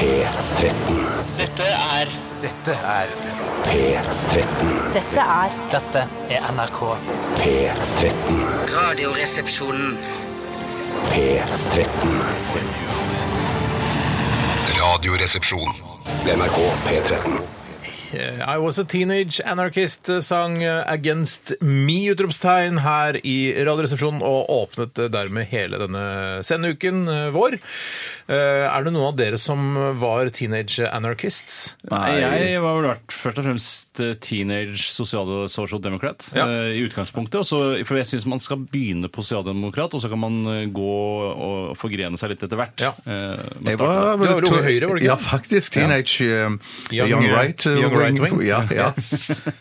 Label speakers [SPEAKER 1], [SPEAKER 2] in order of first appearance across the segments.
[SPEAKER 1] P13.
[SPEAKER 2] Dette er
[SPEAKER 3] Dette er
[SPEAKER 1] P13.
[SPEAKER 4] Dette er
[SPEAKER 5] Dette er NRK.
[SPEAKER 1] P13.
[SPEAKER 2] Radioresepsjonen.
[SPEAKER 1] P13.
[SPEAKER 6] Radioresepsjon.
[SPEAKER 1] NRK P13.
[SPEAKER 7] Eh, I Was A Teenage Anarchist eh, sang Against Me! utropstegn her i Radioresepsjonen, og åpnet eh, dermed hele denne sendeuken vår. Eh, Er det noen av dere som var teenage anarchists?
[SPEAKER 8] Jeg var vel vært først og fremst eh, teenage sosial og social democrat
[SPEAKER 7] Ja.
[SPEAKER 8] eh, i utgangspunktet. og så- for jeg syns man skal begynne på sosialdemokrat, og så kan man eh, gå og forgrene seg litt etter hvert.
[SPEAKER 7] Ja.
[SPEAKER 8] Eh, men
[SPEAKER 3] Jeg
[SPEAKER 8] start med-
[SPEAKER 7] Du var vel
[SPEAKER 3] to-
[SPEAKER 7] Unge Høyre, var det ikke?
[SPEAKER 3] Ja, faktisk. Teenage um,
[SPEAKER 7] Young-
[SPEAKER 3] young, Right uh,
[SPEAKER 7] Young Right Wing.
[SPEAKER 3] Ja, ja.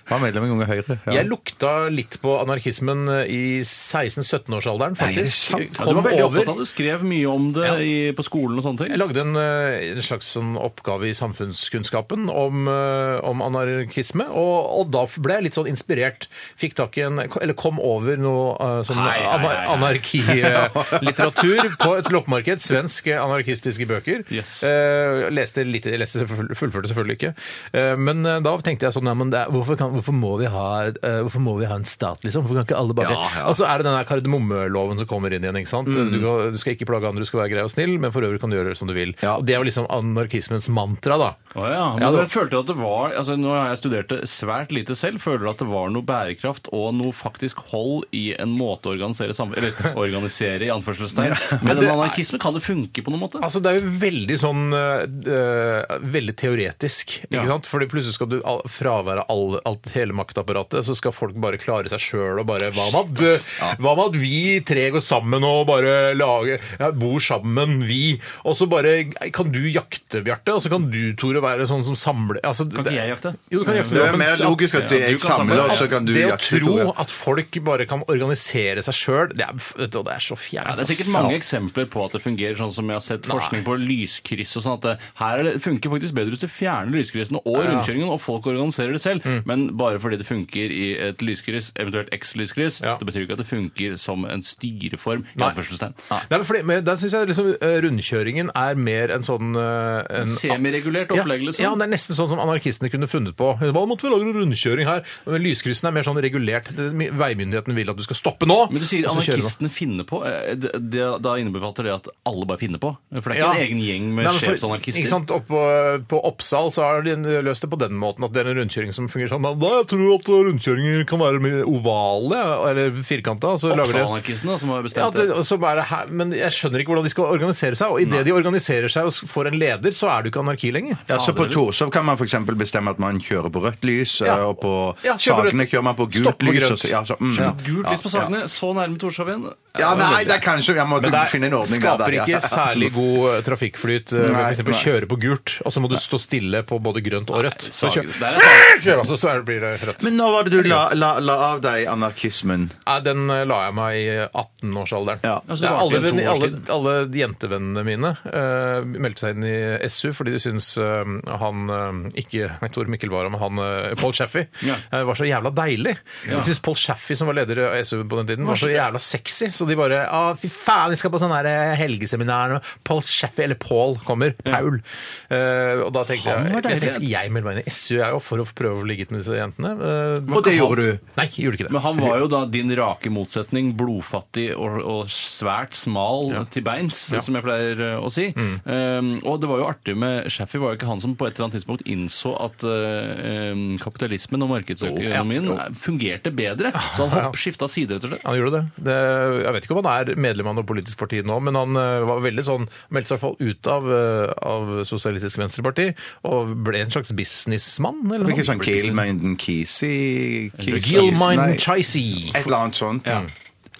[SPEAKER 3] Var medlem i Unge Høyre. Ja.
[SPEAKER 7] Jeg lukta litt på anarkismen eh, i 16-17-årsalderen,
[SPEAKER 3] Nei, det er
[SPEAKER 7] faktisk.
[SPEAKER 3] sant.
[SPEAKER 8] Ja, du var
[SPEAKER 7] Kom
[SPEAKER 8] veldig
[SPEAKER 7] over.
[SPEAKER 8] opptatt av det. Du skrev mye om det i, på skolen og sånne ting.
[SPEAKER 7] Jeg lagde en, eh, en slags sånn oppgave i samfunnskunnskapen om, eh, om anarkisme, og, og da ble jeg litt sånn inspirert. Fikk tak i en, eller kom over noe eh, sånn
[SPEAKER 8] Hei, hei, hei, hei.
[SPEAKER 7] anarkilitteratur på et loppemarked. Svensk eh, anarkistiske bøker.
[SPEAKER 8] Yes.
[SPEAKER 7] Eh, leste litt, leste selvfølgelig, fullførte selvfølgelig ikke. Eh, men eh, da tenkte jeg sånn, nei, men det, er- hvorfor, kan, hvorfor, må vi ha, eh, hvorfor må vi ha en stat, liksom? Hvorfor kan ikke alle bare...
[SPEAKER 3] Ja, ja. Mm.
[SPEAKER 7] Og så er det den der kardemommeloven som kommer inn igjen, ikke sant? Du, kan- du skal ikke plage andre, du skal være grei og snill, men for øvrig kan du gjøre som du vil.
[SPEAKER 3] Ja.
[SPEAKER 7] Og det er jo liksom anarkismens mantra, da.
[SPEAKER 8] Å ja, men
[SPEAKER 7] Ja, det var-
[SPEAKER 8] jeg følte at det var, altså Nå har jeg studert det svært lite selv. Føler du at det var noe bærekraft og noe faktisk hold i en måte å organisere sam- Eller organisere, i anførselstegn. Men den anarkismen kan det funke på noen måte?
[SPEAKER 7] Altså, det er jo veldig sånn eh, eh, Veldig teoretisk, ikke
[SPEAKER 8] Ja.
[SPEAKER 7] sant? Fordi plutselig skal du al- fravære all, alt, hele maktapparatet, så skal folk bare klare seg sjøl og bare Hva med at, hva med at vi tre går sammen og bare lager ja, Bor sammen, vi. Og så bare Kan du jakte, Bjarte? Og så kan du, Tore, være sånn som samler altså,
[SPEAKER 8] Kan ikke jeg jakte?
[SPEAKER 7] Jo, du kan jakte.
[SPEAKER 3] det er
[SPEAKER 7] men
[SPEAKER 3] mer
[SPEAKER 7] at-
[SPEAKER 3] logisk at
[SPEAKER 8] Ja, du
[SPEAKER 3] jeg
[SPEAKER 8] kan samle,
[SPEAKER 3] samler, og så kan du
[SPEAKER 7] det å
[SPEAKER 3] jakte,
[SPEAKER 7] tro
[SPEAKER 3] Tore.
[SPEAKER 7] at folk bare kan organisere seg sjøl, det, er- vet du, det er så fjernt.
[SPEAKER 8] Ja, det er sikkert
[SPEAKER 7] ass.
[SPEAKER 8] mange eksempler på at det fungerer sånn som jeg har sett forskning på lyskryss og sånn. at det, Her er det, funker faktisk bedre hvis du fjerner lyskryssene og rundkjøringen, og folk organiserer det selv.
[SPEAKER 7] Mm.
[SPEAKER 8] Men bare fordi det funker i et lyskryss, eventuelt X-lyskryss,
[SPEAKER 7] Ja.
[SPEAKER 8] det betyr ikke at det funker som en styreform. i
[SPEAKER 7] Nei.
[SPEAKER 8] anførselstegn.
[SPEAKER 7] Nei, men fordi, men der synes jeg liksom eh, rundkjøringen er mer en sånn eh, en,
[SPEAKER 8] Semiregulert opplegg, liksom.
[SPEAKER 7] Ja, ja, det er nesten sånn som anarkistene kunne funnet på. Hva måtte vi lage rundkjøring her? Men lyskryssene er mer sånn regulert. Det- Veimyndigheten vil at du skal stoppe nå.
[SPEAKER 8] Men du sier
[SPEAKER 7] og så kjører man.
[SPEAKER 8] anarkistene finner på. Eh, det- det- Da innebefatter det at alle bare finner på? For det er ikke
[SPEAKER 7] Ja.
[SPEAKER 8] en egen gjeng med
[SPEAKER 7] Nei, men for-
[SPEAKER 8] sjefsanarkister?
[SPEAKER 7] Ikke sant, Oppå, På Oppsal så har de løst det på den måten at det er en rundkjøring som fungerer sånn. Da, jeg tror at rundkjøringer kan være mer ovale eller firkanta. så lager de-
[SPEAKER 8] Oppsal-anarkistene da, som har
[SPEAKER 7] Ja,
[SPEAKER 8] bestemt
[SPEAKER 7] det,
[SPEAKER 8] det.
[SPEAKER 7] og så bare, hæ, men jeg skjønner ikke hvordan de skal organisere seg. Og idet de organiserer seg og s- får en leder, så er du ikke anarki lenger.
[SPEAKER 3] Ja, så På Torshov kan man f.eks. bestemme at man kjører på rødt lys, eh,
[SPEAKER 7] Ja.
[SPEAKER 3] og på
[SPEAKER 7] Ja, kjører på
[SPEAKER 3] Sagene
[SPEAKER 7] rødt.
[SPEAKER 3] kjører man på gult
[SPEAKER 7] Stopp på
[SPEAKER 3] lys.
[SPEAKER 7] grønt.
[SPEAKER 3] og så- ja, så- mm.
[SPEAKER 8] Gult
[SPEAKER 3] Ja,
[SPEAKER 8] lys på
[SPEAKER 3] ja.
[SPEAKER 8] sakene, så nærme Torshov igjen.
[SPEAKER 3] Ja, nei, det er
[SPEAKER 8] veldig-
[SPEAKER 3] kanskje Jeg må
[SPEAKER 7] Men det
[SPEAKER 3] finne en
[SPEAKER 7] er,
[SPEAKER 3] ordning der,
[SPEAKER 7] skaper
[SPEAKER 3] ja.
[SPEAKER 7] ikke særlig god eh, trafikkflyt. eh,
[SPEAKER 3] Nei,
[SPEAKER 7] ved For eksempel
[SPEAKER 3] nei.
[SPEAKER 7] kjøre på gult, og så må du stå stille på både grønt og rødt. Så
[SPEAKER 8] Sager.
[SPEAKER 7] kjør,
[SPEAKER 8] Der er sager.
[SPEAKER 3] sånn-
[SPEAKER 7] kjør altså, så er det, blir det rødt.
[SPEAKER 3] Men når var det du la, la, la av deg anarkismen?
[SPEAKER 7] Nei, den eh, la jeg meg i 18-årsalderen.
[SPEAKER 3] Ja.
[SPEAKER 7] Det
[SPEAKER 8] Altså, du
[SPEAKER 7] er
[SPEAKER 8] varte
[SPEAKER 7] alle,
[SPEAKER 8] i to
[SPEAKER 7] venn-
[SPEAKER 8] års
[SPEAKER 7] alle,
[SPEAKER 8] tid.
[SPEAKER 7] alle jentevennene mine eh, meldte seg inn i SU fordi de syns eh, han eh, Ikke nei, Tor Mikkel Wara, men han uh, Paul Shaffey
[SPEAKER 8] Ja.
[SPEAKER 7] eh, var så jævla deilig. De syntes Paul Shaffey, som var leder av SU på den tiden, var så jævla sexy. Så de bare Å, fy faen, vi skal på sånn her eh, helgeseminar nå. Paul Shaffey, eller Paul, kommer. Paul. Eh, og da tenkte
[SPEAKER 8] Han
[SPEAKER 7] jeg
[SPEAKER 8] var
[SPEAKER 7] jeg,
[SPEAKER 8] deilig.
[SPEAKER 7] tenkte, jeg melder meg inn i SU, jeg òg, for å prøve å ligge ut med disse jentene. Eh,
[SPEAKER 3] Og det gjorde du?
[SPEAKER 7] Nei, jeg gjorde ikke det.
[SPEAKER 8] Men han var jo da din rake motsetning, blodfattig og, og svært smal til beins, som jeg pleier eh, å si.
[SPEAKER 7] Mm.
[SPEAKER 8] Um, og det var jo artig med Shaffy, var jo ikke han som på et eller annet tidspunkt innså at eh, um, kapitalismen og markedsøkonomien fungerte bedre. Så han hopp, skifta side, rett og slett.
[SPEAKER 7] Han gjorde det. det. Jeg vet ikke om han er medlem av noe politisk parti nå, men han eh, var veldig sånn, meldte seg i hvert fall ut av, eh, av Sosialistisk Venstreparti og ble en slags businessmann.
[SPEAKER 3] Det
[SPEAKER 7] eller
[SPEAKER 3] var
[SPEAKER 7] noe
[SPEAKER 3] ikke sånn Gilminden Kisi
[SPEAKER 7] Gilmine
[SPEAKER 3] Et
[SPEAKER 7] Chicey.
[SPEAKER 3] eller annet sånt.
[SPEAKER 7] Ja.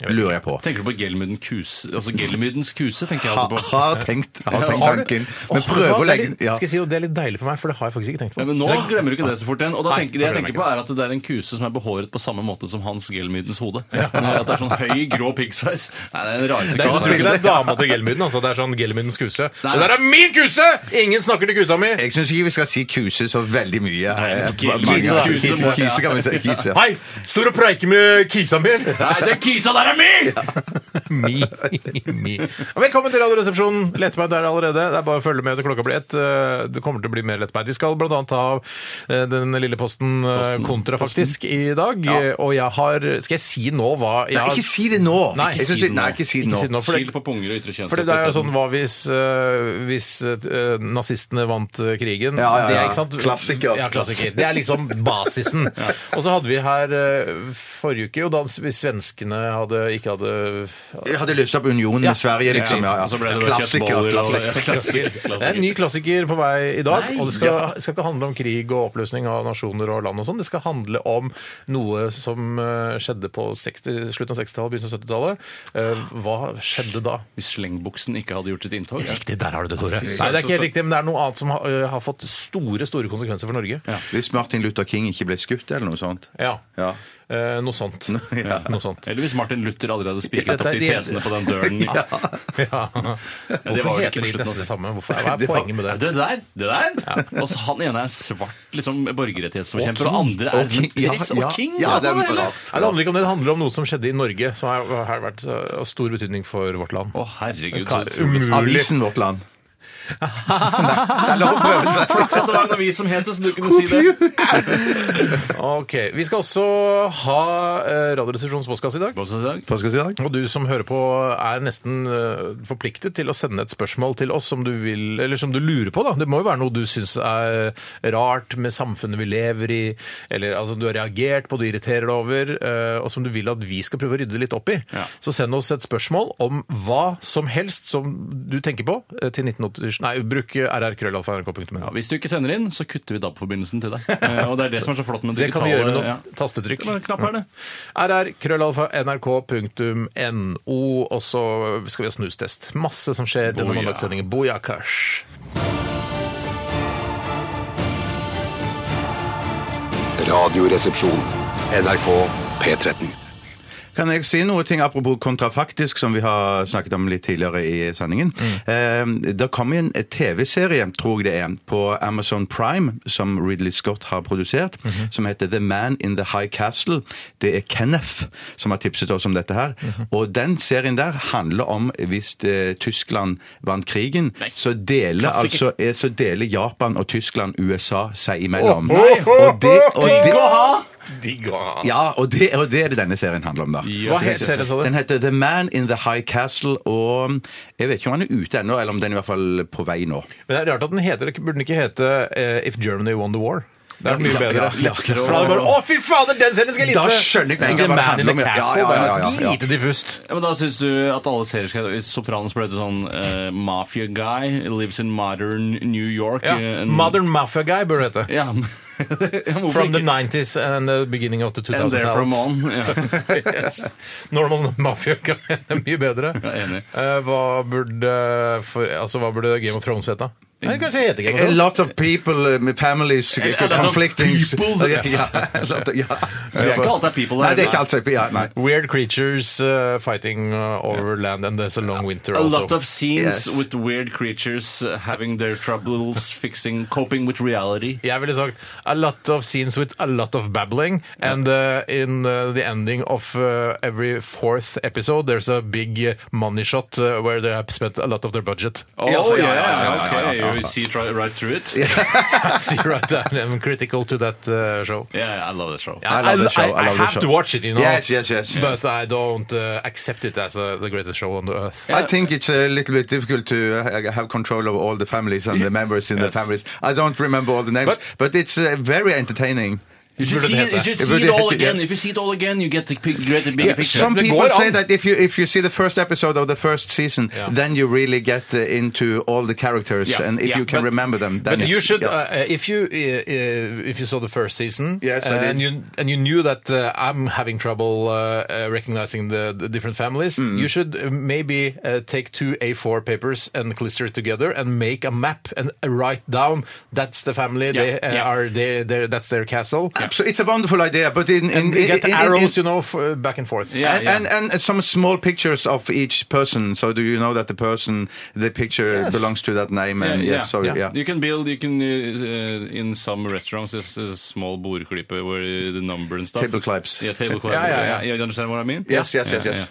[SPEAKER 3] Lurer jeg på.
[SPEAKER 8] Tenker du på Gelmyden Kuse? Altså Gelmydens kuse, tenker jeg
[SPEAKER 3] Ha,
[SPEAKER 8] alltid på.
[SPEAKER 3] har tenkt, har tenkt
[SPEAKER 7] Har du-
[SPEAKER 3] tanken.
[SPEAKER 7] Åh,
[SPEAKER 3] Men
[SPEAKER 7] vet du
[SPEAKER 3] prøver
[SPEAKER 7] hva,
[SPEAKER 3] å
[SPEAKER 7] det er
[SPEAKER 3] legge
[SPEAKER 7] litt-
[SPEAKER 3] ja.
[SPEAKER 7] Skal jeg si jo, Det er litt deilig for meg, for det har jeg faktisk ikke tenkt
[SPEAKER 8] Ja,
[SPEAKER 7] på.
[SPEAKER 8] men nå glemmer du ikke det så fort igjen. Og da tenker, det jeg
[SPEAKER 7] nå glemmer jeg
[SPEAKER 8] tenker på er at det er en kuse som er behåret på samme måte som Hans Gelmydens hode. At det er sånn høy, grå piggsveis. Nei, det er den
[SPEAKER 7] Det
[SPEAKER 8] rareste
[SPEAKER 7] er, jeg tror
[SPEAKER 8] kusen.
[SPEAKER 7] ikke det er dama til Gelmyden. Altså. Det er sånn Gelmydens kuse.
[SPEAKER 8] Nei.
[SPEAKER 7] Det der er min kuse! Ingen snakker til kusa mi!
[SPEAKER 3] Jeg syns ikke vi skal si kuse så veldig mye. Eh,
[SPEAKER 8] Kise,
[SPEAKER 3] mange-
[SPEAKER 8] da.
[SPEAKER 3] Kise, kise kan vi si. Kise.
[SPEAKER 7] Hei! Står og preiker med kisa mi!
[SPEAKER 8] Nei, den kisa der
[SPEAKER 3] er mi!
[SPEAKER 7] Mi. Mi. Velkommen til Radioresepsjonen. Lettbeint er det allerede. Det er bare å følge med til klokka blir ett. Eh, Det kommer til å bli mer lettbeint. Vi skal bl.a. ta eh, den lille posten eh, kontra, faktisk, i dag. Eh, Og jeg har Skal jeg si nå hva jeg
[SPEAKER 3] Nei,
[SPEAKER 7] har-
[SPEAKER 3] ikke si det nå!
[SPEAKER 7] Nei,
[SPEAKER 3] Jeg synes
[SPEAKER 7] ikke si
[SPEAKER 3] det-
[SPEAKER 7] det
[SPEAKER 3] Nei,
[SPEAKER 7] nå.
[SPEAKER 3] ikke si det
[SPEAKER 7] Ikke
[SPEAKER 3] nå.
[SPEAKER 7] si det nå, for det-
[SPEAKER 8] Skil på punger og ytre kjønnslepper.
[SPEAKER 7] for det er jo
[SPEAKER 8] isteden.
[SPEAKER 7] sånn Hva hvis, eh, hvis eh, nazistene vant eh, krigen?
[SPEAKER 3] Ja, ja, ja.
[SPEAKER 7] Det er, ikke sant?
[SPEAKER 3] Klassiker.
[SPEAKER 7] Ja, klassiker. Det er liksom basisen. Og så hadde vi her eh, forrige uke, jo, da hvis svenskene hadde, ikke hadde
[SPEAKER 3] Jeg hadde løst opp unionen
[SPEAKER 7] Ja.
[SPEAKER 3] med Sverige, liksom. Ja, ja.
[SPEAKER 8] Og så ble det bare kjøttboller og-
[SPEAKER 3] klassiker.
[SPEAKER 7] Klassiker. Det er en ny klassiker på vei i dag. Og det skal, skal ikke handle om krig og oppløsning av nasjoner og land og sånn. Det skal handle om noe som eh, skjedde på 60, slutten av 60-tallet, begynnelsen av 70-tallet. Eh, Hva skjedde da?
[SPEAKER 8] Hvis slengbuksen ikke hadde gjort sitt inntog.
[SPEAKER 7] Riktig, der har du det, Tore. Nei, det er ikke helt riktig, men det er noe annet som har, eh, har fått store, store konsekvenser for Norge. Ja.
[SPEAKER 3] Hvis Martin Luther King ikke ble skutt, eller noe sånt. Ja.
[SPEAKER 7] Eh, noe sånt.
[SPEAKER 3] Ja.
[SPEAKER 7] Noe sånt.
[SPEAKER 8] Eller hvis Martin Luther allerede hadde spikret opp
[SPEAKER 7] Dette
[SPEAKER 8] de
[SPEAKER 7] er de-
[SPEAKER 8] tesene på den døren.
[SPEAKER 7] Ja.
[SPEAKER 8] det
[SPEAKER 7] Hvorfor
[SPEAKER 8] var jo ikke på
[SPEAKER 7] heter det
[SPEAKER 8] slutten av
[SPEAKER 7] nesten det samme? Hvorfor, hva er
[SPEAKER 3] Det var-
[SPEAKER 7] poenget med
[SPEAKER 8] Ja,
[SPEAKER 7] det?
[SPEAKER 8] Det der! det der Og så Han ene er svart liksom, borgerrettighetsforkjemper, og,
[SPEAKER 7] Og king.
[SPEAKER 8] andre er
[SPEAKER 3] Og
[SPEAKER 8] som
[SPEAKER 3] king.
[SPEAKER 8] en
[SPEAKER 3] Ja,
[SPEAKER 8] press.
[SPEAKER 3] ja.
[SPEAKER 8] og king!
[SPEAKER 3] Ja, det er
[SPEAKER 8] hva
[SPEAKER 3] rart.
[SPEAKER 8] eller?
[SPEAKER 7] Nei, det handler ikke om det, det handler om noe som skjedde i Norge, som har, har vært så- av stor betydning for vårt land.
[SPEAKER 8] Å, herregud.
[SPEAKER 7] Hva-
[SPEAKER 8] Så utrolig.
[SPEAKER 3] Avisen Vårt Land. Nei, det er lov å prøve seg.
[SPEAKER 8] Flaks at det var en avis som het det, så du kunne si det.
[SPEAKER 7] Ok, Vi skal også ha eh, Radioresepsjonens postkasse i dag.
[SPEAKER 8] Hva sa du i dag?
[SPEAKER 3] Hva skal jeg si i dag?
[SPEAKER 7] Og du som hører på er nesten eh, forpliktet til å sende et spørsmål til oss som du vil, eller som du lurer på. da. Det må jo være noe du syns er rart med samfunnet vi lever i, eller altså, du har reagert på, du irriterer deg over, eh, og som du vil at vi skal prøve å rydde litt opp i.
[SPEAKER 8] Ja.
[SPEAKER 7] Så send oss et spørsmål om hva som helst som du tenker på eh, til 1987 Nei, bruk rrkrøllalfa.nrk.no.
[SPEAKER 8] Ja, hvis du ikke sender inn, så kutter vi DAB-forbindelsen til deg. Eh, Og det er det som er så flott med
[SPEAKER 7] Det kan
[SPEAKER 8] digitale-
[SPEAKER 7] vi gjøre med noen
[SPEAKER 8] ja.
[SPEAKER 7] tastetrykk.
[SPEAKER 8] Det er
[SPEAKER 7] Mm.
[SPEAKER 8] bare en knapp her, det.
[SPEAKER 7] rr.krøllalfa.nrk.no, og så skal vi ha snustest. Masse som skjer denne
[SPEAKER 8] Boja.
[SPEAKER 7] mandagssendingen. Bojakasj.
[SPEAKER 1] Radioresepsjon. NRK P13.
[SPEAKER 3] Kan jeg si noe ting apropos kontrafaktisk, som vi har snakket om litt tidligere i sendingen?
[SPEAKER 7] Mm.
[SPEAKER 3] Eh, det kommer jo en TV-serie, tror jeg det er, på Amazon Prime, som Ridley Scott har produsert,
[SPEAKER 7] Mhm.
[SPEAKER 3] som heter The Man in the High Castle. Det er Kenneth som har tipset oss om dette her.
[SPEAKER 7] Mhm.
[SPEAKER 3] Og den serien der handler om hvis eh, Tyskland vant krigen, så deler,
[SPEAKER 8] Klassiker.
[SPEAKER 3] altså, eh, så deler Japan og Tyskland USA seg imellom.
[SPEAKER 7] Åh, nei.
[SPEAKER 3] Og det, og det,
[SPEAKER 7] Ja.
[SPEAKER 3] ja, og det, og det er det denne serien handler om, da.
[SPEAKER 7] Hva het serien, sa du?
[SPEAKER 3] Den heter The Man in the High Castle, og jeg vet ikke om han er ute ennå, eller om den er i hvert fall på vei nå.
[SPEAKER 7] Men det er rart at den heter Burde den ikke hete eh, If Germany Won the War? Det er mye
[SPEAKER 3] Ja,
[SPEAKER 7] bedre.
[SPEAKER 3] ja, ja.
[SPEAKER 7] For da er det bare, Å, fy fader, den serien skal jeg
[SPEAKER 3] Da
[SPEAKER 7] linse!
[SPEAKER 3] skjønner jeg ikke hva
[SPEAKER 7] The
[SPEAKER 3] det
[SPEAKER 7] Man in
[SPEAKER 3] handler
[SPEAKER 7] the
[SPEAKER 3] om, ja. Ja,
[SPEAKER 7] Castle.
[SPEAKER 3] ja, ja,
[SPEAKER 7] Det er
[SPEAKER 3] ja, ja.
[SPEAKER 7] lite diffust.
[SPEAKER 8] Ja, men da syns du at alle serier skal I Sopranos ble det sånn eh, Mafia guy lives in modern New York.
[SPEAKER 7] Ja.
[SPEAKER 8] eh, en-
[SPEAKER 7] Modern Mafia Guy burde det hete.
[SPEAKER 8] ja. Hvorfor
[SPEAKER 7] From the
[SPEAKER 8] ikke?
[SPEAKER 7] 90s and the beginning of the
[SPEAKER 8] And
[SPEAKER 7] 2000
[SPEAKER 8] there from
[SPEAKER 7] tallet
[SPEAKER 8] on. Ja.
[SPEAKER 7] yes. Normal Mafia Guy er mye bedre.
[SPEAKER 8] er enig.
[SPEAKER 7] Eh, hva, burde, for, altså, hva burde Game of Thrones hete? Nei, kanskje det heter
[SPEAKER 3] A
[SPEAKER 7] Game of Thrones.
[SPEAKER 3] lot of people, uh, families, uh,
[SPEAKER 8] lot of
[SPEAKER 3] conflicting
[SPEAKER 8] people.
[SPEAKER 3] Ja, ja, a lot of- ja.
[SPEAKER 8] er ikke alt er people der.
[SPEAKER 3] Nei, det er ikke alt er people. Ja, nei.
[SPEAKER 7] Weird creatures eh, fighting uh, over land and there's a long winter
[SPEAKER 8] A
[SPEAKER 7] also.
[SPEAKER 8] lot of scenes
[SPEAKER 3] Yes.
[SPEAKER 8] with weird creatures uh, having their troubles fixing, coping with reality.
[SPEAKER 7] jeg ville sagt a lot of scenes with a lot of babbling, and uh, in uh, the ending of uh, every fourth episode, there's a big uh, money shot uh, where they have spent a lot of their budget.
[SPEAKER 8] Oh,
[SPEAKER 3] ja, ja, ja, ja,
[SPEAKER 8] okay, you see it right, right through it. Yeah.
[SPEAKER 7] See right there, I'm critical to that uh, show.
[SPEAKER 8] I love that show.
[SPEAKER 3] I love the show, I love the
[SPEAKER 7] have
[SPEAKER 3] show.
[SPEAKER 7] to watch it, you know.
[SPEAKER 3] Yes, yes, yes.
[SPEAKER 7] But I don't uh, accept it as uh, the greatest show on the earth.
[SPEAKER 3] I think it's a little bit difficult to uh, have control of all the families and the members in the families. I don't remember all the names,
[SPEAKER 7] But-
[SPEAKER 3] but, it's uh, very entertaining.
[SPEAKER 8] You should
[SPEAKER 7] Burde
[SPEAKER 8] see
[SPEAKER 7] det
[SPEAKER 8] it,
[SPEAKER 7] hete.
[SPEAKER 8] you should
[SPEAKER 3] Det
[SPEAKER 8] see
[SPEAKER 3] burde
[SPEAKER 8] it all
[SPEAKER 3] hete,
[SPEAKER 8] again.
[SPEAKER 3] yes.
[SPEAKER 8] If you see it all again, you get the big, greater, bigger picture.
[SPEAKER 3] Some
[SPEAKER 7] Det
[SPEAKER 3] people
[SPEAKER 7] går
[SPEAKER 3] say
[SPEAKER 7] an.
[SPEAKER 3] that if you if you see the first episode of the first season,
[SPEAKER 7] Yeah.
[SPEAKER 3] then you really get uh, into all the characters,
[SPEAKER 8] Yeah,
[SPEAKER 3] and if
[SPEAKER 8] yeah,
[SPEAKER 3] you can
[SPEAKER 8] but-
[SPEAKER 3] remember them, then
[SPEAKER 7] But you
[SPEAKER 3] it's-
[SPEAKER 7] should,
[SPEAKER 3] yeah.
[SPEAKER 7] uh, uh, if you uh, uh, if you saw the first season,
[SPEAKER 3] Yes, I
[SPEAKER 7] and
[SPEAKER 3] did.
[SPEAKER 7] you and you knew that uh, I'm having trouble uh, uh, recognizing the, the different families,
[SPEAKER 3] Mm.
[SPEAKER 7] you should uh, maybe uh, take two A4 papers and cluster it together and make a map and uh, write down that's the family they uh,
[SPEAKER 8] yeah.
[SPEAKER 7] are they they that's their castle.
[SPEAKER 3] So it's a wonderful idea, but in in,
[SPEAKER 7] And
[SPEAKER 3] in,
[SPEAKER 7] get
[SPEAKER 3] in- in-
[SPEAKER 7] arrows,
[SPEAKER 3] in-
[SPEAKER 7] you know, f- uh, back and forth.
[SPEAKER 8] Yeah,
[SPEAKER 3] and,
[SPEAKER 8] yeah.
[SPEAKER 3] and and some small pictures of each person. So do you know that the person, the picture
[SPEAKER 7] Yes.
[SPEAKER 3] belongs to that name? And
[SPEAKER 8] Yeah,
[SPEAKER 3] yes,
[SPEAKER 8] yeah,
[SPEAKER 3] so
[SPEAKER 7] yeah.
[SPEAKER 3] yeah.
[SPEAKER 8] You can build, you can, uh, in some restaurants, there's a small bordklipper where the number and stuff.
[SPEAKER 3] Table clips.
[SPEAKER 8] Yeah, table clips.
[SPEAKER 7] Yeah, yeah, yeah.
[SPEAKER 8] You understand what I mean?
[SPEAKER 3] Yes, yes, yes, yes.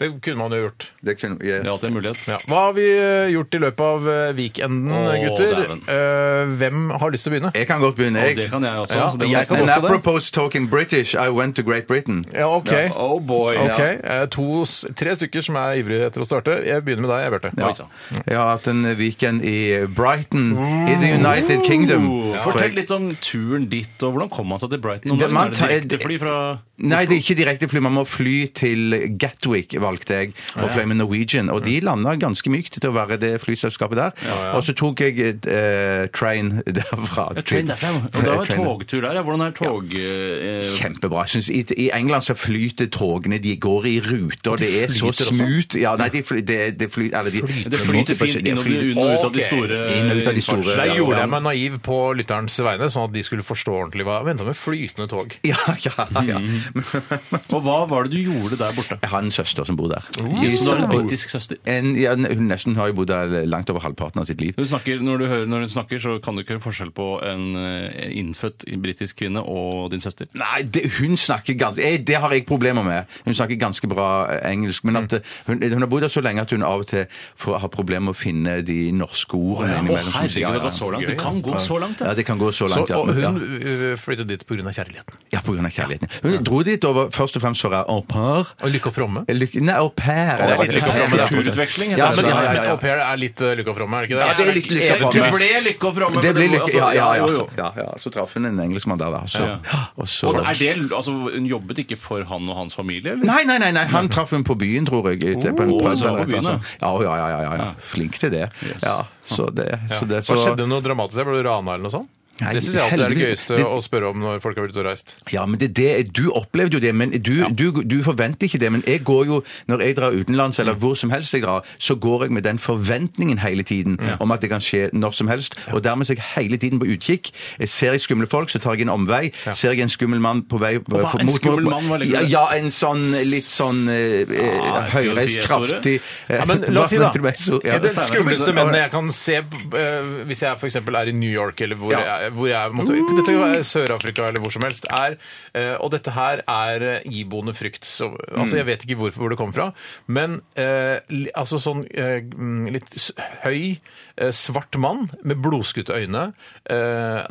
[SPEAKER 7] Det kunne man jo gjort.
[SPEAKER 3] Det kunne, yes.
[SPEAKER 8] Det er alltid en mulighet.
[SPEAKER 7] Ja. Hva har vi eh, gjort i løpet av eh, weekenden,
[SPEAKER 8] Å,
[SPEAKER 7] gutter?
[SPEAKER 8] dæven.
[SPEAKER 7] Eh, hvem har lyst til å begynne?
[SPEAKER 3] Jeg kan godt begynne,
[SPEAKER 8] Og
[SPEAKER 3] jeg.
[SPEAKER 8] det kan jeg også.
[SPEAKER 7] Ja,
[SPEAKER 8] så det må
[SPEAKER 7] jeg
[SPEAKER 8] nesten-
[SPEAKER 7] kan
[SPEAKER 3] And
[SPEAKER 7] også det.
[SPEAKER 3] apropos talking British, I went to Great Britain.
[SPEAKER 7] Ja, OK.
[SPEAKER 8] Oh boy.
[SPEAKER 7] Ok, eh, to, s- Tre stykker som er ivrige etter å starte. Jeg begynner med deg, jeg, Bjarte.
[SPEAKER 8] Oi,
[SPEAKER 7] Ja.
[SPEAKER 8] sann.
[SPEAKER 3] Jeg har hatt en weekend i Brighton, i The United Kingdom.
[SPEAKER 8] Oh,
[SPEAKER 3] For
[SPEAKER 8] Fortell
[SPEAKER 3] jeg-
[SPEAKER 8] litt om turen dit, og hvordan kom man seg til Brighton?
[SPEAKER 3] Det-
[SPEAKER 8] Det,
[SPEAKER 3] man
[SPEAKER 8] er det
[SPEAKER 3] tar-
[SPEAKER 8] direktefly fra
[SPEAKER 3] Nei, det er ikke direkte fly. Man må fly til Gatwick, valgte jeg, og fløy med Norwegian. Og de landa ganske mykt til å være det flyselskapet der. Og så tok jeg et eh, train derfra.
[SPEAKER 8] ja, train
[SPEAKER 3] til-
[SPEAKER 8] derfra. ja. Og det var
[SPEAKER 3] Train-
[SPEAKER 8] togtur der. Ja. Hvordan er tog... eh,
[SPEAKER 3] Kjempebra. Jeg synes, i, I England så flyter togene, de går i rute, og det er så
[SPEAKER 7] flyter også?
[SPEAKER 3] smooth. Ja, nei, de, fly, det- det fly, eller de,
[SPEAKER 8] det flyter
[SPEAKER 3] på-
[SPEAKER 8] fint
[SPEAKER 3] de
[SPEAKER 8] inn og
[SPEAKER 3] flyter-
[SPEAKER 8] inn og ut av de
[SPEAKER 7] Ok.
[SPEAKER 8] store
[SPEAKER 3] Inn og ut av de store,
[SPEAKER 8] innfarts-
[SPEAKER 7] Der
[SPEAKER 3] ja.
[SPEAKER 7] gjorde jeg meg naiv på lytterens vegne, sånn at de skulle forstå ordentlig hva Venta med flytende tog.
[SPEAKER 3] Ja, ja, ja.
[SPEAKER 8] Mm. Og hva var det du gjorde der borte?
[SPEAKER 3] Jeg har en søster som bor der.
[SPEAKER 8] Jøss, du har en
[SPEAKER 3] Og-
[SPEAKER 8] britisk søster.
[SPEAKER 3] en, ja, hun nesten har jo bodd der langt over halvparten av sitt liv.
[SPEAKER 8] Hun snakker, når du hører når hun snakker, så kan du ikke høre forskjell på en eh, innfødt britisk kvinne og din søster.
[SPEAKER 3] Nei, det, hun snakker ganske jeg, Det har jeg problemer med. Hun snakker ganske bra eh, engelsk.
[SPEAKER 8] Mm.
[SPEAKER 3] Men at eh, hun, hun har bodd der så lenge at hun av og til får, har problemer med å finne de norske ordene
[SPEAKER 8] Å,
[SPEAKER 3] innimellom. som-
[SPEAKER 8] herregud, det har gått så langt. Det kan gå så langt,
[SPEAKER 3] Ja,
[SPEAKER 8] det.
[SPEAKER 3] det kan gå så
[SPEAKER 7] Så,
[SPEAKER 3] langt. ja.
[SPEAKER 7] og
[SPEAKER 3] Ja.
[SPEAKER 7] hun ø, flyttet dit pga. kjærligheten.
[SPEAKER 3] Ja, på grunn av kjærligheten. Hun dro dit over først og fremst for å være au pair.
[SPEAKER 7] Og Lykke og Fromme.
[SPEAKER 3] Lykke- Nei, au pair.
[SPEAKER 8] Det er
[SPEAKER 7] litt Lykke og Fromme, da.
[SPEAKER 8] kulturutveksling.
[SPEAKER 3] Ja,
[SPEAKER 7] Ja, men,
[SPEAKER 3] ja, ja, ja.
[SPEAKER 7] men Altså, au pair er litt ø, Lykke og Fromme, er det ikke det?
[SPEAKER 3] Ja, det er litt Lykke og Fromme.
[SPEAKER 8] Du ble lykke og fromme.
[SPEAKER 3] Det
[SPEAKER 8] men
[SPEAKER 3] blir
[SPEAKER 8] du-
[SPEAKER 3] lykke,
[SPEAKER 8] altså,
[SPEAKER 3] ja, ja,
[SPEAKER 8] jo,
[SPEAKER 3] ja,
[SPEAKER 8] jo.
[SPEAKER 3] ja, ja. Så traff hun en engelskmann der, da. Så,
[SPEAKER 8] Ja, ja.
[SPEAKER 3] og så
[SPEAKER 8] Og er det, altså, hun jobbet ikke for han og hans familie, eller?
[SPEAKER 3] Nei, nei, nei, nei, han traff hun på byen, tror jeg. Ute på en
[SPEAKER 8] Oh,
[SPEAKER 3] pub
[SPEAKER 8] så var
[SPEAKER 3] eller
[SPEAKER 8] på
[SPEAKER 3] et eller
[SPEAKER 8] byen,
[SPEAKER 3] annet sånt. Ja, ja, ja, ja, ja. Flink til det. Ja, så det, så det så,
[SPEAKER 7] Hva skjedde noe dramatisk? der? Ble du rana eller noe sånt?
[SPEAKER 3] Nei,
[SPEAKER 7] det syns jeg alltid er det
[SPEAKER 3] heldigvis.
[SPEAKER 7] gøyeste
[SPEAKER 3] Det-
[SPEAKER 7] å spørre om når folk har vært ute og reist.
[SPEAKER 3] Ja, men det, det, Du opplevde jo det, men du, du, du forventer ikke det. Men jeg går jo, når jeg drar utenlands, eller hvor som helst jeg drar, så går jeg med den forventningen hele tiden om at det kan skje når som helst. Og dermed så er jeg hele tiden på utkikk. Jeg Ser jeg skumle folk, så tar jeg en omvei. Ser jeg en skummel mann på vei
[SPEAKER 8] hva, en skummel mann, hva legger
[SPEAKER 3] ja,
[SPEAKER 8] du i det?
[SPEAKER 3] ja, en sånn litt sånn eh,
[SPEAKER 8] Ah, jeg skulle si
[SPEAKER 3] høyreist,
[SPEAKER 8] S-ordet.
[SPEAKER 3] kraftig eh,
[SPEAKER 7] Ja, men la
[SPEAKER 3] hva
[SPEAKER 7] oss si da,
[SPEAKER 3] mente du med S-ord? Ja,
[SPEAKER 7] Den
[SPEAKER 3] det stemmer.
[SPEAKER 7] skumleste mennene jeg kan se eh, hvis jeg f.eks. er i New York eller hvor
[SPEAKER 3] Ja.
[SPEAKER 7] jeg, hvor jeg måtte,
[SPEAKER 3] Uh.
[SPEAKER 7] Dette kan være Sør-Afrika eller hvor som helst. Er, eh, og dette her er eh, iboende frykt. Så, altså,
[SPEAKER 3] Mm.
[SPEAKER 7] jeg vet ikke hvor, hvor det kommer fra, men eh, li- altså sånn eh, mm, litt s- høy, eh, svart mann med blodskutte øyne, eh,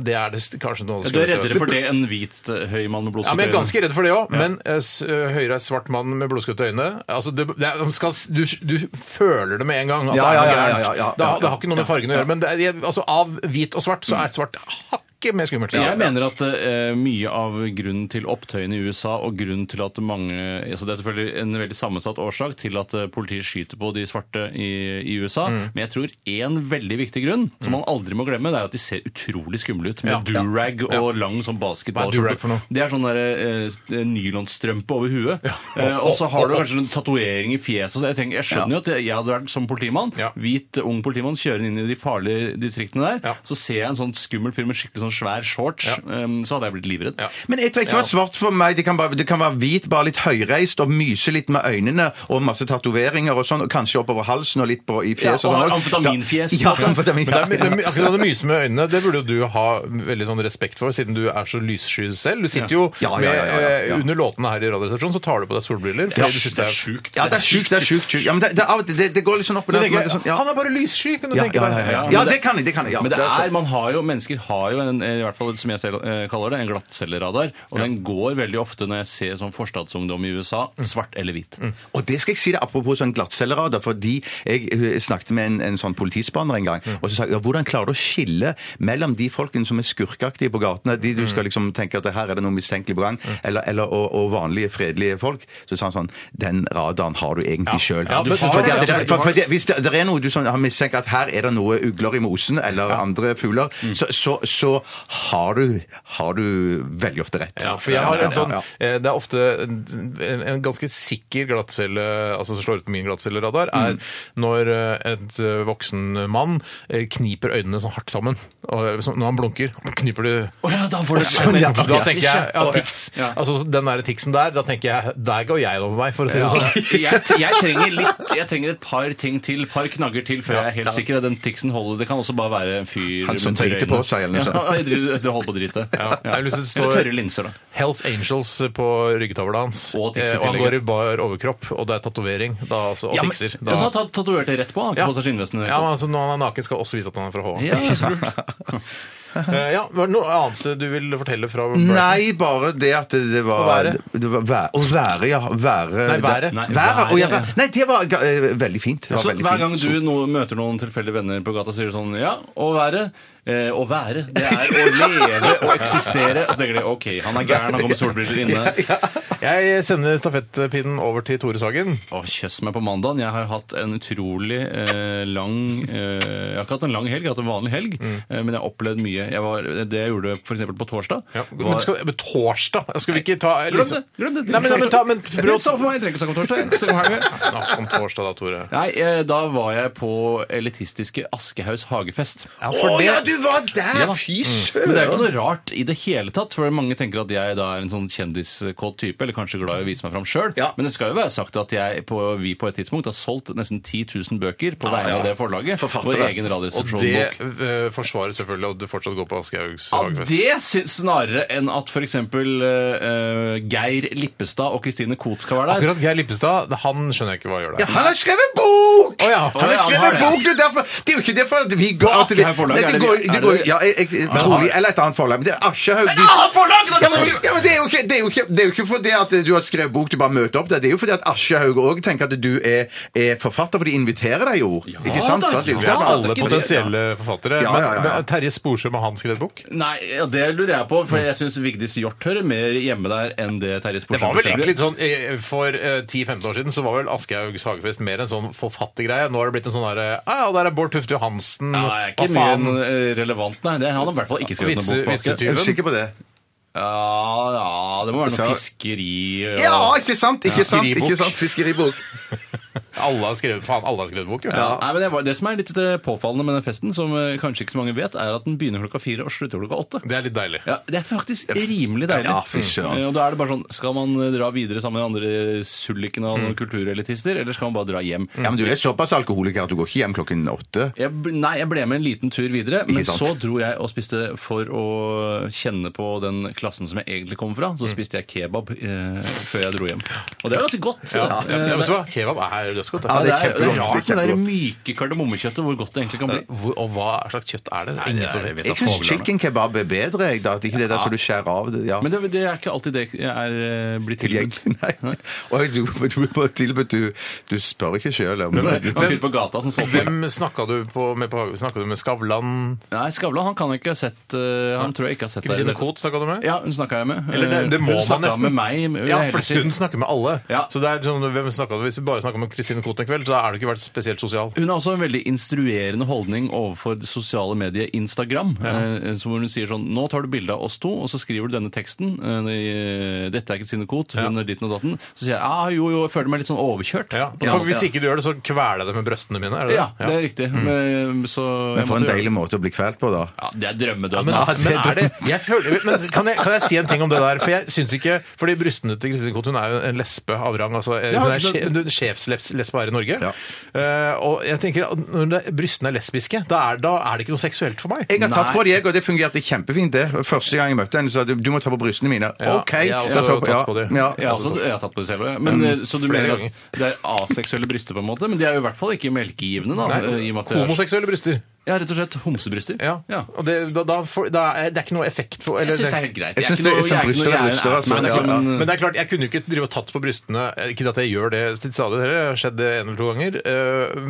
[SPEAKER 7] det er det s- kanskje noe av det
[SPEAKER 8] Du er
[SPEAKER 7] skumleste.
[SPEAKER 8] reddere for det enn hvit eh, høy mann med
[SPEAKER 7] Ja, men jeg er
[SPEAKER 8] blodsukkerøyne.
[SPEAKER 7] ganske redd for det òg. Men eh, s- ø, høyre er svart mann med blodskutte øyne. Altså, det, det er, de skal, s- du, du føler det med en gang. At
[SPEAKER 3] Ja,
[SPEAKER 7] det er
[SPEAKER 3] ja,
[SPEAKER 7] noe
[SPEAKER 3] ja, ja,
[SPEAKER 7] gærent.
[SPEAKER 3] ja, ja.
[SPEAKER 7] det, har, det har ikke noe med fargene å gjøre. Men det er, altså, av hvit og svart, så er svart hakket mer skummelt.
[SPEAKER 8] Jeg mener at eh, mye av grunnen til opptøyene i USA og grunnen til at mange altså Det er selvfølgelig en veldig sammensatt årsak til at eh, politiet skyter på de svarte i, i USA.
[SPEAKER 7] Mm.
[SPEAKER 8] Men jeg tror én veldig viktig grunn som man aldri må glemme, det er at de ser utrolig skumle ut. Med
[SPEAKER 7] Ja.
[SPEAKER 8] durag og lang sånn
[SPEAKER 7] Hva er durag for noe?
[SPEAKER 8] basketballskjorte. Det er sånn der, eh, s- eh, nylonstrømpe over huet. Eh, og så har du kanskje en tatovering i fjeset. Så jeg, tenker, jeg skjønner jo at jeg hadde vært som politimann.
[SPEAKER 7] Ja.
[SPEAKER 8] Hvit eh, ung politimann kjører inn i de farlige distriktene der.
[SPEAKER 7] Ja.
[SPEAKER 8] Så ser jeg en sånn skummel fyr med skikkelig sånn svær shorts,
[SPEAKER 7] Ja.
[SPEAKER 8] ehm, så hadde jeg blitt livredd.
[SPEAKER 7] Ja.
[SPEAKER 3] Men jeg trenger ikke være svart for meg. Det kan, bare, det kan være hvit, bare litt høyreist og myse litt med øynene og masse tatoveringer og sånn, og kanskje oppover halsen og litt på, i
[SPEAKER 8] Ja,
[SPEAKER 3] fjeset.
[SPEAKER 8] og
[SPEAKER 3] sånn også.
[SPEAKER 8] amfetaminfjes.
[SPEAKER 3] Ja, amfetamin,
[SPEAKER 7] Men det er, my-
[SPEAKER 3] ja.
[SPEAKER 7] det er my- akkurat det myse med øynene, det burde jo du ha veldig sånn respekt for, siden du er så lyssky selv. Du sitter jo
[SPEAKER 3] Ja, ja, ja, ja, ja,
[SPEAKER 7] med,
[SPEAKER 3] ja.
[SPEAKER 7] eh, under låtene her i Radioresepsjonen, så tar du på deg solbriller. Fordi du synes det er sjukt.
[SPEAKER 3] Ja, det er sjukt, det er sjukt. sjukt. Ja, men det, det, er av og til- det, det går litt sånn opp og ned. men det er sånn, ja.
[SPEAKER 7] Han er bare lyssky, kan du
[SPEAKER 3] Ja,
[SPEAKER 7] tenke
[SPEAKER 3] ja,
[SPEAKER 7] deg.
[SPEAKER 3] ja, ja.
[SPEAKER 8] men
[SPEAKER 3] ja,
[SPEAKER 8] det-
[SPEAKER 3] det kan jeg. Det kan jeg ja.
[SPEAKER 8] Men det
[SPEAKER 3] Det er
[SPEAKER 8] er,
[SPEAKER 3] sant.
[SPEAKER 8] man har jo, mennesker har jo en, i hvert fall som jeg selv eh, kaller det, en glattcelleradar. Og den går veldig ofte når jeg ser sånn forstadsungdom i USA,
[SPEAKER 7] Mm.
[SPEAKER 8] svart eller hvit.
[SPEAKER 3] Og det skal jeg si deg apropos sånn glattcelleradar, fordi jeg eh, snakket med en, en sånn politispanner en gang, og så sa jeg ja, hvordan klarer du å skille mellom de folkene som er skurkeaktige på gatene, de du skal liksom tenke at her er det noe mistenkelig på gang, eller, eller, og, og vanlige fredelige folk? Så sa han sånn den radaren har du egentlig sjøl.
[SPEAKER 7] Ja, men-
[SPEAKER 3] For det-
[SPEAKER 7] Ja,
[SPEAKER 3] det-
[SPEAKER 7] det-
[SPEAKER 3] for- for det- Hvis det, det er noe du sånn, har mistenkt at her er det noe ugler i mosen eller andre fugler,
[SPEAKER 7] Mm.
[SPEAKER 3] så, så, så har, du, har du veldig ofte rett.
[SPEAKER 7] Ja, for jeg har
[SPEAKER 3] Ja,
[SPEAKER 7] en sånn,
[SPEAKER 3] ja, ja.
[SPEAKER 7] eh, Det er ofte en, en ganske sikker glattcelle altså som slår ut på min glattcelleradar, er
[SPEAKER 8] Mm.
[SPEAKER 7] når eh, et eh, voksen mann eh, kniper øynene sånn hardt sammen. Og, eh, sånn, når han blunker, kniper de
[SPEAKER 8] Å ja, da får du
[SPEAKER 7] da tenker jeg, ja,
[SPEAKER 8] Å, ja.
[SPEAKER 7] tics. Altså, Den der tiksen der, da tenker jeg Der går jeg over meg, for å si
[SPEAKER 8] Ja.
[SPEAKER 7] det sånn.
[SPEAKER 8] Jeg, jeg, trenger litt, jeg trenger et par ting til, par knagger til, før jeg er helt sikker. Den tiksen holder. Det kan også bare være en fyr
[SPEAKER 3] Han som
[SPEAKER 8] med tørre
[SPEAKER 3] driter på
[SPEAKER 8] øyne.
[SPEAKER 3] seg, eller noe sånt.
[SPEAKER 8] Ja, Nei, dere dere holder på å drite.
[SPEAKER 7] Ja. Jeg har lyst til å stå-
[SPEAKER 8] Eller tørre linser, da.
[SPEAKER 7] Hells Angels på ryggtavla hans.
[SPEAKER 8] Og tics i
[SPEAKER 7] Eh, og han
[SPEAKER 8] tillegg.
[SPEAKER 7] går i bar overkropp, og det er tatovering. Da, altså, og
[SPEAKER 8] Ja, men-
[SPEAKER 7] tikser.
[SPEAKER 8] Ja, så
[SPEAKER 7] Da,
[SPEAKER 8] han har tatovert det rett på. Han har ikke på seg skinnvesten.
[SPEAKER 7] ja, men altså, når han er naken, skal også vise at han er fra Håa.
[SPEAKER 8] Ja,
[SPEAKER 7] Eh, ja, var det noe annet du vil fortelle fra Burton?
[SPEAKER 3] Nei, bare det at det det var
[SPEAKER 7] Og været?
[SPEAKER 3] det var vær, og været, ja. Være,
[SPEAKER 7] Nei, været.
[SPEAKER 8] Nei,
[SPEAKER 3] været, å, ja,
[SPEAKER 8] været, ja.
[SPEAKER 3] vær- Nei, det var ga- eh, veldig fint. Det var
[SPEAKER 8] Så
[SPEAKER 3] veldig
[SPEAKER 8] hver gang
[SPEAKER 3] fint.
[SPEAKER 8] du nå møter noen tilfeldige venner på gata, sier du sånn Ja, å være eh, Å være. Det er å leve og eksistere. Og så tenker de OK, han er gæren, han går med solbriller inne.
[SPEAKER 7] Jeg sender stafettpinnen over til Tore Sagen.
[SPEAKER 8] Å, kjøss meg på mandagen. Jeg har hatt en utrolig eh, lang eh, Jeg har ikke hatt en lang helg, jeg har hatt en vanlig helg,
[SPEAKER 7] Mm.
[SPEAKER 8] eh, men jeg har opplevd mye. Jeg var, det jeg gjorde f.eks. på torsdag
[SPEAKER 7] Men skal, men torsdag? Skal vi ikke ta
[SPEAKER 8] Glem det! Glem det.
[SPEAKER 7] Nei, men, nei, men, ta, men
[SPEAKER 8] Bro,
[SPEAKER 7] prøv å
[SPEAKER 8] sa for meg, jeg trenger ikke snakke om torsdag. jeg snakker om helgen.
[SPEAKER 7] Snakk om torsdag, da, Tore.
[SPEAKER 8] Nei, eh, da var jeg på elitistiske Aschehougs hagefest.
[SPEAKER 7] Ja,
[SPEAKER 3] Å ja, du var der! Fy
[SPEAKER 8] Men det er jo ikke
[SPEAKER 3] søren!
[SPEAKER 8] noe rart i det hele tatt, for mange tenker at jeg da er en sånn kjendiskåt type, eller kanskje glad i å vise meg fram sjøl.
[SPEAKER 3] Ja.
[SPEAKER 8] Men det skal jo være sagt at jeg på, vi på et tidspunkt har solgt nesten 10 000 bøker på vegne av det forlaget.
[SPEAKER 3] Forfattere.
[SPEAKER 8] Vår egen
[SPEAKER 7] Og det
[SPEAKER 8] radioresepsjonbok.
[SPEAKER 7] eh, forsvarer selvfølgelig at du fortsatt går på Aschehougs
[SPEAKER 8] Ja,
[SPEAKER 7] hagefest.
[SPEAKER 8] det syns snarere enn at f.eks. Uh, Geir Lippestad og Kristine Koht skal være der.
[SPEAKER 7] Akkurat Geir Lippestad, han skjønner jeg ikke hva gjør
[SPEAKER 3] Ja,
[SPEAKER 7] der.
[SPEAKER 3] han har skrevet bok!
[SPEAKER 7] Å ja.
[SPEAKER 3] Han
[SPEAKER 8] Å
[SPEAKER 3] har
[SPEAKER 8] ja, han
[SPEAKER 3] skrevet
[SPEAKER 8] har det, ja.
[SPEAKER 3] bok! Det er, derfor, det er jo ikke derfor at vi går
[SPEAKER 8] Hva,
[SPEAKER 3] at vi,
[SPEAKER 8] Aschehoug forlag,
[SPEAKER 3] Nei,
[SPEAKER 8] er det-
[SPEAKER 3] det går,
[SPEAKER 8] er
[SPEAKER 3] det går,
[SPEAKER 8] det-
[SPEAKER 3] ja, jeg, jeg, trolig, Eller et annet forlag. Men det er Aschehoug de- ja, men, ja, men det, er jo ikke, det, er jo ikke, det er jo ikke fordi at du har skrevet bok, du bare møter opp der. Det er jo fordi at Aschehoug òg tenker at du er, er forfatter, for de inviterer deg jo. ikke sant?
[SPEAKER 8] da,
[SPEAKER 3] Sant? Det er jo
[SPEAKER 8] ja,
[SPEAKER 3] derfor alle
[SPEAKER 7] Alle
[SPEAKER 3] ikke-
[SPEAKER 7] potensielle forfattere.
[SPEAKER 3] Ja, ja, ja, ja.
[SPEAKER 7] Men- men Terje Sporsem, har han skrevet bok?
[SPEAKER 8] Nei, ja, det lurer jeg på, for jeg syns Vigdis Hjorth hører mer hjemme der enn det Terje
[SPEAKER 7] Det
[SPEAKER 8] Sporsem
[SPEAKER 7] var vel
[SPEAKER 8] sier.
[SPEAKER 7] egentlig litt sånn, eh, For eh, 10-15 år siden så var vel Aschehougs hagefest mer en sånn forfattergreie. Nå har det blitt en sånn derre Ja, ja, der er Bård Tufte Johansen.
[SPEAKER 8] ja, det er ikke
[SPEAKER 7] Hva faen?
[SPEAKER 8] mye eh, relevant, nei. Det, han har i hvert fall ikke skrevet noen bok.
[SPEAKER 7] Vitse-
[SPEAKER 8] på Aschehoug.
[SPEAKER 3] Jeg er
[SPEAKER 7] Vitsetyven.
[SPEAKER 3] sikker på det.
[SPEAKER 8] Ja, ja, det må være noe
[SPEAKER 3] Så-
[SPEAKER 8] fiskeri og...
[SPEAKER 3] Ja, ikke sant? Ikke sant?
[SPEAKER 8] Fiskeribok.
[SPEAKER 3] Ikke sant? Fiskeribok.
[SPEAKER 7] Alle har skrevet, faen, alle har skrevet bok, jo.
[SPEAKER 8] Ja. Nei, men det, var, det som er litt eh, påfallende med den festen, som eh, kanskje ikke så mange vet, er at den begynner klokka fire og slutter klokka åtte.
[SPEAKER 7] Det er litt deilig.
[SPEAKER 8] Ja, Det er faktisk rimelig deilig.
[SPEAKER 3] Ja, fy søren.
[SPEAKER 8] Eh, Og da er det bare sånn, Skal man eh, dra videre sammen med andre sullikene og noen kulturelitister, eller skal man bare dra hjem?
[SPEAKER 3] Mm. Ja, men Du er såpass alkoholiker at du går ikke hjem klokken åtte.
[SPEAKER 8] Jeg, bl- nei, jeg ble med en liten tur videre, men
[SPEAKER 3] sant.
[SPEAKER 8] så dro jeg og spiste for å kjenne på den klassen som jeg egentlig kom fra.
[SPEAKER 3] Mm.
[SPEAKER 8] Så spiste jeg kebab eh, før jeg dro hjem. Og det er ganske godt.
[SPEAKER 7] Ja,
[SPEAKER 8] Eh,
[SPEAKER 7] ja, vet du hva? Kebab er dødsgodt.
[SPEAKER 8] Ja,
[SPEAKER 3] Ja,
[SPEAKER 8] det,
[SPEAKER 3] det er
[SPEAKER 8] er, det er rart med
[SPEAKER 3] kjempegodt, det er
[SPEAKER 8] det der
[SPEAKER 3] kjempegodt.
[SPEAKER 8] myke kardemommekjøttet, hvor godt det egentlig kan bli.
[SPEAKER 7] Hvor- Og hva slags kjøtt er det? det? er
[SPEAKER 8] Nei,
[SPEAKER 7] Ingen
[SPEAKER 8] det er-
[SPEAKER 7] som
[SPEAKER 8] jeg vet
[SPEAKER 7] vet.
[SPEAKER 8] da
[SPEAKER 3] Jeg syns
[SPEAKER 8] faen,
[SPEAKER 3] chicken kebab er bedre. Jeg, da. At ikke det der som du skjærer av. det- Ja.
[SPEAKER 8] Men det, det er ikke alltid det er eh, blitt tilbudt.
[SPEAKER 3] Egentlig, nei. Og du, du, du, tilbudt, du, du spør ikke sjøl om
[SPEAKER 8] Han
[SPEAKER 3] det.
[SPEAKER 8] fyr på gata som solgte meg.
[SPEAKER 7] Hvem snakka du på, med på Hage? Snakka du med Skavlan?
[SPEAKER 8] Nei, Skavlan han kan jeg ikke ha sett eh, Han tror jeg ikke har sett
[SPEAKER 7] Kristine
[SPEAKER 8] der.
[SPEAKER 7] Koht snakka du med?
[SPEAKER 8] Ja, hun snakka jeg med.
[SPEAKER 7] Eller det, det
[SPEAKER 8] Eh,
[SPEAKER 7] må
[SPEAKER 8] hun
[SPEAKER 7] man
[SPEAKER 8] snakket
[SPEAKER 7] nesten.
[SPEAKER 8] med meg. med-
[SPEAKER 7] ja,
[SPEAKER 8] hele
[SPEAKER 7] for
[SPEAKER 8] tiden.
[SPEAKER 7] hun snakker med alle.
[SPEAKER 8] Ja.
[SPEAKER 7] Så det er sånn, hvem snakket du? Hvis du bare snakker med Kristine Koht en kveld, så har du ikke vært spesielt sosial.
[SPEAKER 8] Hun har også en veldig instruerende holdning overfor det sosiale mediet Instagram. eh, som Hvor hun sier sånn Nå tar du bilde av oss to, og så skriver du denne teksten. eh, Dette er Kristine Koht. Hun er ditten og datten. Så sier jeg ah, jo, jo, jeg føler meg litt sånn overkjørt.
[SPEAKER 7] Ja.
[SPEAKER 8] På en
[SPEAKER 7] For
[SPEAKER 8] måte,
[SPEAKER 7] hvis ikke du gjør det, så kveler jeg det med brøstene mine. Er det det?
[SPEAKER 8] Ja, det er riktig. Men, så jeg
[SPEAKER 3] Men for en
[SPEAKER 8] måtte gjøre
[SPEAKER 3] deilig
[SPEAKER 8] det.
[SPEAKER 3] måte å bli kvalt på, da.
[SPEAKER 8] ja, Det er
[SPEAKER 7] Ja,
[SPEAKER 8] drømmedøden.
[SPEAKER 7] men,
[SPEAKER 8] ass.
[SPEAKER 7] men, er det, jeg føler, men kan, jeg, kan jeg si en ting om det der? For jeg synes ikke, fordi Brystene til Kristine Koht hun er jo en lesbe av rang. Altså, eh,
[SPEAKER 8] Ja,
[SPEAKER 7] hun er
[SPEAKER 8] det-
[SPEAKER 7] sje- hun er sjefslesbe her i Norge.
[SPEAKER 3] Ja.
[SPEAKER 7] Eh, og jeg tenker at Når det, brystene er lesbiske, da er, da er det ikke noe seksuelt for meg.
[SPEAKER 3] Jeg har tatt
[SPEAKER 8] Nei.
[SPEAKER 3] på det, jeg, og det fungerte kjempefint. det. Første gang jeg møtte henne, sa du du må ta på brystene mine.
[SPEAKER 7] Ja,
[SPEAKER 3] OK.
[SPEAKER 7] jeg har også
[SPEAKER 3] da tar jeg
[SPEAKER 7] tatt på de.
[SPEAKER 3] ja,
[SPEAKER 8] Jeg
[SPEAKER 3] ja.
[SPEAKER 8] har, også, altså, jeg har tatt på det selv. ja. Men, eh, så du
[SPEAKER 7] flere
[SPEAKER 8] mener at
[SPEAKER 7] ganger.
[SPEAKER 8] det er aseksuelle bryster, på en måte? Men de er jo i hvert fall ikke melkegivende. da. eh, i og med at det er-
[SPEAKER 7] Homoseksuelle bryster.
[SPEAKER 8] Ja, rett og slett homsebryster.
[SPEAKER 7] Ja.
[SPEAKER 8] Ja.
[SPEAKER 7] Og det, da, da, får- da er det er ikke noe effekt på
[SPEAKER 8] Jeg syns
[SPEAKER 7] eller
[SPEAKER 8] det er
[SPEAKER 7] det-
[SPEAKER 8] helt greit. Jeg
[SPEAKER 3] Jeg
[SPEAKER 8] er ikke
[SPEAKER 3] synes det
[SPEAKER 8] noe-
[SPEAKER 3] er
[SPEAKER 8] jeg er ikke
[SPEAKER 3] bryster
[SPEAKER 8] noe- jeg
[SPEAKER 3] er
[SPEAKER 8] er
[SPEAKER 3] bryster,
[SPEAKER 8] en
[SPEAKER 3] altså.
[SPEAKER 8] assman,
[SPEAKER 3] Ja, ja.
[SPEAKER 8] men-
[SPEAKER 7] Men det er klart, jeg kunne jo ikke drive og tatt på brystene Ikke at jeg gjør det til stadig, det har skjedd en eller to ganger.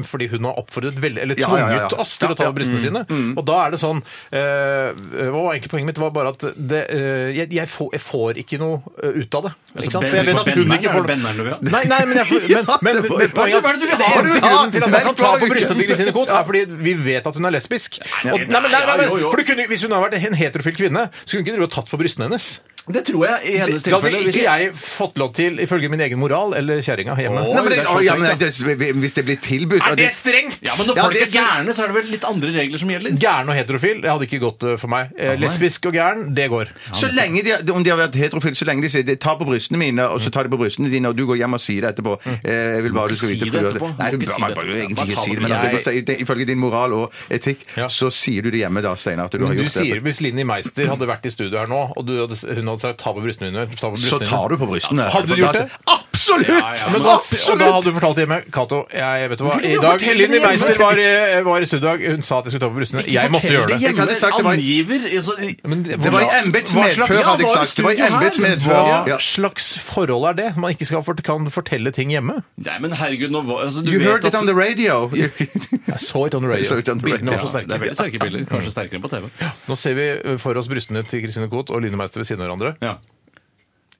[SPEAKER 7] eh, Fordi hun har oppfordret veldig, eller
[SPEAKER 3] Ja,
[SPEAKER 7] tvunget
[SPEAKER 3] ja, ja, ja.
[SPEAKER 7] oss til å ta
[SPEAKER 3] Ja,
[SPEAKER 7] på brystene sine. Og da er det sånn eh, Hva var egentlig poenget mitt? Det var bare at det, eh, jeg, jeg, får, jeg får ikke noe eh, ut av det.
[SPEAKER 8] Altså,
[SPEAKER 7] Ikke sant? For jeg vet at hun ikke får
[SPEAKER 8] Benneren du vil ha?
[SPEAKER 7] Nei, nei, men, jeg, får- men, men, men,
[SPEAKER 8] Hva
[SPEAKER 7] men poenget
[SPEAKER 8] er det du vil ha?
[SPEAKER 7] eneste
[SPEAKER 8] Ja,
[SPEAKER 7] grunnen til at jeg kan ta på
[SPEAKER 3] men-
[SPEAKER 7] brystene til Kristine Koht, er fordi vi vet at hun er lesbisk. Og, nei, men, nei, nei,
[SPEAKER 8] ja, jo,
[SPEAKER 7] men,
[SPEAKER 8] jo.
[SPEAKER 7] for du kunne, hvis hun hadde vært en heterofil kvinne, så kunne hun ikke drive og tatt på brystene hennes.
[SPEAKER 8] Det tror jeg i hennes
[SPEAKER 7] Det hadde
[SPEAKER 8] tilfelle.
[SPEAKER 7] ikke
[SPEAKER 8] hvis-
[SPEAKER 7] jeg fått lov til, ifølge min egen moral eller kjerringa hjemme.
[SPEAKER 3] Nei, men det,
[SPEAKER 7] Det er så
[SPEAKER 3] ja, men
[SPEAKER 7] strengt, da.
[SPEAKER 3] det, hvis det blir tilbudt og
[SPEAKER 7] er det strengt?!
[SPEAKER 8] Ja, men når
[SPEAKER 3] Ja,
[SPEAKER 8] folk
[SPEAKER 3] det
[SPEAKER 8] er
[SPEAKER 3] synes-
[SPEAKER 8] gærne, så er det vel litt andre regler som gjelder?
[SPEAKER 7] Gæren og heterofil, det hadde ikke gått eh, for meg. Eh, Lesbisk og gæren, det går.
[SPEAKER 3] Så lenge de, om de har vært heterofile, så lenge de sier 'ta på brystene mine', og så tar de på brystene dine, og du går hjem og sier det etterpå. Eh, Jeg vil bare du skal
[SPEAKER 8] Si
[SPEAKER 3] vite
[SPEAKER 8] det
[SPEAKER 3] for du gjør det.
[SPEAKER 8] etterpå.
[SPEAKER 3] Nei,
[SPEAKER 8] Må
[SPEAKER 3] du
[SPEAKER 8] ikke
[SPEAKER 3] bør
[SPEAKER 8] si
[SPEAKER 3] man
[SPEAKER 8] det
[SPEAKER 3] bør jo
[SPEAKER 8] etterpå.
[SPEAKER 3] egentlig
[SPEAKER 8] Bare
[SPEAKER 3] ikke
[SPEAKER 8] ta
[SPEAKER 3] si det,
[SPEAKER 8] det
[SPEAKER 3] men
[SPEAKER 7] med
[SPEAKER 3] at det- det- ifølge din moral og etikk,
[SPEAKER 7] Ja.
[SPEAKER 3] så sier du det hjemme da senere at du har
[SPEAKER 7] Men du
[SPEAKER 3] gjort
[SPEAKER 7] sier,
[SPEAKER 3] det.
[SPEAKER 7] Hvis Linni Meister hadde vært i studio her nå, og du hadde, hun hadde sagt 'ta på brystene dine', ta på brystene
[SPEAKER 3] Så tar du på brystene.
[SPEAKER 7] Hadde du gjort det?
[SPEAKER 3] Absolutt!
[SPEAKER 7] Ja, ja, men da, og da hadde du fortalt hjemme Cato, jeg vet du hva, i dag
[SPEAKER 8] fortelle
[SPEAKER 7] Linni
[SPEAKER 8] det hjemme?
[SPEAKER 7] Meister var, i- var i studio i dag, hun sa at jeg skulle ta på brystene.
[SPEAKER 8] Ikke
[SPEAKER 7] Jeg måtte
[SPEAKER 8] fortell
[SPEAKER 7] gjøre det.
[SPEAKER 8] hjemme.
[SPEAKER 3] Jeg hadde sagt det var-
[SPEAKER 8] Angiver altså,
[SPEAKER 7] Men
[SPEAKER 3] Det var i
[SPEAKER 7] hva- hva
[SPEAKER 3] embetsmedfør,
[SPEAKER 7] slags-
[SPEAKER 8] Ja,
[SPEAKER 3] hadde jeg
[SPEAKER 8] var det
[SPEAKER 3] sagt. Det var i
[SPEAKER 8] studio her?
[SPEAKER 3] embetsmedfør. Ja.
[SPEAKER 7] Hva slags forhold er det? Man ikke skal fort- kan fortelle ting hjemme?
[SPEAKER 8] Nei, men herregud, nå var- altså, du
[SPEAKER 3] You
[SPEAKER 8] vet
[SPEAKER 3] heard
[SPEAKER 8] at-
[SPEAKER 3] it on the radio.
[SPEAKER 7] Jeg så it on the
[SPEAKER 3] Jeg så it on the radio.
[SPEAKER 7] Bildene var så
[SPEAKER 8] Ja, det er
[SPEAKER 7] sterke.
[SPEAKER 8] veldig sterke bilder. Kanskje sterkere enn på TV.
[SPEAKER 7] Nå ser vi for oss brystene til Kristine Koht og Line Meister ved siden av hverandre.
[SPEAKER 8] Ja.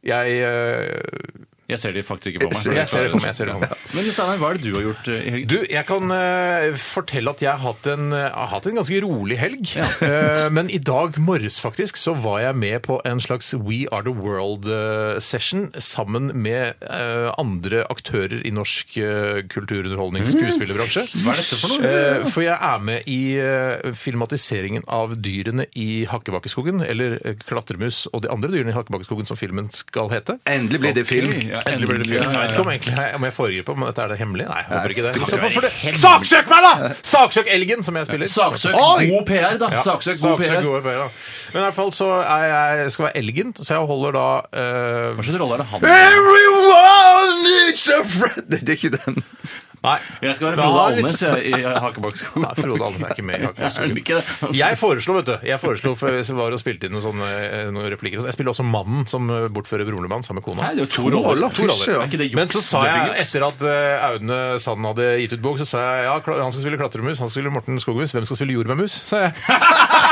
[SPEAKER 7] Jeg, øh,
[SPEAKER 8] Jeg ser de faktisk ikke på meg.
[SPEAKER 7] jeg ser det for meg. Jeg ser det for meg.
[SPEAKER 8] Men Steinar, hva er det du har gjort eh, i helgen?
[SPEAKER 7] Du, jeg kan eh, fortelle at jeg har hatt en, eh, har hatt en ganske rolig helg. Eh, men i dag morges faktisk så var jeg med på en slags We Are The World-session sammen med eh, andre aktører i norsk eh, kulturunderholdnings- og skuespillerbransje.
[SPEAKER 8] Hva er dette for noe?
[SPEAKER 7] Eh, For jeg er med i eh, filmatiseringen av dyrene i Hakkebakkeskogen, eller eh, klatremus og de andre dyrene i Hakkebakkeskogen som filmen skal hete.
[SPEAKER 3] Endelig blir det film.
[SPEAKER 8] Ja,
[SPEAKER 7] Endelig ble det
[SPEAKER 8] endelig,
[SPEAKER 7] film. Jeg
[SPEAKER 8] ja, ja.
[SPEAKER 7] vet ikke om, egentlig, om jeg foregriper, men dette er det hemmelig? Nei, jeg håper ikke det.
[SPEAKER 8] kan
[SPEAKER 7] Så
[SPEAKER 8] ikke være
[SPEAKER 7] for det-
[SPEAKER 8] hemmelig.
[SPEAKER 7] Saksøk meg, da! Saksøk Elgen, som jeg spiller.
[SPEAKER 8] Saksøk
[SPEAKER 7] Oi!
[SPEAKER 8] god PR, da.
[SPEAKER 7] Ja,
[SPEAKER 8] Saksøk god E. PR.
[SPEAKER 7] gode PR, E, da. Men i hvert fall så er jeg, skal jeg være Elgen, så jeg holder da eh,
[SPEAKER 8] Hva slags rolle er det han
[SPEAKER 3] Everyone needs a friend Det er ikke den.
[SPEAKER 7] Nei,
[SPEAKER 8] Jeg skal være
[SPEAKER 7] Da
[SPEAKER 8] Frode
[SPEAKER 7] er det litt-
[SPEAKER 8] Alnes jeg, i eh, Hakebakkskogen.
[SPEAKER 7] Nei, Frode Alnes er ikke med i Hakkebakkeskogen.
[SPEAKER 8] Ikke det, altså.
[SPEAKER 7] Jeg foreslo, vet du. Jeg foreslo for jeg var og spilte inn noen, sånne, eh, noen replikker. og sånn. Jeg spiller også Mannen som eh, bortfører Brolemann sammen med kona.
[SPEAKER 8] Nei, det er jo to roller.
[SPEAKER 7] To roller.
[SPEAKER 8] Er ikke det juks?
[SPEAKER 7] Men så sa
[SPEAKER 8] Det blir
[SPEAKER 7] jeg,
[SPEAKER 8] juks.
[SPEAKER 7] etter at eh, Aune Sand hadde gitt ut bok, så sa jeg ja, kla- han skal spille klatremus, han skal spille Morten Skogmus, hvem skal spille jordbærmus? sa jeg.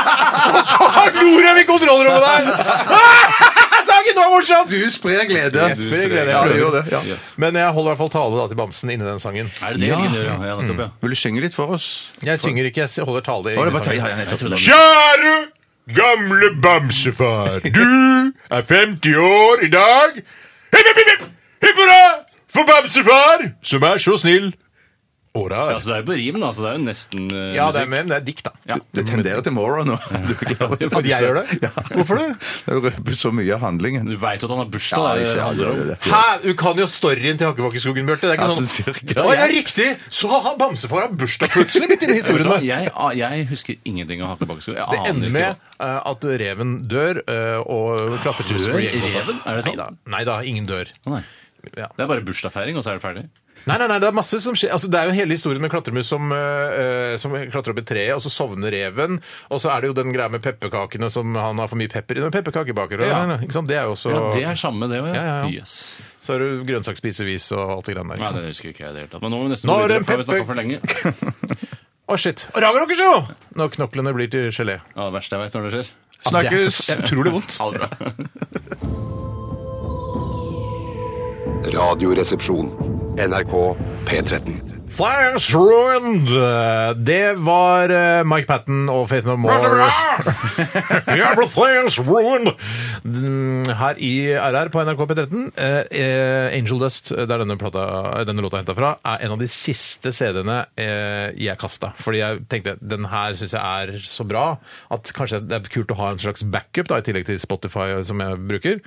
[SPEAKER 7] Da lo de i kontrollrommet der! Saken var morsom!
[SPEAKER 3] Du sprer glede.
[SPEAKER 7] Jeg sprer glede, jeg
[SPEAKER 3] Ja, du
[SPEAKER 7] prøver.
[SPEAKER 3] gjør det. Ja.
[SPEAKER 7] Men jeg holder i hvert fall tale da, til Bamsen inni den sangen.
[SPEAKER 8] Er det det Elgen gjør? Ja, nettopp,
[SPEAKER 7] Mm.
[SPEAKER 8] ja.
[SPEAKER 3] Vil du synge litt for oss?
[SPEAKER 7] Jeg synger ikke, jeg holder tale
[SPEAKER 3] Å, det
[SPEAKER 7] inni
[SPEAKER 3] var-
[SPEAKER 7] sangen.
[SPEAKER 3] ja, ja, nettopp.
[SPEAKER 7] Kjære gamle bamsefar, du er 50 år i dag. Hipp, hipp, hipp, hipp, hipp hurra for bamsefar, som er så snill og
[SPEAKER 8] Ja,
[SPEAKER 7] rar.
[SPEAKER 8] så det er jo på rim, da. Så det er jo nesten eh,
[SPEAKER 7] Ja, det er
[SPEAKER 8] musikk.
[SPEAKER 7] men det er dikt, da.
[SPEAKER 8] Ja.
[SPEAKER 3] Det tenderer til moral nå. Du er klar over det.
[SPEAKER 7] At jeg gjør det?
[SPEAKER 3] Ja.
[SPEAKER 7] Hvorfor det?
[SPEAKER 3] Det røper så mye av handlingen.
[SPEAKER 8] Du veit jo at han har bursdag.
[SPEAKER 3] Ja,
[SPEAKER 8] da,
[SPEAKER 3] jeg
[SPEAKER 8] det
[SPEAKER 3] ser han
[SPEAKER 8] handler
[SPEAKER 3] gjør
[SPEAKER 8] om.
[SPEAKER 3] det.
[SPEAKER 7] Hæ? Du kan jo storyen til Hakkebakkeskogen, Bjarte. Det er
[SPEAKER 3] Ja,
[SPEAKER 7] ikke
[SPEAKER 3] sånn
[SPEAKER 7] sånn
[SPEAKER 3] cirka.
[SPEAKER 7] Ja, ja, riktig! Så har bamsefar har bursdag plutselig, midt inne i
[SPEAKER 8] Vet du
[SPEAKER 7] historien
[SPEAKER 8] hva?
[SPEAKER 7] der.
[SPEAKER 8] Jeg, jeg husker ingenting av Hakkebakkeskogen. Jeg
[SPEAKER 7] Det
[SPEAKER 8] aner
[SPEAKER 7] ender
[SPEAKER 8] ikke
[SPEAKER 7] med
[SPEAKER 8] hva-
[SPEAKER 7] eh, at reven dør, eh, og klatretusen
[SPEAKER 8] Dør
[SPEAKER 7] blir gjennomført.
[SPEAKER 8] reven? Er det sant?
[SPEAKER 7] Neida. Neida, ingen dør.
[SPEAKER 8] Å, Nei.
[SPEAKER 7] Ja.
[SPEAKER 8] Det er bare bursdagsfeiring, og så er det ferdig.
[SPEAKER 7] Nei, nei, nei, det er masse som skjer. Altså, det er jo hele historien med klatremus som, øh, øh, som klatrer opp i treet, og så sovner reven. Og så er det jo den greia med pepperkakene som han har for mye pepper i. Den Pepperkakebaker.
[SPEAKER 8] Ja.
[SPEAKER 7] Ja. Ikke sant? Det er jo også
[SPEAKER 8] Ja, det er samme, det òg.
[SPEAKER 7] Ja, ja, ja.
[SPEAKER 8] Yes.
[SPEAKER 7] Så har du grønnsaksspisevis og alt det greiene
[SPEAKER 8] Nei,
[SPEAKER 7] der. Ikke sant?
[SPEAKER 8] det husker ikke jeg i det hele tatt. Men nå må vi nesten
[SPEAKER 7] Nå
[SPEAKER 8] gå
[SPEAKER 7] er
[SPEAKER 8] videre,
[SPEAKER 7] det en
[SPEAKER 8] for vi har snakket
[SPEAKER 7] pepper-
[SPEAKER 8] for lenge.
[SPEAKER 7] Å, shit! Rageråkersjå! Når knoklene blir til gelé.
[SPEAKER 8] Ja, det verste jeg veit når det skjer.
[SPEAKER 7] Snakkes! Det er utrolig vondt.
[SPEAKER 8] Ha det bra.
[SPEAKER 1] Radioresepsjon. NRK P13.
[SPEAKER 7] Flash Ruined! Det var eh, Mike Patten og Faith No More. Everything's ruined! Mm, Her i RR på NRK P13. eh, eh, Angel Dust, eh, der denne, plata, eh, denne låta er henta fra, er en av de siste CD-ene eh, jeg kasta. Fordi jeg tenkte den her syns jeg er så bra at kanskje det er kult å ha en slags backup da, i tillegg til Spotify eh, som jeg bruker.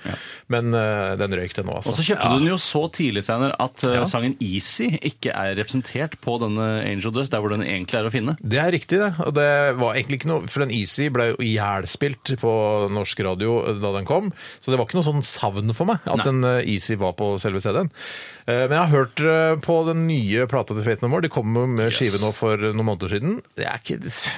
[SPEAKER 7] Men eh, den røyk, den nå, altså.
[SPEAKER 8] Og så kjøpte du den jo så tidlig, Steiner, at eh, sangen Easy ikke er representert på denne Angel Dust, der hvor den egentlig er å finne.
[SPEAKER 7] Det er riktig, det. Og det var egentlig ikke noe For den Easy ble jo ihjelspilt på norsk radio eh, da den kom, så det var ikke noe sånn savn for meg at
[SPEAKER 8] Nei.
[SPEAKER 7] den eh, Easy var på selve CD-en. Eh, Men jeg har hørt eh, på den nye plata til Fate No More. De kom jo med skive nå for noen måneder siden. Det er ikke ja.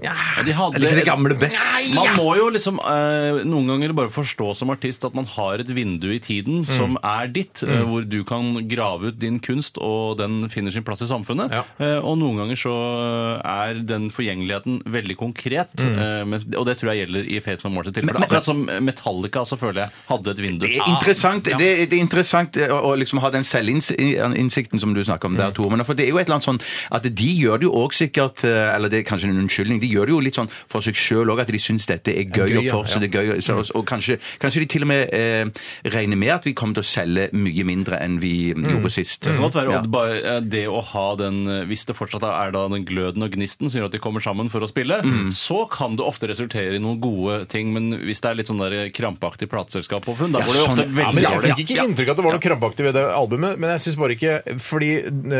[SPEAKER 8] Ja, de hadde-
[SPEAKER 3] Er det ikke det gamle best?
[SPEAKER 8] Man må jo liksom eh, noen ganger bare forstå som artist at man har et vindu i tiden som er ditt, eh, hvor du kan grave ut din kunst, og den finner sin plass i samfunnet.
[SPEAKER 7] Ja.
[SPEAKER 8] Eh, og noen ganger så eh, er den forgjengeligheten veldig konkret, eh, men, og det tror jeg gjelder i Fate No More sitt tilfelle. Akkurat som Metallica så føler jeg hadde et vindu.
[SPEAKER 3] Det er interessant, det, er- det er interessant å, å liksom ha den Mm. selvinnsikten som du snakker om der, Tor. Men for det er jo et eh, eller annet sånn at de gjør det jo òg sikkert eh, Eller det er kanskje en unnskyldning ting. De gjør det jo litt sånn for seg sjøl òg, at de syns dette er gøy, Mm.
[SPEAKER 7] Gøy,
[SPEAKER 3] og
[SPEAKER 7] ja,
[SPEAKER 3] for seg det er gøy. Så, og, og kanskje, kanskje de til og med eh, regner med at vi kommer til å selge mye mindre enn vi gjorde sist.
[SPEAKER 8] Det kan godt være og bare eh, det å ha den eh, Hvis det fortsatt er da den gløden og gnisten som gjør at de kommer sammen for å spille, så kan det ofte resultere i noen gode ting. Men hvis det er litt sånn der krampaktig plateselskap på funn, da
[SPEAKER 3] Ja,
[SPEAKER 8] går det jo
[SPEAKER 3] sånn,
[SPEAKER 8] ofte
[SPEAKER 3] ja,
[SPEAKER 8] veldig
[SPEAKER 7] Men jeg
[SPEAKER 8] dårlig.
[SPEAKER 7] fikk ikke inntrykk av at det var noe krampaktig ved det albumet, men jeg syns bare ikke Fordi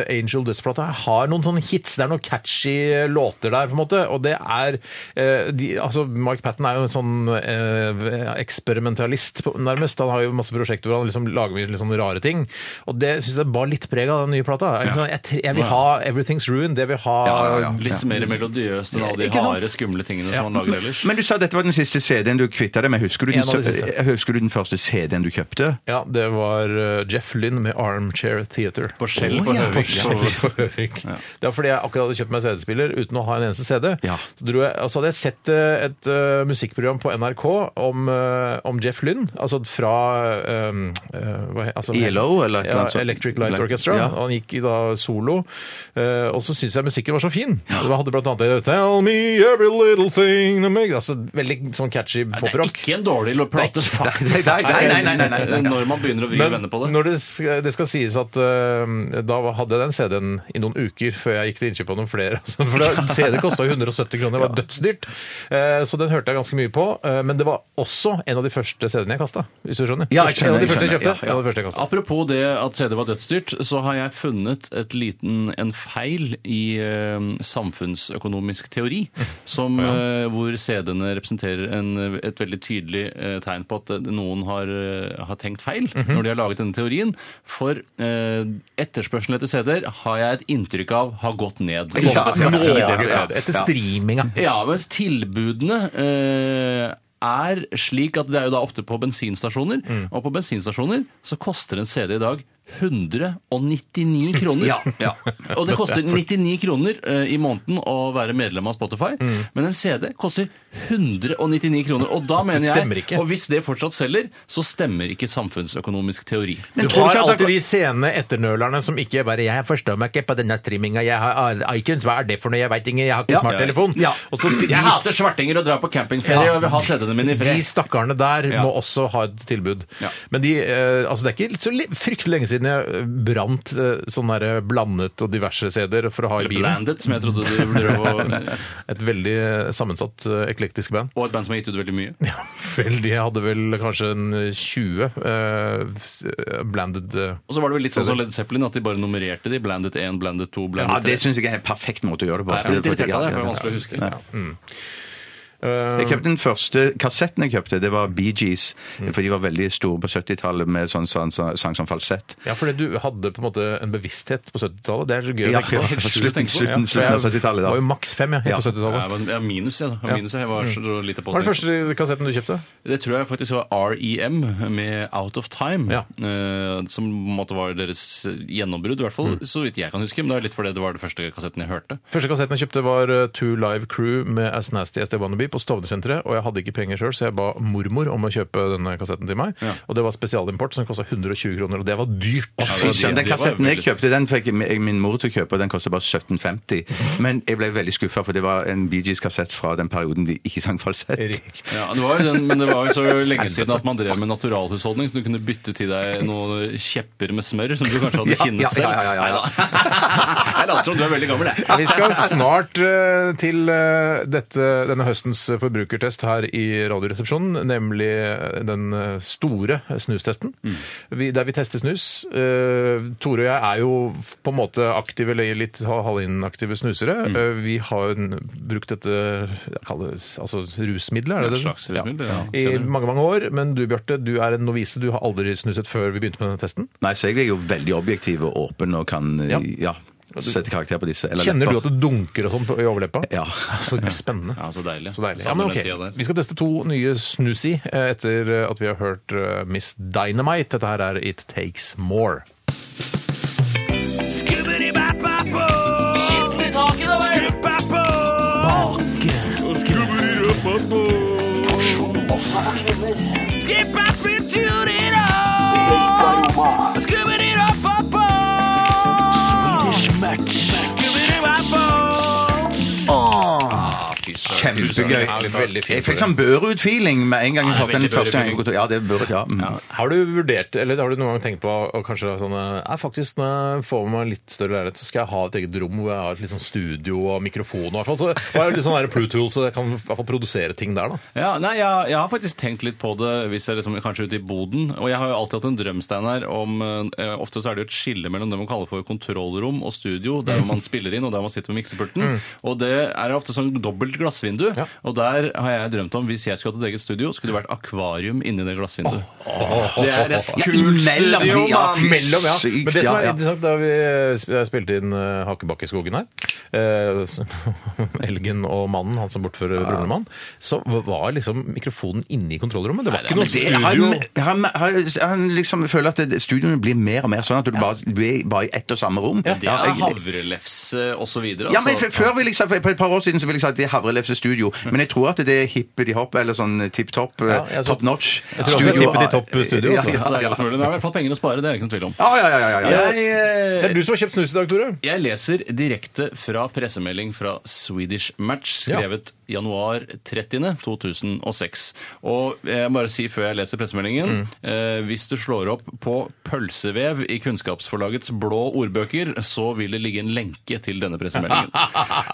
[SPEAKER 7] Angel Dust-plata har noen sånne hits. Det er noen catchy låter der, på en måte. Og det er eh, de, Altså, Mike Patten er jo en sånn eh, eksperimentalist, på- nærmest. Han har jo masse prosjekter hvor han liksom lager mye litt sånne rare ting. Og det syns jeg bar litt preg av den nye plata. Jeg, sånn, jeg, tre- jeg vil ha Everything's Ruined. Jeg vil ha
[SPEAKER 3] Ja, ja, ja.
[SPEAKER 8] Litt mer melodiøst enn alle de
[SPEAKER 7] Ikke sant?
[SPEAKER 8] harde, skumle tingene som han lager ellers.
[SPEAKER 3] Men du sa dette var den siste CD-en du kvitta deg med. Husker du den,
[SPEAKER 7] En av de
[SPEAKER 3] så-
[SPEAKER 7] siste.
[SPEAKER 3] eh, husker du den første CD-en du kjøpte?
[SPEAKER 7] Ja, det var eh, Jeff Lynn med Armchair Theater.
[SPEAKER 8] På skjell på
[SPEAKER 7] ja.
[SPEAKER 8] Høvik.
[SPEAKER 7] På skjell på Høvik. Det var fordi jeg akkurat hadde kjøpt meg CD-spiller uten å ha en eneste CD.
[SPEAKER 3] Ja.
[SPEAKER 7] Så, dro jeg, og så hadde jeg sett eh, et eh, musikkprogram på NRK om, eh, om Jeff Lynn, altså fra um, eh, hva he- altså,
[SPEAKER 3] ELO, E eller et eller
[SPEAKER 7] ja,
[SPEAKER 3] annet sånt.
[SPEAKER 7] Electric Light
[SPEAKER 3] Elect-
[SPEAKER 7] Orchestra.
[SPEAKER 3] Ja.
[SPEAKER 7] Og han gikk i da solo. eh, og så syntes jeg musikken var så fin. Det hadde blant annet Tell me every little thing to make Altså veldig sånn catchy
[SPEAKER 8] Det er
[SPEAKER 7] poprock.
[SPEAKER 8] ikke en dårlig lo- plate, faktisk.
[SPEAKER 3] nei, nei, nei, nei, nei, nei, nei.
[SPEAKER 8] Når man begynner å vri og vende på det.
[SPEAKER 7] når det skal, det skal sies at eh, da hadde jeg den CD-en i noen uker før jeg gikk til innkjøp av noen flere. altså, For da- CD kosta 170 kroner, det var dødsdyrt. Eh, Så den hørte jeg ganske mye på. eh, Men det var også en av de første CD-ene jeg kasta, hvis du skjønner.
[SPEAKER 3] Ja, jeg skjønner,
[SPEAKER 7] en av de
[SPEAKER 3] jeg
[SPEAKER 7] første
[SPEAKER 3] skjønner,
[SPEAKER 7] jeg kjøpte.
[SPEAKER 3] ja, ja.
[SPEAKER 7] En av de første jeg kastet.
[SPEAKER 8] Apropos det at CD var dødsdyrt, så har jeg funnet et liten, en feil i eh, samfunnsøkonomisk teori, som, eh, hvor CD-ene representerer en, et veldig tydelig eh, tegn på at eh, noen har, eh, har tenkt feil
[SPEAKER 3] Mhm.
[SPEAKER 8] når de har laget denne teorien. For eh, etterspørselen etter CD-er har jeg et inntrykk av har gått ned.
[SPEAKER 3] Ja, ja,
[SPEAKER 7] Altså,
[SPEAKER 3] ja,
[SPEAKER 8] Noe
[SPEAKER 3] ja,
[SPEAKER 8] ned.
[SPEAKER 3] ja.
[SPEAKER 7] Etter streaminga.
[SPEAKER 8] Ja, mens tilbudene eh, er slik at det er jo da ofte på bensinstasjoner,
[SPEAKER 7] Mm.
[SPEAKER 8] og på bensinstasjoner så koster en CD i dag 199 kroner. Og det koster 99 kroner eh, i måneden å være medlem av Spotify,
[SPEAKER 7] Mm.
[SPEAKER 8] men en CD koster 199 kroner. Og da mener
[SPEAKER 7] Det stemmer
[SPEAKER 8] jeg,
[SPEAKER 7] ikke.
[SPEAKER 8] og hvis det fortsatt selger, så stemmer ikke samfunnsøkonomisk teori.
[SPEAKER 7] Du
[SPEAKER 3] tror
[SPEAKER 7] har
[SPEAKER 3] ikke at det
[SPEAKER 7] alltid
[SPEAKER 3] går-
[SPEAKER 7] de sene etternølerne som ikke bare 'Jeg forstår meg ikke på denne streaminga. Jeg har ah, iTunes. Hva er det for noe? Jeg veit ingen. Jeg har
[SPEAKER 8] Ja.
[SPEAKER 7] ikke smarttelefon.'
[SPEAKER 8] Ja.
[SPEAKER 7] Og så de-
[SPEAKER 8] Jeg hater svartinger og drar på campingferie
[SPEAKER 7] Ja.
[SPEAKER 8] og vil ha CD-ene mine i
[SPEAKER 7] De
[SPEAKER 8] fred.
[SPEAKER 7] stakkarene der
[SPEAKER 8] Ja.
[SPEAKER 7] må også ha et tilbud.
[SPEAKER 8] Ja.
[SPEAKER 7] Men de, eh, altså det er ikke så li- fryktelig lenge siden jeg brant eh, sånne der blandet og diverse CD-er for å ha i bilen.
[SPEAKER 8] Blandet, som jeg trodde du drev og
[SPEAKER 7] Et veldig eh, sammensatt, eh, eklektisk band.
[SPEAKER 8] Og et band som har gitt ut veldig mye.
[SPEAKER 7] Ja, vel, de hadde vel kanskje en 20 eh, s- eh, blanded eh,
[SPEAKER 8] Og så var det vel litt sånn som Led Zeppelin, at de bare nummererte de. Blandet 1, Blandet 2,
[SPEAKER 3] Ja,
[SPEAKER 8] Blandet 3.
[SPEAKER 3] det syns jeg er en perfekt måte å gjøre det på.
[SPEAKER 8] Nei, jeg er litt
[SPEAKER 3] Det-
[SPEAKER 8] irritert av det, for det er vanskelig å huske.
[SPEAKER 3] Ja. Mm.
[SPEAKER 7] eh,
[SPEAKER 3] Jeg kjøpte den første kassetten jeg kjøpte, det var Bee Gees. For de var veldig store på 70-tallet med sånn sang, sang som falsett.
[SPEAKER 7] ja, fordi du hadde på en måte en bevissthet på 70-tallet. Det er så gøy. å
[SPEAKER 3] Ja,
[SPEAKER 7] tenke på.
[SPEAKER 3] helt
[SPEAKER 7] sjukt
[SPEAKER 3] slutten-
[SPEAKER 7] å tenke på.
[SPEAKER 3] slutten-
[SPEAKER 7] for
[SPEAKER 3] slutten
[SPEAKER 7] jeg
[SPEAKER 3] av 70-tallet, da.
[SPEAKER 7] Var jo maks fem jeg, helt på 70-tallet.
[SPEAKER 8] Jeg var, jeg var minus, jeg, da. Jeg var Minus, jeg. jeg var så lite på
[SPEAKER 7] Mm. Hva var den
[SPEAKER 8] det.
[SPEAKER 7] første kassetten du kjøpte?
[SPEAKER 8] Det tror jeg faktisk var REM med Out of Time,
[SPEAKER 7] Ja.
[SPEAKER 8] eh, som på en måte var deres gjennombrudd, i hvert
[SPEAKER 7] Mm.
[SPEAKER 8] fall så vidt jeg kan huske. Men det er litt fordi det var den første kassetten jeg hørte.
[SPEAKER 7] Første kassetten jeg kjøpte var eh, Two Live Crew med As Nasty As They Wanna Be på Stovner-senteret, og jeg hadde ikke penger sjøl, så jeg ba mormor om å kjøpe denne kassetten til meg. Og det var spesialimport som kosta 120 kroner, og det var dyrt.
[SPEAKER 3] Fy søren, Den
[SPEAKER 8] det var
[SPEAKER 3] kassetten jeg
[SPEAKER 8] veldig-
[SPEAKER 3] kjøpte, den fikk jeg min mor til å kjøpe, og den kostet bare 1750. Men jeg ble veldig skuffa, for det var en Bee Gees-kassett fra den perioden de ikke sang falsett.
[SPEAKER 7] Riktig.
[SPEAKER 8] Ja, det var jo den, men det var jo så lenge siden at man drev med naturalhusholdning, så du kunne bytte til deg noen kjepper med smør som du kanskje hadde
[SPEAKER 3] Ja,
[SPEAKER 8] kinnet
[SPEAKER 3] ja,
[SPEAKER 8] selv.
[SPEAKER 3] ja, ja, ja, ja.
[SPEAKER 8] Neida. Jeg later som du er veldig gammel, jeg.
[SPEAKER 7] Vi skal snart eh, til eh, dette, denne høstens forbrukertest her i Radioresepsjonen, nemlig den eh, store snustesten,
[SPEAKER 8] Mm.
[SPEAKER 7] vi, der vi tester snus. Eh, Tore og jeg er jo på en måte aktive, eller litt halvinaktive snusere.
[SPEAKER 8] Mm.
[SPEAKER 7] Eh, vi har en, brukt dette jeg kaller det, altså, rusmiddelet, er det
[SPEAKER 8] Ja,
[SPEAKER 7] det?
[SPEAKER 8] slags rusmiddel, ja.
[SPEAKER 7] I mange, mange år. Men du, Bjarte, du er en novise. Du har aldri snuset før vi begynte med denne testen.
[SPEAKER 3] Nei, så jeg er jo veldig objektiv og åpen og kan
[SPEAKER 7] Ja.
[SPEAKER 3] ja. sette karakter på disse. Eller
[SPEAKER 7] Kjenner du
[SPEAKER 3] lepper.
[SPEAKER 7] at det dunker og sånn på- i overleppa?
[SPEAKER 3] Ja.
[SPEAKER 7] Så spennende.
[SPEAKER 8] Ja, så deilig.
[SPEAKER 7] Så deilig. Ja,
[SPEAKER 8] Savner
[SPEAKER 7] men
[SPEAKER 8] den tida der.
[SPEAKER 7] ok. Vi skal teste to nye snusi eh, etter eh, at vi har hørt eh, Miss Dynamite. Dette her er It Takes More.
[SPEAKER 8] Fy
[SPEAKER 3] Kjempegøy.
[SPEAKER 7] Ja, det er veldig fint.
[SPEAKER 3] Jeg fikk sånn Børud-feeling med en gang jeg
[SPEAKER 8] Ja,
[SPEAKER 3] hørte den
[SPEAKER 8] veldig
[SPEAKER 3] første gang jeg
[SPEAKER 8] Børud-feeling.
[SPEAKER 3] gikk- Ja, det er Børud, ja. Mm.
[SPEAKER 7] Har du vurdert, eller har du noen gang tenkt på å kanskje ha sånn Nei, faktisk, når jeg får meg litt større leilighet, så skal jeg ha et eget rom hvor jeg har et litt sånn studio og mikrofon og i hvert fall. Så jeg har litt sånn der Pro Tools, så jeg kan i hvert fall produsere ting der, da.
[SPEAKER 8] Ja, nei, jeg, jeg har faktisk tenkt litt på det hvis jeg liksom, kanskje er ute i boden. Og jeg har jo alltid hatt en drøm, Steinar, om eh, Ofte så er det jo et skille mellom det man kaller for kontrollrom og studio, der hvor man spiller inn og der man sitter med miksepulten.
[SPEAKER 3] Mm.
[SPEAKER 8] Og det er ofte sånn dobbelt glassvindu. Og der har jeg drømt om, hvis jeg skulle hatt et eget studio, skulle det vært akvarium inni det glassvinduet. Det er et
[SPEAKER 3] Ja,
[SPEAKER 8] kult
[SPEAKER 3] imellom
[SPEAKER 8] studio,
[SPEAKER 3] de, ja,
[SPEAKER 8] mann!
[SPEAKER 3] fy
[SPEAKER 7] Mellom, ja.
[SPEAKER 3] Sykt,
[SPEAKER 7] Men det som
[SPEAKER 3] ja,
[SPEAKER 7] er
[SPEAKER 3] ja.
[SPEAKER 7] interessant, da vi eh, spilte inn eh, Hakebakkeskogen her, eh, så- Elgen og mannen, han som bortfører broren min, så var liksom mikrofonen inne i kontrollrommet. Det var ikke noe
[SPEAKER 3] Det- Han,
[SPEAKER 7] studio.
[SPEAKER 3] han, han, han liksom føler at det- studioene blir mer og mer sånn at du bare, du er bare i ett og samme rom.
[SPEAKER 8] Det er havrelefse og så videre.
[SPEAKER 3] Ja, men
[SPEAKER 8] altså.
[SPEAKER 3] f- før ville jeg sagt, For et par år siden så ville jeg sagt det er Havrelefse Studio, men jeg tror at det er hippety hopp eller sånn tipp topp,
[SPEAKER 7] jeg tror-
[SPEAKER 3] top notch.
[SPEAKER 7] jeg tror også det er tippity-topp studio,
[SPEAKER 3] Ja,
[SPEAKER 7] altså.
[SPEAKER 8] Ja, det er
[SPEAKER 3] ja,
[SPEAKER 8] godt mulig. Men Det er i hvert fall penger å spare, det er det ikke noe tvil om.
[SPEAKER 3] ja, ja, ja, ja, ja.
[SPEAKER 7] Jeg, eh, det er du som har kjøpt snus i dag, Tore.
[SPEAKER 8] Jeg leser direkte fra pressemelding fra Swedish Match, skrevet januar 30. 2006. Og jeg bare si før jeg leser pressemeldingen eh, Hvis du slår opp på pølsevev i Kunnskapsforlagets blå ordbøker, så vil det ligge en lenke til denne pressemeldingen.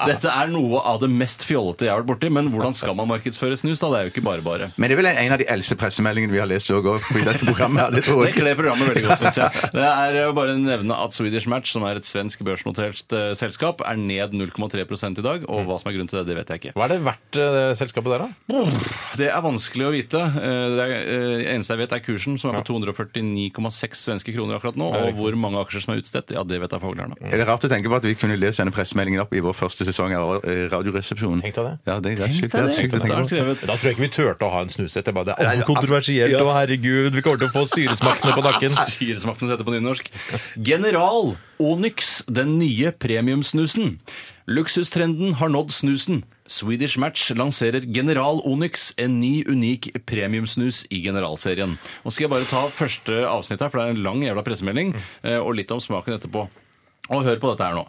[SPEAKER 8] Dette er noe av det mest fjollete jeg har vært borti, men hvordan skal man markedsføre snus? da? Det er jo ikke bare bare.
[SPEAKER 3] Men det er vel en av de eldste pressemeldingene vi har lest òg i dette programmet. her, Det tror
[SPEAKER 8] Det
[SPEAKER 3] jeg.
[SPEAKER 8] kler programmet veldig godt, synes jeg. Det er eh, bare å nevne at Swedish Match, som er et svensk børsnotert eh, selskap, er ned 0,3 i dag. Og hva som er grunnen til det, det vet jeg ikke.
[SPEAKER 7] Hva er det verdt, eh, det selskapet der, da?
[SPEAKER 8] Det er vanskelig å vite. Eh, Det er, eh, eneste jeg vet, er kursen, som er på 249,6 svenske kroner akkurat nå. Og hvor mange aksjer som er utstedt, ja, det vet jeg foglerne.
[SPEAKER 3] Er det rart å tenke på at vi kunne lest denne pressemeldingen opp i vår første sesong av eh, Radioresepsjonen?
[SPEAKER 7] Tenk deg det.
[SPEAKER 3] Ja, det er
[SPEAKER 8] Det
[SPEAKER 3] sykt, det
[SPEAKER 8] er
[SPEAKER 3] er sykt å tenke på.
[SPEAKER 8] skrevet.
[SPEAKER 7] Da tror jeg ikke vi turte å ha en snusete. Bare, det er kontroversielt, og herregud, vi kommer til å få styresmaktene på nakken.
[SPEAKER 8] Styresmakten heter på nynorsk. General Onyx, den nye premiumsnusen. Luksustrenden har nådd snusen. Swedish Match lanserer General Onyx, en ny, unik premiumsnus i generalserien. Og skal jeg bare ta første avsnitt her, for det er en lang jævla pressemelding, eh, og litt om smaken etterpå. Og hør på dette her nå.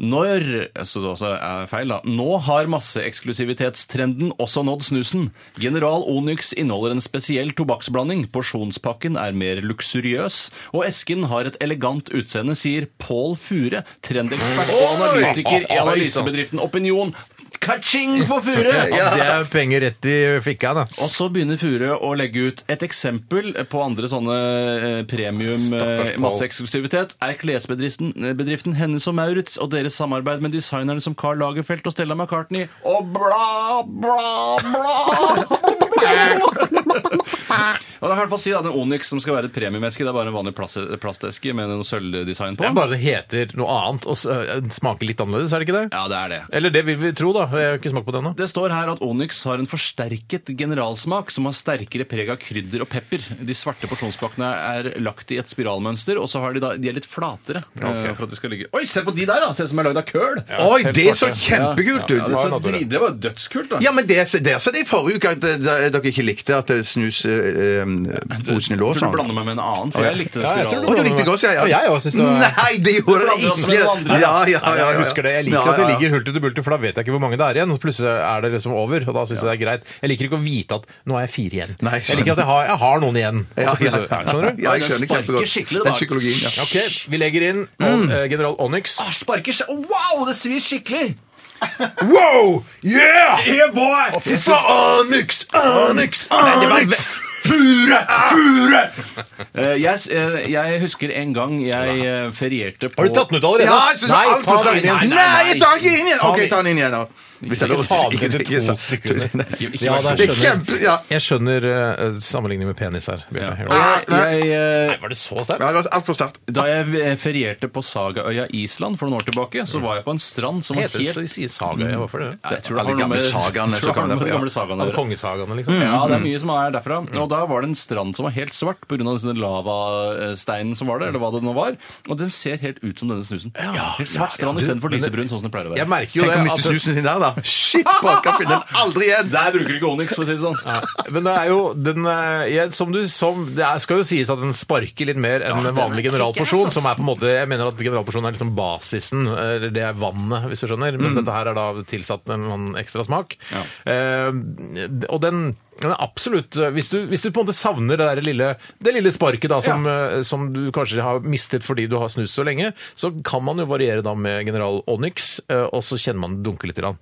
[SPEAKER 8] Når så det også er feil da, Nå har masseeksklusivitetstrenden også nådd snusen. General Onyx inneholder en spesiell tobakksblanding. Porsjonspakken er mer luksuriøs, og esken har et elegant utseende, sier Pål Fure, trendekspert og analytiker i analysebedriften Opinion. Kaching for Fure!
[SPEAKER 7] Ja, det er penger rett i fikka, da.
[SPEAKER 8] Og så begynner Fure å legge ut et eksempel på andre sånne eh, premium eh,
[SPEAKER 7] Stakkars Paul.
[SPEAKER 8] masseeksklusivitet. Er klesbedriften eh, bedriften Hennes og Maurits og deres samarbeid med designerne som Carl Lagerfeldt og Stella McCartney og bla, bla, bla! Og da kan jeg i hvert fall si da, Den Onyx som skal være et premiumeske, det er bare en vanlig plass- plasteske med noe sølvdesign på.
[SPEAKER 7] Det er bare det heter noe annet og s- eh, smaker litt annerledes, er det ikke det?
[SPEAKER 8] Ja, det er det.
[SPEAKER 7] Eller det vil vi tro, da. Jeg har ikke smakt på det ennå.
[SPEAKER 8] Det står her at Onyx har en forsterket generalsmak som har sterkere preg av krydder og pepper. De svarte porsjonspakkene er lagt i et spiralmønster, og så har de da, de er litt flatere. eh, For at de skal ligge. Oi, se på de der, da! Se ut som er lagd av køl! Ja,
[SPEAKER 3] Oi,
[SPEAKER 7] Selv
[SPEAKER 3] det så
[SPEAKER 7] svarte.
[SPEAKER 3] kjempekult
[SPEAKER 8] det,
[SPEAKER 3] ut!
[SPEAKER 8] er
[SPEAKER 7] Ja,
[SPEAKER 8] så
[SPEAKER 7] Tore.
[SPEAKER 8] drit- det var jo dødskult, da!
[SPEAKER 3] Ja, men der, der sa de i forrige uke at eh, da- dere ikke likte at eh, snus eh, eh, posene lå
[SPEAKER 8] Jeg tror du
[SPEAKER 3] sånn.
[SPEAKER 8] blander meg med en annen, for jeg likte den
[SPEAKER 7] Ja, jeg tror
[SPEAKER 8] spiralen.
[SPEAKER 3] Å, du likte det godt, ja?
[SPEAKER 7] Ja, jeg også synes det var-
[SPEAKER 3] Nei, det gjorde
[SPEAKER 8] Du
[SPEAKER 3] det
[SPEAKER 8] blander oss med
[SPEAKER 3] ikke!
[SPEAKER 8] noen andre, da.
[SPEAKER 3] Ja, ja, ja,
[SPEAKER 7] Nei,
[SPEAKER 3] ja, ja.
[SPEAKER 7] jeg husker det. Jeg
[SPEAKER 3] Ja,
[SPEAKER 7] liker at det
[SPEAKER 3] ja, ja.
[SPEAKER 7] ligger hulter til bulter, for da vet jeg ikke hvor mange det er igjen. Og plutselig er det liksom over, og da syns jeg det er greit. Jeg liker ikke å vite at nå er jeg fire igjen.
[SPEAKER 3] Nei,
[SPEAKER 7] jeg liker at jeg har, jeg har noen igjen. Og
[SPEAKER 3] Ja,
[SPEAKER 7] så
[SPEAKER 3] ja,
[SPEAKER 7] plutselig-
[SPEAKER 3] ja.
[SPEAKER 7] Skjønner du?
[SPEAKER 3] Ja, jeg
[SPEAKER 8] Den
[SPEAKER 3] skjønner
[SPEAKER 8] sparker
[SPEAKER 3] kjempegodt.
[SPEAKER 8] skikkelig,
[SPEAKER 3] Den
[SPEAKER 8] da.
[SPEAKER 3] psykologien, ja.
[SPEAKER 7] OK, vi legger inn
[SPEAKER 3] Mm.
[SPEAKER 7] eh, General Onyx.
[SPEAKER 8] Ah, Sparker seg Wow, det svir skikkelig!
[SPEAKER 7] Wow! Yeah! Yeah, boy! Fy faen! Onyx! Onyx! Onyx! Fure! Fure!
[SPEAKER 8] Eh, Jeg, s- eh, jeg husker en gang jeg eh, ferierte på
[SPEAKER 7] Har du tatt den ut allerede?
[SPEAKER 3] Ja, jeg synes
[SPEAKER 7] Nei,
[SPEAKER 3] alt for
[SPEAKER 7] ta den
[SPEAKER 3] inn igjen.
[SPEAKER 7] inn.
[SPEAKER 3] Nei, jeg tar ikke inn igjen!
[SPEAKER 7] Ta
[SPEAKER 3] OK,
[SPEAKER 7] den-
[SPEAKER 3] ta den inn igjen, da. Hvis det er lov å
[SPEAKER 7] Ta
[SPEAKER 3] si
[SPEAKER 7] den
[SPEAKER 3] det,
[SPEAKER 7] til
[SPEAKER 3] ikke
[SPEAKER 7] to
[SPEAKER 3] sant?
[SPEAKER 7] sekunder.
[SPEAKER 8] Ikke
[SPEAKER 7] Ja,
[SPEAKER 8] vær
[SPEAKER 7] da
[SPEAKER 8] så-
[SPEAKER 3] Det er kjempe... Ja.
[SPEAKER 7] Jeg skjønner eh, sammenligning med penis her. Bjørte. Gjør det?
[SPEAKER 8] Jeg, jeg, eh,
[SPEAKER 7] Nei, Var det så sterkt?
[SPEAKER 3] Ja, det var altfor sterkt.
[SPEAKER 8] Da jeg eh, ferierte på Sagaøya Island for noen år tilbake, så var jeg på en strand som var
[SPEAKER 7] Heter
[SPEAKER 8] helt
[SPEAKER 7] det så- sier Sagaøya? Hvorfor
[SPEAKER 3] Mm.
[SPEAKER 7] det?
[SPEAKER 8] Nei, jeg tror
[SPEAKER 3] Alle
[SPEAKER 8] har noe
[SPEAKER 3] gamle
[SPEAKER 8] med-
[SPEAKER 3] sagaene,
[SPEAKER 8] tror det har noe
[SPEAKER 3] så kan det- Mm.
[SPEAKER 8] med
[SPEAKER 3] ja.
[SPEAKER 8] gamle sagaene å
[SPEAKER 7] Altså
[SPEAKER 8] gjøre.
[SPEAKER 7] kongesagaene, liksom?
[SPEAKER 8] Ja, det er mye som er derfra. Og da var det en strand som var helt svart pga. den lavasteinen som var der, eller hva det nå var. Og den ser helt ut som denne snusen. Ja, helt svart strand istedenfor lysebrun, sånn som det pleier å være.
[SPEAKER 7] Jeg merker jo
[SPEAKER 3] Tenk å
[SPEAKER 7] det
[SPEAKER 3] miste
[SPEAKER 7] at
[SPEAKER 3] snusen sin der, da. Shit, pokker, finner den aldri igjen!
[SPEAKER 8] Der bruker du ikke Onyx, for å si det sånn.
[SPEAKER 7] Men det er jo den eh, jeg, som du, som, Det er, skal jo sies at den sparker litt mer enn en vanlig generalporsjon,
[SPEAKER 8] altså
[SPEAKER 7] som er på en måte Jeg mener at generalporsjonen er liksom basisen, eller det er vannet, hvis du skjønner.
[SPEAKER 8] Mm.
[SPEAKER 7] Mens dette her er da tilsatt en, en ekstra smak. Eh, og den den er absolutt, hvis du, hvis du på en måte savner det, der lille, det lille sparket da, som, eh, som du kanskje har mistet fordi du har snust så lenge, så kan man jo variere da med General Onyx, eh, og så kjenner man det dunke litt. Grann.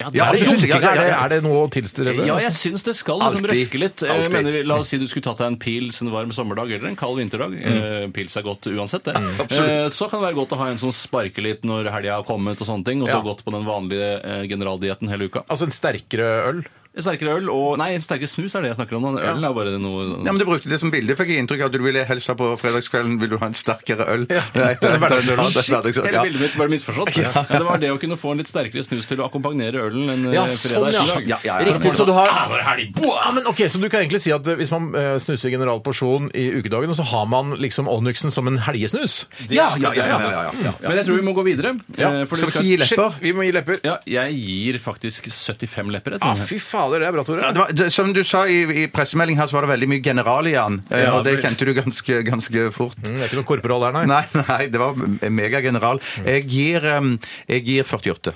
[SPEAKER 8] Ja, det
[SPEAKER 7] er, det
[SPEAKER 8] synes jeg-
[SPEAKER 7] dunking,
[SPEAKER 8] ja, ja,
[SPEAKER 7] er, det,
[SPEAKER 8] ja.
[SPEAKER 7] er det noe å tilstrebe?
[SPEAKER 8] Ja, jeg syns det skal liksom
[SPEAKER 3] Alltid.
[SPEAKER 8] røske litt. Jeg
[SPEAKER 3] Alltid.
[SPEAKER 8] mener, la oss si du skulle tatt deg en pils en varm sommerdag eller en kald vinterdag.
[SPEAKER 7] Mm.
[SPEAKER 8] Eh, Pils er godt uansett, det. Eh, Så kan det være godt å ha en som sparker litt når helga har kommet og sånne ting, og du
[SPEAKER 7] Ja.
[SPEAKER 8] har gått på den vanlige eh, generaldietten hele uka.
[SPEAKER 7] Altså en sterkere øl?
[SPEAKER 8] Sterkere øl og Nei, sterkere snus er det jeg snakker om. Øl er bare noe
[SPEAKER 3] Ja, men Du brukte det som bilde. Fikk jeg inntrykk av at du ville helst ha på fredagskvelden Vil du ha en sterkere øl. Ja.
[SPEAKER 7] det er hverdagsøl.
[SPEAKER 8] Hele bildet mitt ble misforstått. Ja. Men det var det å kunne få en litt sterkere snus til å akkompagnere ølen en eh,
[SPEAKER 7] Ja, sånn,
[SPEAKER 8] fredag
[SPEAKER 7] ja.
[SPEAKER 8] ettermiddag.
[SPEAKER 3] Ja, ja, ja.
[SPEAKER 7] Riktig, så du
[SPEAKER 8] Ah,
[SPEAKER 7] har
[SPEAKER 8] nå er det helg!
[SPEAKER 7] ja,
[SPEAKER 8] Boah!
[SPEAKER 7] men ok, Så du kan egentlig si at eh, hvis man eh, snuser general porsjon i ukedagen, og så har man liksom Onyxen som en helgesnus?
[SPEAKER 3] Ja, ja, ja, ja, ja, ja.
[SPEAKER 8] Men jeg tror vi må gå videre. eh, for vi
[SPEAKER 3] Skal vi ikke gi lepper?
[SPEAKER 7] Shit, vi må gi lepper.
[SPEAKER 8] Ja, jeg gir faktisk 75 lepper. Jeg,
[SPEAKER 7] Ah,
[SPEAKER 8] tror jeg.
[SPEAKER 7] fy fader, det er bra, Tore.
[SPEAKER 3] Ja, det var, det, som du sa i, i pressemeldingen her, så var det veldig mye general i han. eh,
[SPEAKER 8] Ja,
[SPEAKER 3] og det
[SPEAKER 8] for-
[SPEAKER 3] kjente du ganske, ganske fort.
[SPEAKER 7] Mm, Det er ikke noe korporal der, nei.
[SPEAKER 3] Nei, nei, det var megageneral. Jeg gir, em, jeg gir 48.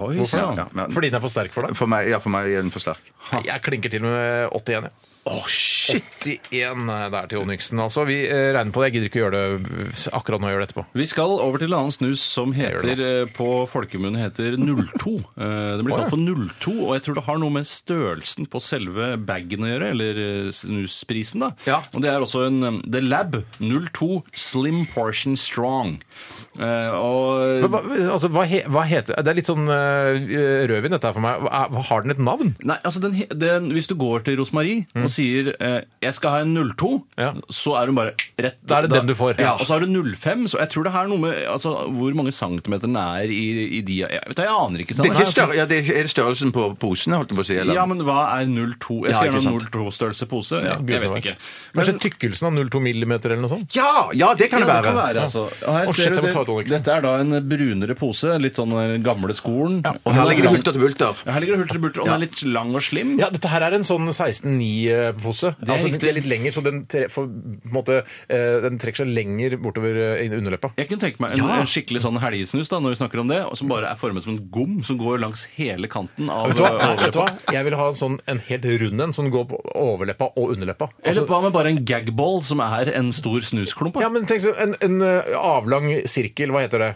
[SPEAKER 8] Oi, sann.
[SPEAKER 3] Ja, men,
[SPEAKER 7] Fordi den er for sterk for deg?
[SPEAKER 3] for meg, ja, for meg er den for sterk.
[SPEAKER 7] Nei, Jeg klinker til med 81, jeg. Å, shit! 81 der til Onyxen, altså. Vi eh, regner på det. Jeg gidder ikke å gjøre det eh, akkurat nå. Jeg gjør det etterpå.
[SPEAKER 8] Vi skal over til en annen snus som
[SPEAKER 7] gjør
[SPEAKER 8] heter, eh, på folkemunne heter 02. Eh, Det blir kalt for 02, og jeg tror det har noe med størrelsen på selve bagen å gjøre, eller eh, snusprisen, da.
[SPEAKER 3] Ja.
[SPEAKER 8] Og det er også en eh, The Lab 02 Slim Portion Strong. Eh, Og
[SPEAKER 7] Men Hva, altså, hva, he, hva heter Det er litt sånn eh, rødvin, dette her for meg. Hva, er- har den et navn?
[SPEAKER 8] Nei, altså den, he- den, Hvis du går til Rosmarie og sier eh, 'jeg skal ha en 02',
[SPEAKER 7] Mm. Ja.
[SPEAKER 8] så er hun bare rett
[SPEAKER 7] Da er det den du får.
[SPEAKER 8] Ja.
[SPEAKER 7] Ja.
[SPEAKER 8] Og så har du 05, så jeg tror det her er noe med altså, hvor mange centimeter den er i, i de Jeg, vet, du, jeg aner ikke.
[SPEAKER 3] Det er,
[SPEAKER 8] Steinar.
[SPEAKER 3] ikke større, ja, det er, er det størrelsen på posene, holdt jeg på å si? Eller?
[SPEAKER 8] Ja, men hva er 02? Jeg
[SPEAKER 3] Ja,
[SPEAKER 8] skal
[SPEAKER 3] ikke
[SPEAKER 8] gjerne ha 02-størrelse pose.
[SPEAKER 7] Gud,
[SPEAKER 8] jeg vet
[SPEAKER 7] vet.
[SPEAKER 8] ikke.
[SPEAKER 7] Kanskje tykkelsen av 0,2 millimeter eller noe sånt?
[SPEAKER 3] ja, ja, det kan det være.
[SPEAKER 8] altså. Og her
[SPEAKER 7] Å, shit,
[SPEAKER 8] ser
[SPEAKER 7] jeg
[SPEAKER 8] du
[SPEAKER 7] må
[SPEAKER 8] det,
[SPEAKER 7] ta Donaldsen.
[SPEAKER 8] dette er da en brunere pose, litt sånn den gamle skolen.
[SPEAKER 3] Og her ligger det hulter til bulter.
[SPEAKER 8] Ja, her ligger det hulter til bulter, og den er litt lang og slim.
[SPEAKER 7] Ja, dette her er en sånn 16-9-pose.
[SPEAKER 8] er
[SPEAKER 7] Altså, den
[SPEAKER 8] riktig.
[SPEAKER 7] er litt lenger, så den, tre, får, på en måte, eh, den trekker seg lenger bortover eh, inn- underleppa.
[SPEAKER 8] Jeg kunne tenke meg en, en skikkelig sånn helgesnus da, når vi snakker om det, og som bare er formet som en gom som går langs hele kanten av
[SPEAKER 7] Vet du hva?
[SPEAKER 8] eh,
[SPEAKER 7] Vet du hva?
[SPEAKER 8] overleppa.
[SPEAKER 7] Jeg vil ha en, sånn, en helt rund en som går på overleppa og underleppa. Altså,
[SPEAKER 8] Eller hva med bare en gagball som er en stor snusklump? da?
[SPEAKER 7] ja, men tenk så, en, en eh, avlang sirkel, hva heter det?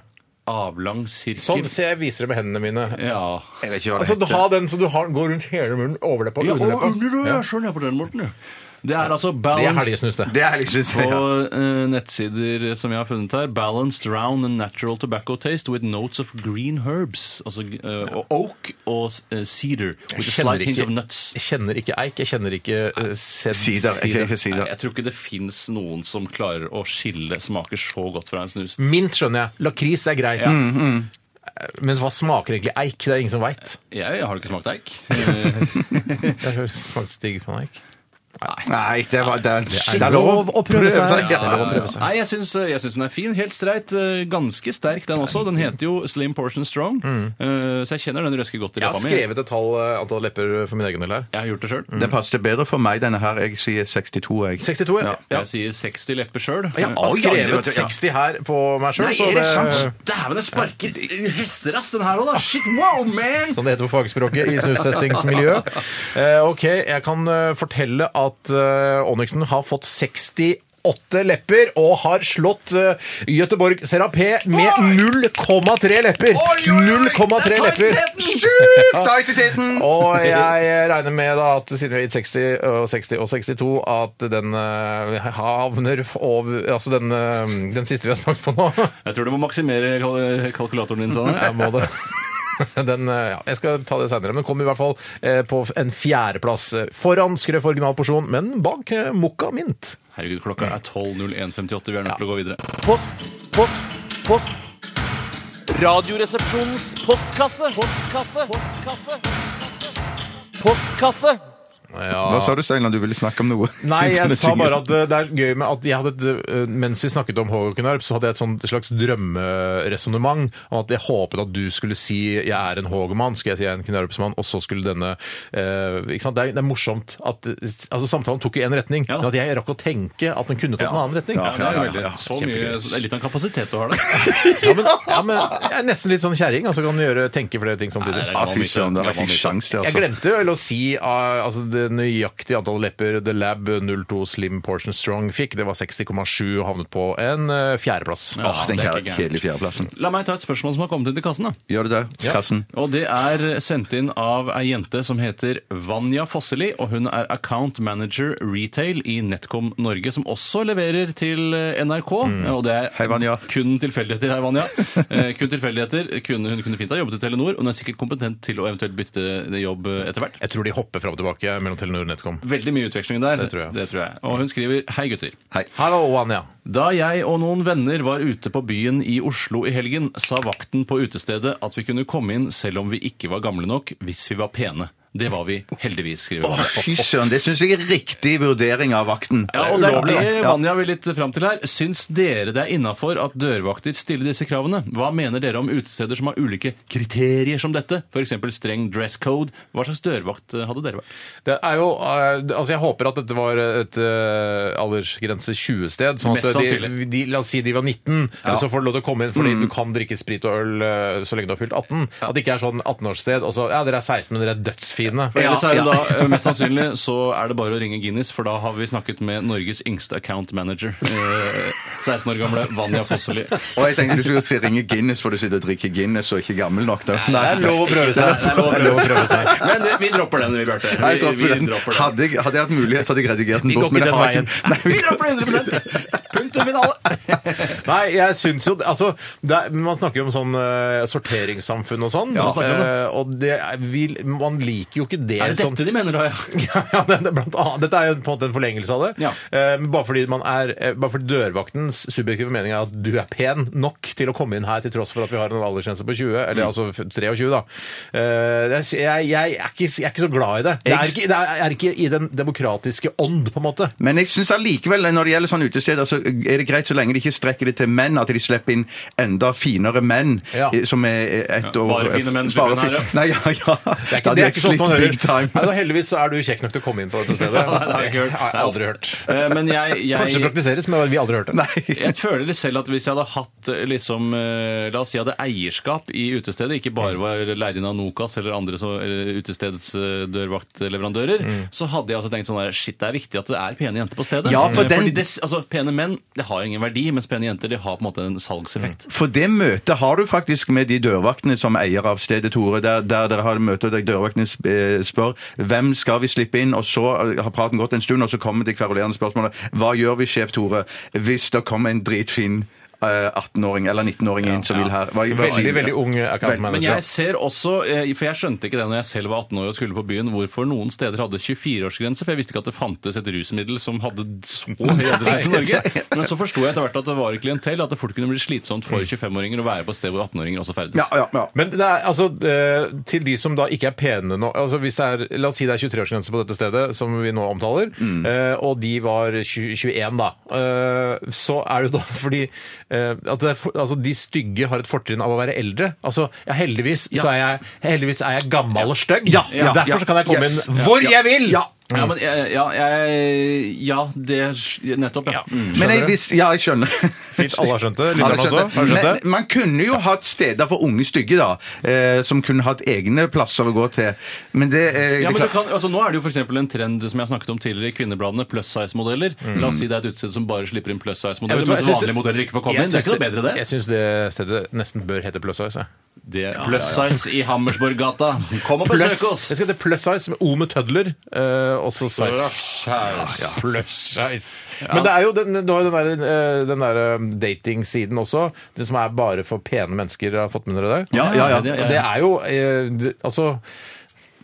[SPEAKER 8] Avlang sirkel.
[SPEAKER 7] Sånn, se, jeg viser det med hendene mine.
[SPEAKER 8] Ja.
[SPEAKER 3] Jeg vet ikke hva det
[SPEAKER 7] Altså, du
[SPEAKER 3] heter.
[SPEAKER 7] har den så du har, går rundt hele munnen, overleppa og
[SPEAKER 8] Ja, og
[SPEAKER 7] underleppa.
[SPEAKER 8] under, ja. Sånn er på den måten, ja. Det er altså
[SPEAKER 7] Det er
[SPEAKER 8] balanced
[SPEAKER 7] helgesnus, det.
[SPEAKER 3] Det er jeg liksom- synes jeg.
[SPEAKER 8] På
[SPEAKER 3] Ja.
[SPEAKER 8] eh, nettsider som jeg har funnet her Balanced round and natural tobacco taste with notes of green herbs. Altså eh, og oak og eh, cedar. With a
[SPEAKER 7] kjenner
[SPEAKER 8] slight hint
[SPEAKER 7] ikke-
[SPEAKER 8] of nuts.
[SPEAKER 7] Jeg kjenner ikke eik, jeg kjenner ikke uh, sed.
[SPEAKER 3] Sider. Jeg kan ikke si
[SPEAKER 8] Nei,
[SPEAKER 3] det.
[SPEAKER 8] jeg tror ikke det fins noen som klarer å skille smaker så godt fra en snus.
[SPEAKER 7] Mint skjønner jeg. Lakris er greit.
[SPEAKER 3] Mm,
[SPEAKER 7] Men hva smaker egentlig eik? Det er ingen som veit.
[SPEAKER 8] Jeg har ikke smakt eik.
[SPEAKER 7] Det høres smakte Stig van Eik.
[SPEAKER 3] Nei, det, var, det, er,
[SPEAKER 7] er lov å prøve seg.
[SPEAKER 3] Ja.
[SPEAKER 7] Det er lov å prøve seg.
[SPEAKER 8] Nei, jeg syns, jeg syns den er fin. Helt streit. eh, Ganske sterk, den også. Den heter jo Slim Portion Strong, eh, så jeg kjenner den røsker godt i
[SPEAKER 7] Jeg har
[SPEAKER 8] leppa mi.
[SPEAKER 7] skrevet et tall, eh, antall lepper for min egen del her.
[SPEAKER 8] Jeg har gjort det sjøl.
[SPEAKER 3] Den passer bedre for meg, denne her. Jeg sier 62, jeg.
[SPEAKER 7] 62, ja.
[SPEAKER 3] Ja.
[SPEAKER 7] ja.
[SPEAKER 8] Jeg sier 60 lepper sjøl.
[SPEAKER 7] Jeg
[SPEAKER 3] Oi,
[SPEAKER 7] har
[SPEAKER 3] ja, det
[SPEAKER 7] skrevet
[SPEAKER 3] vet jeg, ja.
[SPEAKER 7] 60 her på meg sjøl, så det
[SPEAKER 8] Dæven, det sparker hesterass, den her òg, da! Shit, wow, man!
[SPEAKER 7] som det heter på fagspråket i snustestingsmiljøet. Eh, ok, jeg kan eh, fortelle at eh, Onyxen har fått 68 lepper og har slått eh, Göteborg Serapé med 0,3 lepper! 0,3 lepper!
[SPEAKER 3] Sjukt! Da er jeg til tiden!
[SPEAKER 7] Og jeg regner med da at siden vi har gitt 60 og 60 og 62, at den eh, havner over Altså den, eh, den siste vi har smakt på nå.
[SPEAKER 8] Jeg tror du må maksimere kal kalkulatoren din, Sanne.
[SPEAKER 7] Jeg må det. Den, eh, ja, jeg skal ta det seinere, men kom i hvert fall eh, på en fjerdeplass. eh, Foran skrøf original porsjon, men bak eh, mokka mint.
[SPEAKER 8] Herregud, klokka er 12.01.58. Vi er nødt til å gå videre.
[SPEAKER 4] Post, post, post. Radioresepsjonens postkasse. Postkasse. Postkasse. Postkasse.
[SPEAKER 3] Hva sa du, Steinar? Du ville snakke om noe?
[SPEAKER 7] Nei, jeg
[SPEAKER 3] Denne
[SPEAKER 7] sa
[SPEAKER 3] jinglen.
[SPEAKER 7] bare at eh, det er gøy med at jeg hadde et, eh, mens vi snakket om Håkon Knarp, så hadde jeg et sånt slags drømmeresonnement om at jeg håpet at du skulle si 'jeg er en Hågemann', skulle jeg si 'jeg er en Knarpsmann', og så skulle denne eh, ikke sant? Det, er, det er morsomt at eh, altså, samtalen tok i én retning,
[SPEAKER 8] Ja.
[SPEAKER 7] men at jeg rakk å tenke at den kunne tatt en annen retning.
[SPEAKER 8] Ja, det er veldig, så mye, det er litt av en kapasitet du har der.
[SPEAKER 7] Ja, men, ja, men jeg er nesten litt sånn kjerring, altså kan gjøre, tenke flere ting samtidig.
[SPEAKER 8] Nei, det er
[SPEAKER 3] Ja, fy søren, det var ikke sjans det,
[SPEAKER 7] Jeg
[SPEAKER 3] altså.
[SPEAKER 7] glemte vel å si ah, altså, det nøyaktige antallet lepper The Lab 02 Slim Portion Strong fikk. Det var 60,7 og havnet på en eh, fjerdeplass.
[SPEAKER 8] Ja,
[SPEAKER 3] Den
[SPEAKER 8] det er ikke gærent.
[SPEAKER 3] kjedelige fjerdeplassen.
[SPEAKER 8] La meg ta et spørsmål som har kommet inn til kassen. da.
[SPEAKER 3] Gjør det der, Karsten.
[SPEAKER 8] Og det er sendt inn av ei jente som heter Vanja Fosseli, og hun er account manager retail i Netcom Norge, som også leverer til eh, NRK. Og det er
[SPEAKER 3] Hei, Vanja.
[SPEAKER 8] kun tilfeldigheter. Hei, Vanja. Eh, kun tilfeldigheter. Kunne, hun kunne fint ha jobbet i Telenor, og hun er sikkert kompetent til å eventuelt bytte det jobb eh, etter hvert.
[SPEAKER 7] Jeg tror de hopper fram og tilbake mellom Telenor og Netcom.
[SPEAKER 8] Veldig mye utveksling der.
[SPEAKER 7] Det tror jeg.
[SPEAKER 8] Det tror jeg. Og hun skriver Hei, gutter.
[SPEAKER 7] Hallo, Anja.
[SPEAKER 8] Da jeg og noen venner var ute på byen i Oslo i helgen, sa vakten på utestedet at vi kunne komme inn selv om vi ikke var gamle nok, hvis vi var pene. Det var vi heldigvis, skriver
[SPEAKER 3] Å,
[SPEAKER 8] hun.
[SPEAKER 3] Fy søren, det syns jeg er riktig vurdering av vakten.
[SPEAKER 8] Ja, og det er
[SPEAKER 3] Ulovlig,
[SPEAKER 8] det
[SPEAKER 3] da. Ja.
[SPEAKER 8] Vanja vil litt fram til her. Syns dere det er innafor at dørvakter stiller disse kravene? Hva mener dere om utesteder som har ulike kriterier som dette? F.eks. streng dress code. Hva slags dørvakt eh, hadde dere vært?
[SPEAKER 7] Det er jo, eh, altså Jeg håper at dette var et eh, aldersgrense 20-sted. sånn at
[SPEAKER 8] Mest
[SPEAKER 7] de,
[SPEAKER 8] sannsynlig. Mm.
[SPEAKER 7] de, La oss si de var 19, men så får du lov til å komme inn fordi du kan drikke sprit og øl eh, så lenge du har fylt 18. At det ikke er sånn 18-årssted og så ja, dere er 16, men dere er dødsfine.
[SPEAKER 8] For ellers
[SPEAKER 7] Ja,
[SPEAKER 8] er det
[SPEAKER 7] ja.
[SPEAKER 8] da, eh, Mest sannsynlig så er det bare å ringe Guinness, for da har vi snakket med Norges yngste account manager. Eh, 16 år gamle Vanja Fosseli.
[SPEAKER 3] Og jeg tenkte du skulle si ringe Guinness, for du sitter og drikker Guinness og er ikke gammel nok. da.
[SPEAKER 7] Det er lov å prøve seg. Det er lov å prøve seg.
[SPEAKER 8] Men eh, vi dropper den, vi, Bjarte.
[SPEAKER 3] Nei, jeg
[SPEAKER 8] Vi, vi
[SPEAKER 3] dropper den.
[SPEAKER 8] dropper den.
[SPEAKER 3] Hadde jeg, hadde jeg hatt mulighet, så hadde jeg redigert den
[SPEAKER 7] Vi går
[SPEAKER 3] bort. jeg
[SPEAKER 7] ikke den
[SPEAKER 3] har ikke-
[SPEAKER 7] veien.
[SPEAKER 3] Nei,
[SPEAKER 8] Vi dropper den 100 Punktum finale.
[SPEAKER 7] Nei, jeg syns jo altså, det er, Man snakker jo om sånn eh, sorteringssamfunn og sånn.
[SPEAKER 8] man snakker om det.
[SPEAKER 7] eh, og det er, vi, man liker jo ikke det.
[SPEAKER 8] Er det
[SPEAKER 7] sånn-
[SPEAKER 8] dette de mener, da? ja?
[SPEAKER 7] ja, det, det, er blant annet, dette er jo på en måte en forlengelse av det.
[SPEAKER 8] Ja.
[SPEAKER 7] Eh, men bare, fordi man er, eh, bare fordi dørvaktens subjektive mening er at du er pen nok til å komme inn her, til tross for at vi har en aldersgrense på 20,
[SPEAKER 8] Mm.
[SPEAKER 7] eller altså 23, da. Eh, det er- jeg, jeg, er ikke, jeg er ikke så glad i det. Det er ikke, det er, er ikke i den demokratiske ånd, på en måte.
[SPEAKER 3] Men jeg syns allikevel, når det gjelder sånne utesteder, så er det greit så lenge de ikke strekker det til menn, at de slipper inn enda finere menn
[SPEAKER 7] Ja.
[SPEAKER 3] eh, som er ett år
[SPEAKER 8] bare fine menn slipper
[SPEAKER 3] Bare
[SPEAKER 8] inn her,
[SPEAKER 3] fin-
[SPEAKER 8] ja.
[SPEAKER 3] Nei, ja, ja.
[SPEAKER 7] Det er ikke,
[SPEAKER 3] Da
[SPEAKER 7] det er
[SPEAKER 3] hadde
[SPEAKER 7] ikke
[SPEAKER 3] jeg
[SPEAKER 7] sånt man
[SPEAKER 3] slitt
[SPEAKER 7] hører.
[SPEAKER 3] big time.
[SPEAKER 7] Nei, da, heldigvis så er du kjekk nok til å komme inn på dette stedet.
[SPEAKER 8] Nei, det har jeg ikke hørt.
[SPEAKER 7] har jeg aldri hørt.
[SPEAKER 8] Eh, Men jeg,
[SPEAKER 7] Kanskje det
[SPEAKER 8] jeg
[SPEAKER 7] praktiseres, men vi har aldri hørt det.
[SPEAKER 3] Nei.
[SPEAKER 8] jeg føler litt selv at hvis jeg hadde hatt eh, liksom, eh, la oss si jeg hadde eierskap i utestedet, ikke bare var leid inn av Nokas eller andre så, eller utestedets eh, dørvaktleverandører,
[SPEAKER 3] Mm.
[SPEAKER 8] så hadde jeg altså tenkt sånn der, shit, det er viktig at det er pene jenter på stedet.
[SPEAKER 3] Ja, for
[SPEAKER 8] Eh,
[SPEAKER 3] den-
[SPEAKER 8] Fordi des, altså, pene menn, det har ingen verdi, mens pene jenter, de har på en måte en salgseffekt.
[SPEAKER 3] For det møtet har du faktisk med de dørvaktene som eier av stedet Tore, der, der dere har møte der dørvaktene sp- eh, spør hvem skal vi slippe inn, og så eh, har praten gått en stund, og så kommer det kverulerende spørsmålet hva gjør vi, sjef Tore, hvis det kommer en dritfin eh, 18-åring eller 19-åring inn som vil her? Hva, hva sier
[SPEAKER 7] Veldig,
[SPEAKER 3] vi da?
[SPEAKER 7] veldig ung account
[SPEAKER 3] Vel,
[SPEAKER 7] manager.
[SPEAKER 8] Men jeg ser også, eh, for jeg skjønte ikke det når jeg selv var 18 år og skulle på byen, hvorfor noen steder hadde 24-årsgrense, for jeg visste ikke at det fantes et rusmiddel som hadde så høy aldersgrense i Norge. Men så forsto jeg etter hvert at det var et klientell, at det fort kunne bli slitsomt
[SPEAKER 7] Mm.
[SPEAKER 8] for 25-åringer å være på et sted hvor 18-åringer også ferdes.
[SPEAKER 3] Ja, ja, ja.
[SPEAKER 7] Men det er, altså, eh, til de som da ikke er pene nå altså hvis det er, La oss si det er 23-årsgrense på dette stedet, som vi nå omtaler, eh, og de var 20, 21, da. eh, Så er det jo da fordi eh, at det er, for- altså, de stygge har et fortrinn av å være eldre. Altså, ja, heldigvis, Så er jeg, heldigvis er jeg gammel og stygg.
[SPEAKER 3] ja,
[SPEAKER 7] Derfor
[SPEAKER 3] ja.
[SPEAKER 7] så kan jeg komme
[SPEAKER 3] Yes.
[SPEAKER 7] inn hvor jeg vil!
[SPEAKER 3] Ja.
[SPEAKER 8] Ja, men, eh, ja, jeg- ja, det Nettopp, ja. Mm.
[SPEAKER 3] Men jeg,
[SPEAKER 7] Skjønner du?
[SPEAKER 3] hvis, ja, jeg skjønner.
[SPEAKER 7] Fint, alle har skjønt det. Lytterne
[SPEAKER 3] Alle har skjønt
[SPEAKER 7] også. Har du skjønt
[SPEAKER 3] Men
[SPEAKER 7] det?
[SPEAKER 3] man kunne jo hatt steder for unge stygge, da. Eh, som kunne hatt egne plasser å gå til. Men det, eh,
[SPEAKER 8] Ja,
[SPEAKER 3] det
[SPEAKER 8] men
[SPEAKER 3] klar-
[SPEAKER 8] du kan, altså, nå er det jo for eksempel en trend som jeg har snakket om tidligere i kvinnebladene, plus size-modeller. La oss si det er et utested som bare slipper inn plus
[SPEAKER 7] Mm. Jeg
[SPEAKER 8] size-modeller,
[SPEAKER 7] vet
[SPEAKER 8] mens
[SPEAKER 7] hva, jeg syns
[SPEAKER 8] vanlige
[SPEAKER 7] det-
[SPEAKER 8] modeller ikke får komme
[SPEAKER 7] Jeg
[SPEAKER 8] inn. Det er
[SPEAKER 7] syns
[SPEAKER 8] ikke noe bedre det.
[SPEAKER 7] Jeg syns det stedet nesten bør hete Plus Size. jeg.
[SPEAKER 8] Det er plus size i Hammersborggata. Kom og
[SPEAKER 7] Plus,
[SPEAKER 8] besøk oss!
[SPEAKER 7] jeg skal hete Plus Size med O med tødler. eh, også size. Ja, Plus Size. Men det er jo den, du har jo den der, eh, den der eh, datingsiden også, den som er bare for pene mennesker. Har jeg fått med dere det?
[SPEAKER 3] Ja, ja, ja.
[SPEAKER 7] Og det er jo eh, det, Altså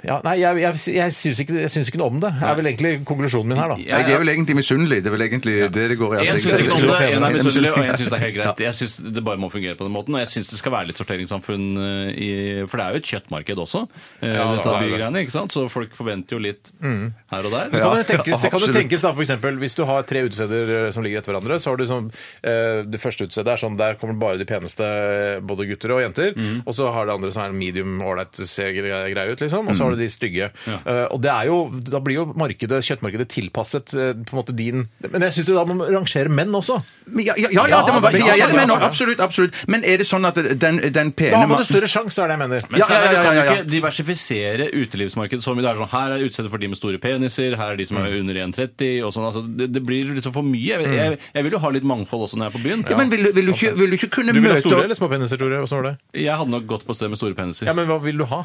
[SPEAKER 7] Ja, nei, jeg, jeg, jeg, syns ikke, jeg syns ikke noe om det. er vel egentlig konklusjonen min her, da.
[SPEAKER 3] Jeg er vel egentlig misunnelig. Det er vel egentlig det det går i.
[SPEAKER 8] Én
[SPEAKER 3] at jeg-
[SPEAKER 8] syns ikke noe om det, én er misunnelig, og én syns det er helt
[SPEAKER 3] Ja.
[SPEAKER 8] greit. Jeg syns det bare må fungere på den måten, og jeg syns det skal være litt sorteringssamfunn eh, i For det er jo et kjøttmarked også, eh,
[SPEAKER 7] Ja,
[SPEAKER 8] dette
[SPEAKER 7] det er det.
[SPEAKER 8] bygreiene, ikke sant? Så folk forventer jo litt
[SPEAKER 3] Mm.
[SPEAKER 8] her og der.
[SPEAKER 7] Det kan, jo tenkes, det kan jo
[SPEAKER 3] absolutt.
[SPEAKER 7] tenkes da, for eksempel, Hvis du har tre utesteder eh, som ligger etter hverandre, så har du sånn eh, Det første utestedet er sånn der kommer bare de peneste, eh, både gutter og jenter. Og så har det andre som er medium ålreit, ser gre- greie ut, liksom. Og så har du de stygge. Eh, og det er jo, da blir jo markedet, kjøttmarkedet tilpasset eh, på en måte din Men jeg syns du da må rangere menn også.
[SPEAKER 3] Men Ja, ja, ja, ja, det må være,
[SPEAKER 7] men-
[SPEAKER 3] ja, ja, men, absolutt, absolutt. Men er det sånn at den, den pene
[SPEAKER 7] Da har
[SPEAKER 3] ma-
[SPEAKER 7] du større sjanse, er det jeg mener.
[SPEAKER 8] Men så
[SPEAKER 3] Ja,
[SPEAKER 8] er det-
[SPEAKER 3] ja, ja,
[SPEAKER 8] kan
[SPEAKER 3] ja,
[SPEAKER 8] jo
[SPEAKER 3] ja.
[SPEAKER 8] ikke diversifisere utelivsmarkedet så mye. Det er sånn, Her er utstedet for de med store peniser, her er de som er
[SPEAKER 3] Mm.
[SPEAKER 8] under 1,30 og sånn. Altså, det, det blir liksom for mye. Jeg, jeg, jeg vil jo ha litt mangfold også når jeg er på byen.
[SPEAKER 3] ja, men vil, du- vil, du ikke, vil du ikke kunne
[SPEAKER 7] Du vil ha
[SPEAKER 3] møte
[SPEAKER 7] store eller små peniser, Tore? Åssen var det?
[SPEAKER 8] Jeg hadde nok gått på sted med store peniser.
[SPEAKER 7] Ja, men hva vil du ha?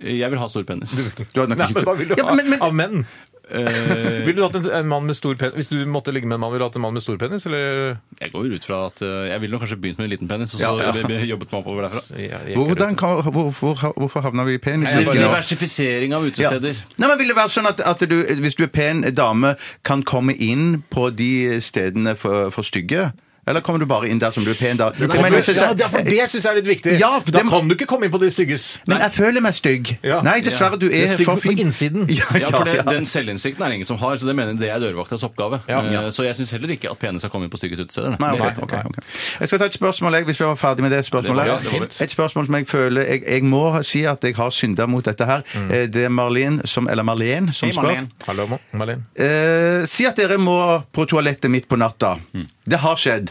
[SPEAKER 8] Jeg vil ha stor penis.
[SPEAKER 3] Du hadde nok
[SPEAKER 7] Nei,
[SPEAKER 3] ikke-
[SPEAKER 7] men hva vil du
[SPEAKER 3] Ja,
[SPEAKER 7] ha
[SPEAKER 3] men- men-
[SPEAKER 7] av menn?
[SPEAKER 8] Eh,
[SPEAKER 7] Vil du hatt en, en mann med stor penis? Hvis du måtte ligge med en mann, ville du hatt en mann med stor penis, eller?
[SPEAKER 8] jeg går ut fra at eh, jeg ville nok kanskje begynt med en liten penis, og så
[SPEAKER 3] Ja, ja.
[SPEAKER 8] be- be- jobbet meg oppover derfra.
[SPEAKER 3] Hvordan, kan- hvorfor, hvorfor havna vi i penis?
[SPEAKER 7] Nei, jeg bare-
[SPEAKER 8] Diversifisering av utesteder.
[SPEAKER 3] Nei, men Vil det være sånn at, at du, hvis du er pen dame, kan komme inn på de stedene for, for stygge? Eller kommer du bare inn der som du er pen? da?
[SPEAKER 7] Nei,
[SPEAKER 3] Men
[SPEAKER 7] men,
[SPEAKER 3] hvis jeg-
[SPEAKER 7] ja, det- for det syns jeg er litt viktig.
[SPEAKER 3] Ja, for
[SPEAKER 7] da
[SPEAKER 3] det-
[SPEAKER 7] kan du ikke komme inn på de stygges.
[SPEAKER 3] Men jeg føler meg stygg.
[SPEAKER 7] Ja.
[SPEAKER 3] Nei, dessverre, du
[SPEAKER 7] Du
[SPEAKER 3] er,
[SPEAKER 7] er stygg
[SPEAKER 3] for
[SPEAKER 7] på
[SPEAKER 3] fin.
[SPEAKER 7] innsiden.
[SPEAKER 3] Ja, ja,
[SPEAKER 8] Ja, for det,
[SPEAKER 3] ja.
[SPEAKER 8] Den selvinnsikten er det ingen som har, så det mener jeg det er dørvaktas oppgave.
[SPEAKER 7] Ja.
[SPEAKER 8] Eh, Så jeg syns heller ikke at penis har kommet inn på stygge utesteder. nei.
[SPEAKER 3] Nei, ok, ok, ok. Jeg skal ta et spørsmål, jeg, hvis vi var ferdig med det spørsmålet.
[SPEAKER 8] Det var- ja, det var fint.
[SPEAKER 3] et spørsmål som jeg føler Jeg, jeg må si at jeg har synda mot dette her.
[SPEAKER 7] Mm.
[SPEAKER 3] Eh, Det er Marlene som, eller Marlene som
[SPEAKER 8] Hei,
[SPEAKER 3] spør.
[SPEAKER 8] Marlene.
[SPEAKER 7] Hallo, Ma- Malin.
[SPEAKER 3] Eh, si at dere må på toalettet midt på natta.
[SPEAKER 7] Mm.
[SPEAKER 3] Det har skjedd.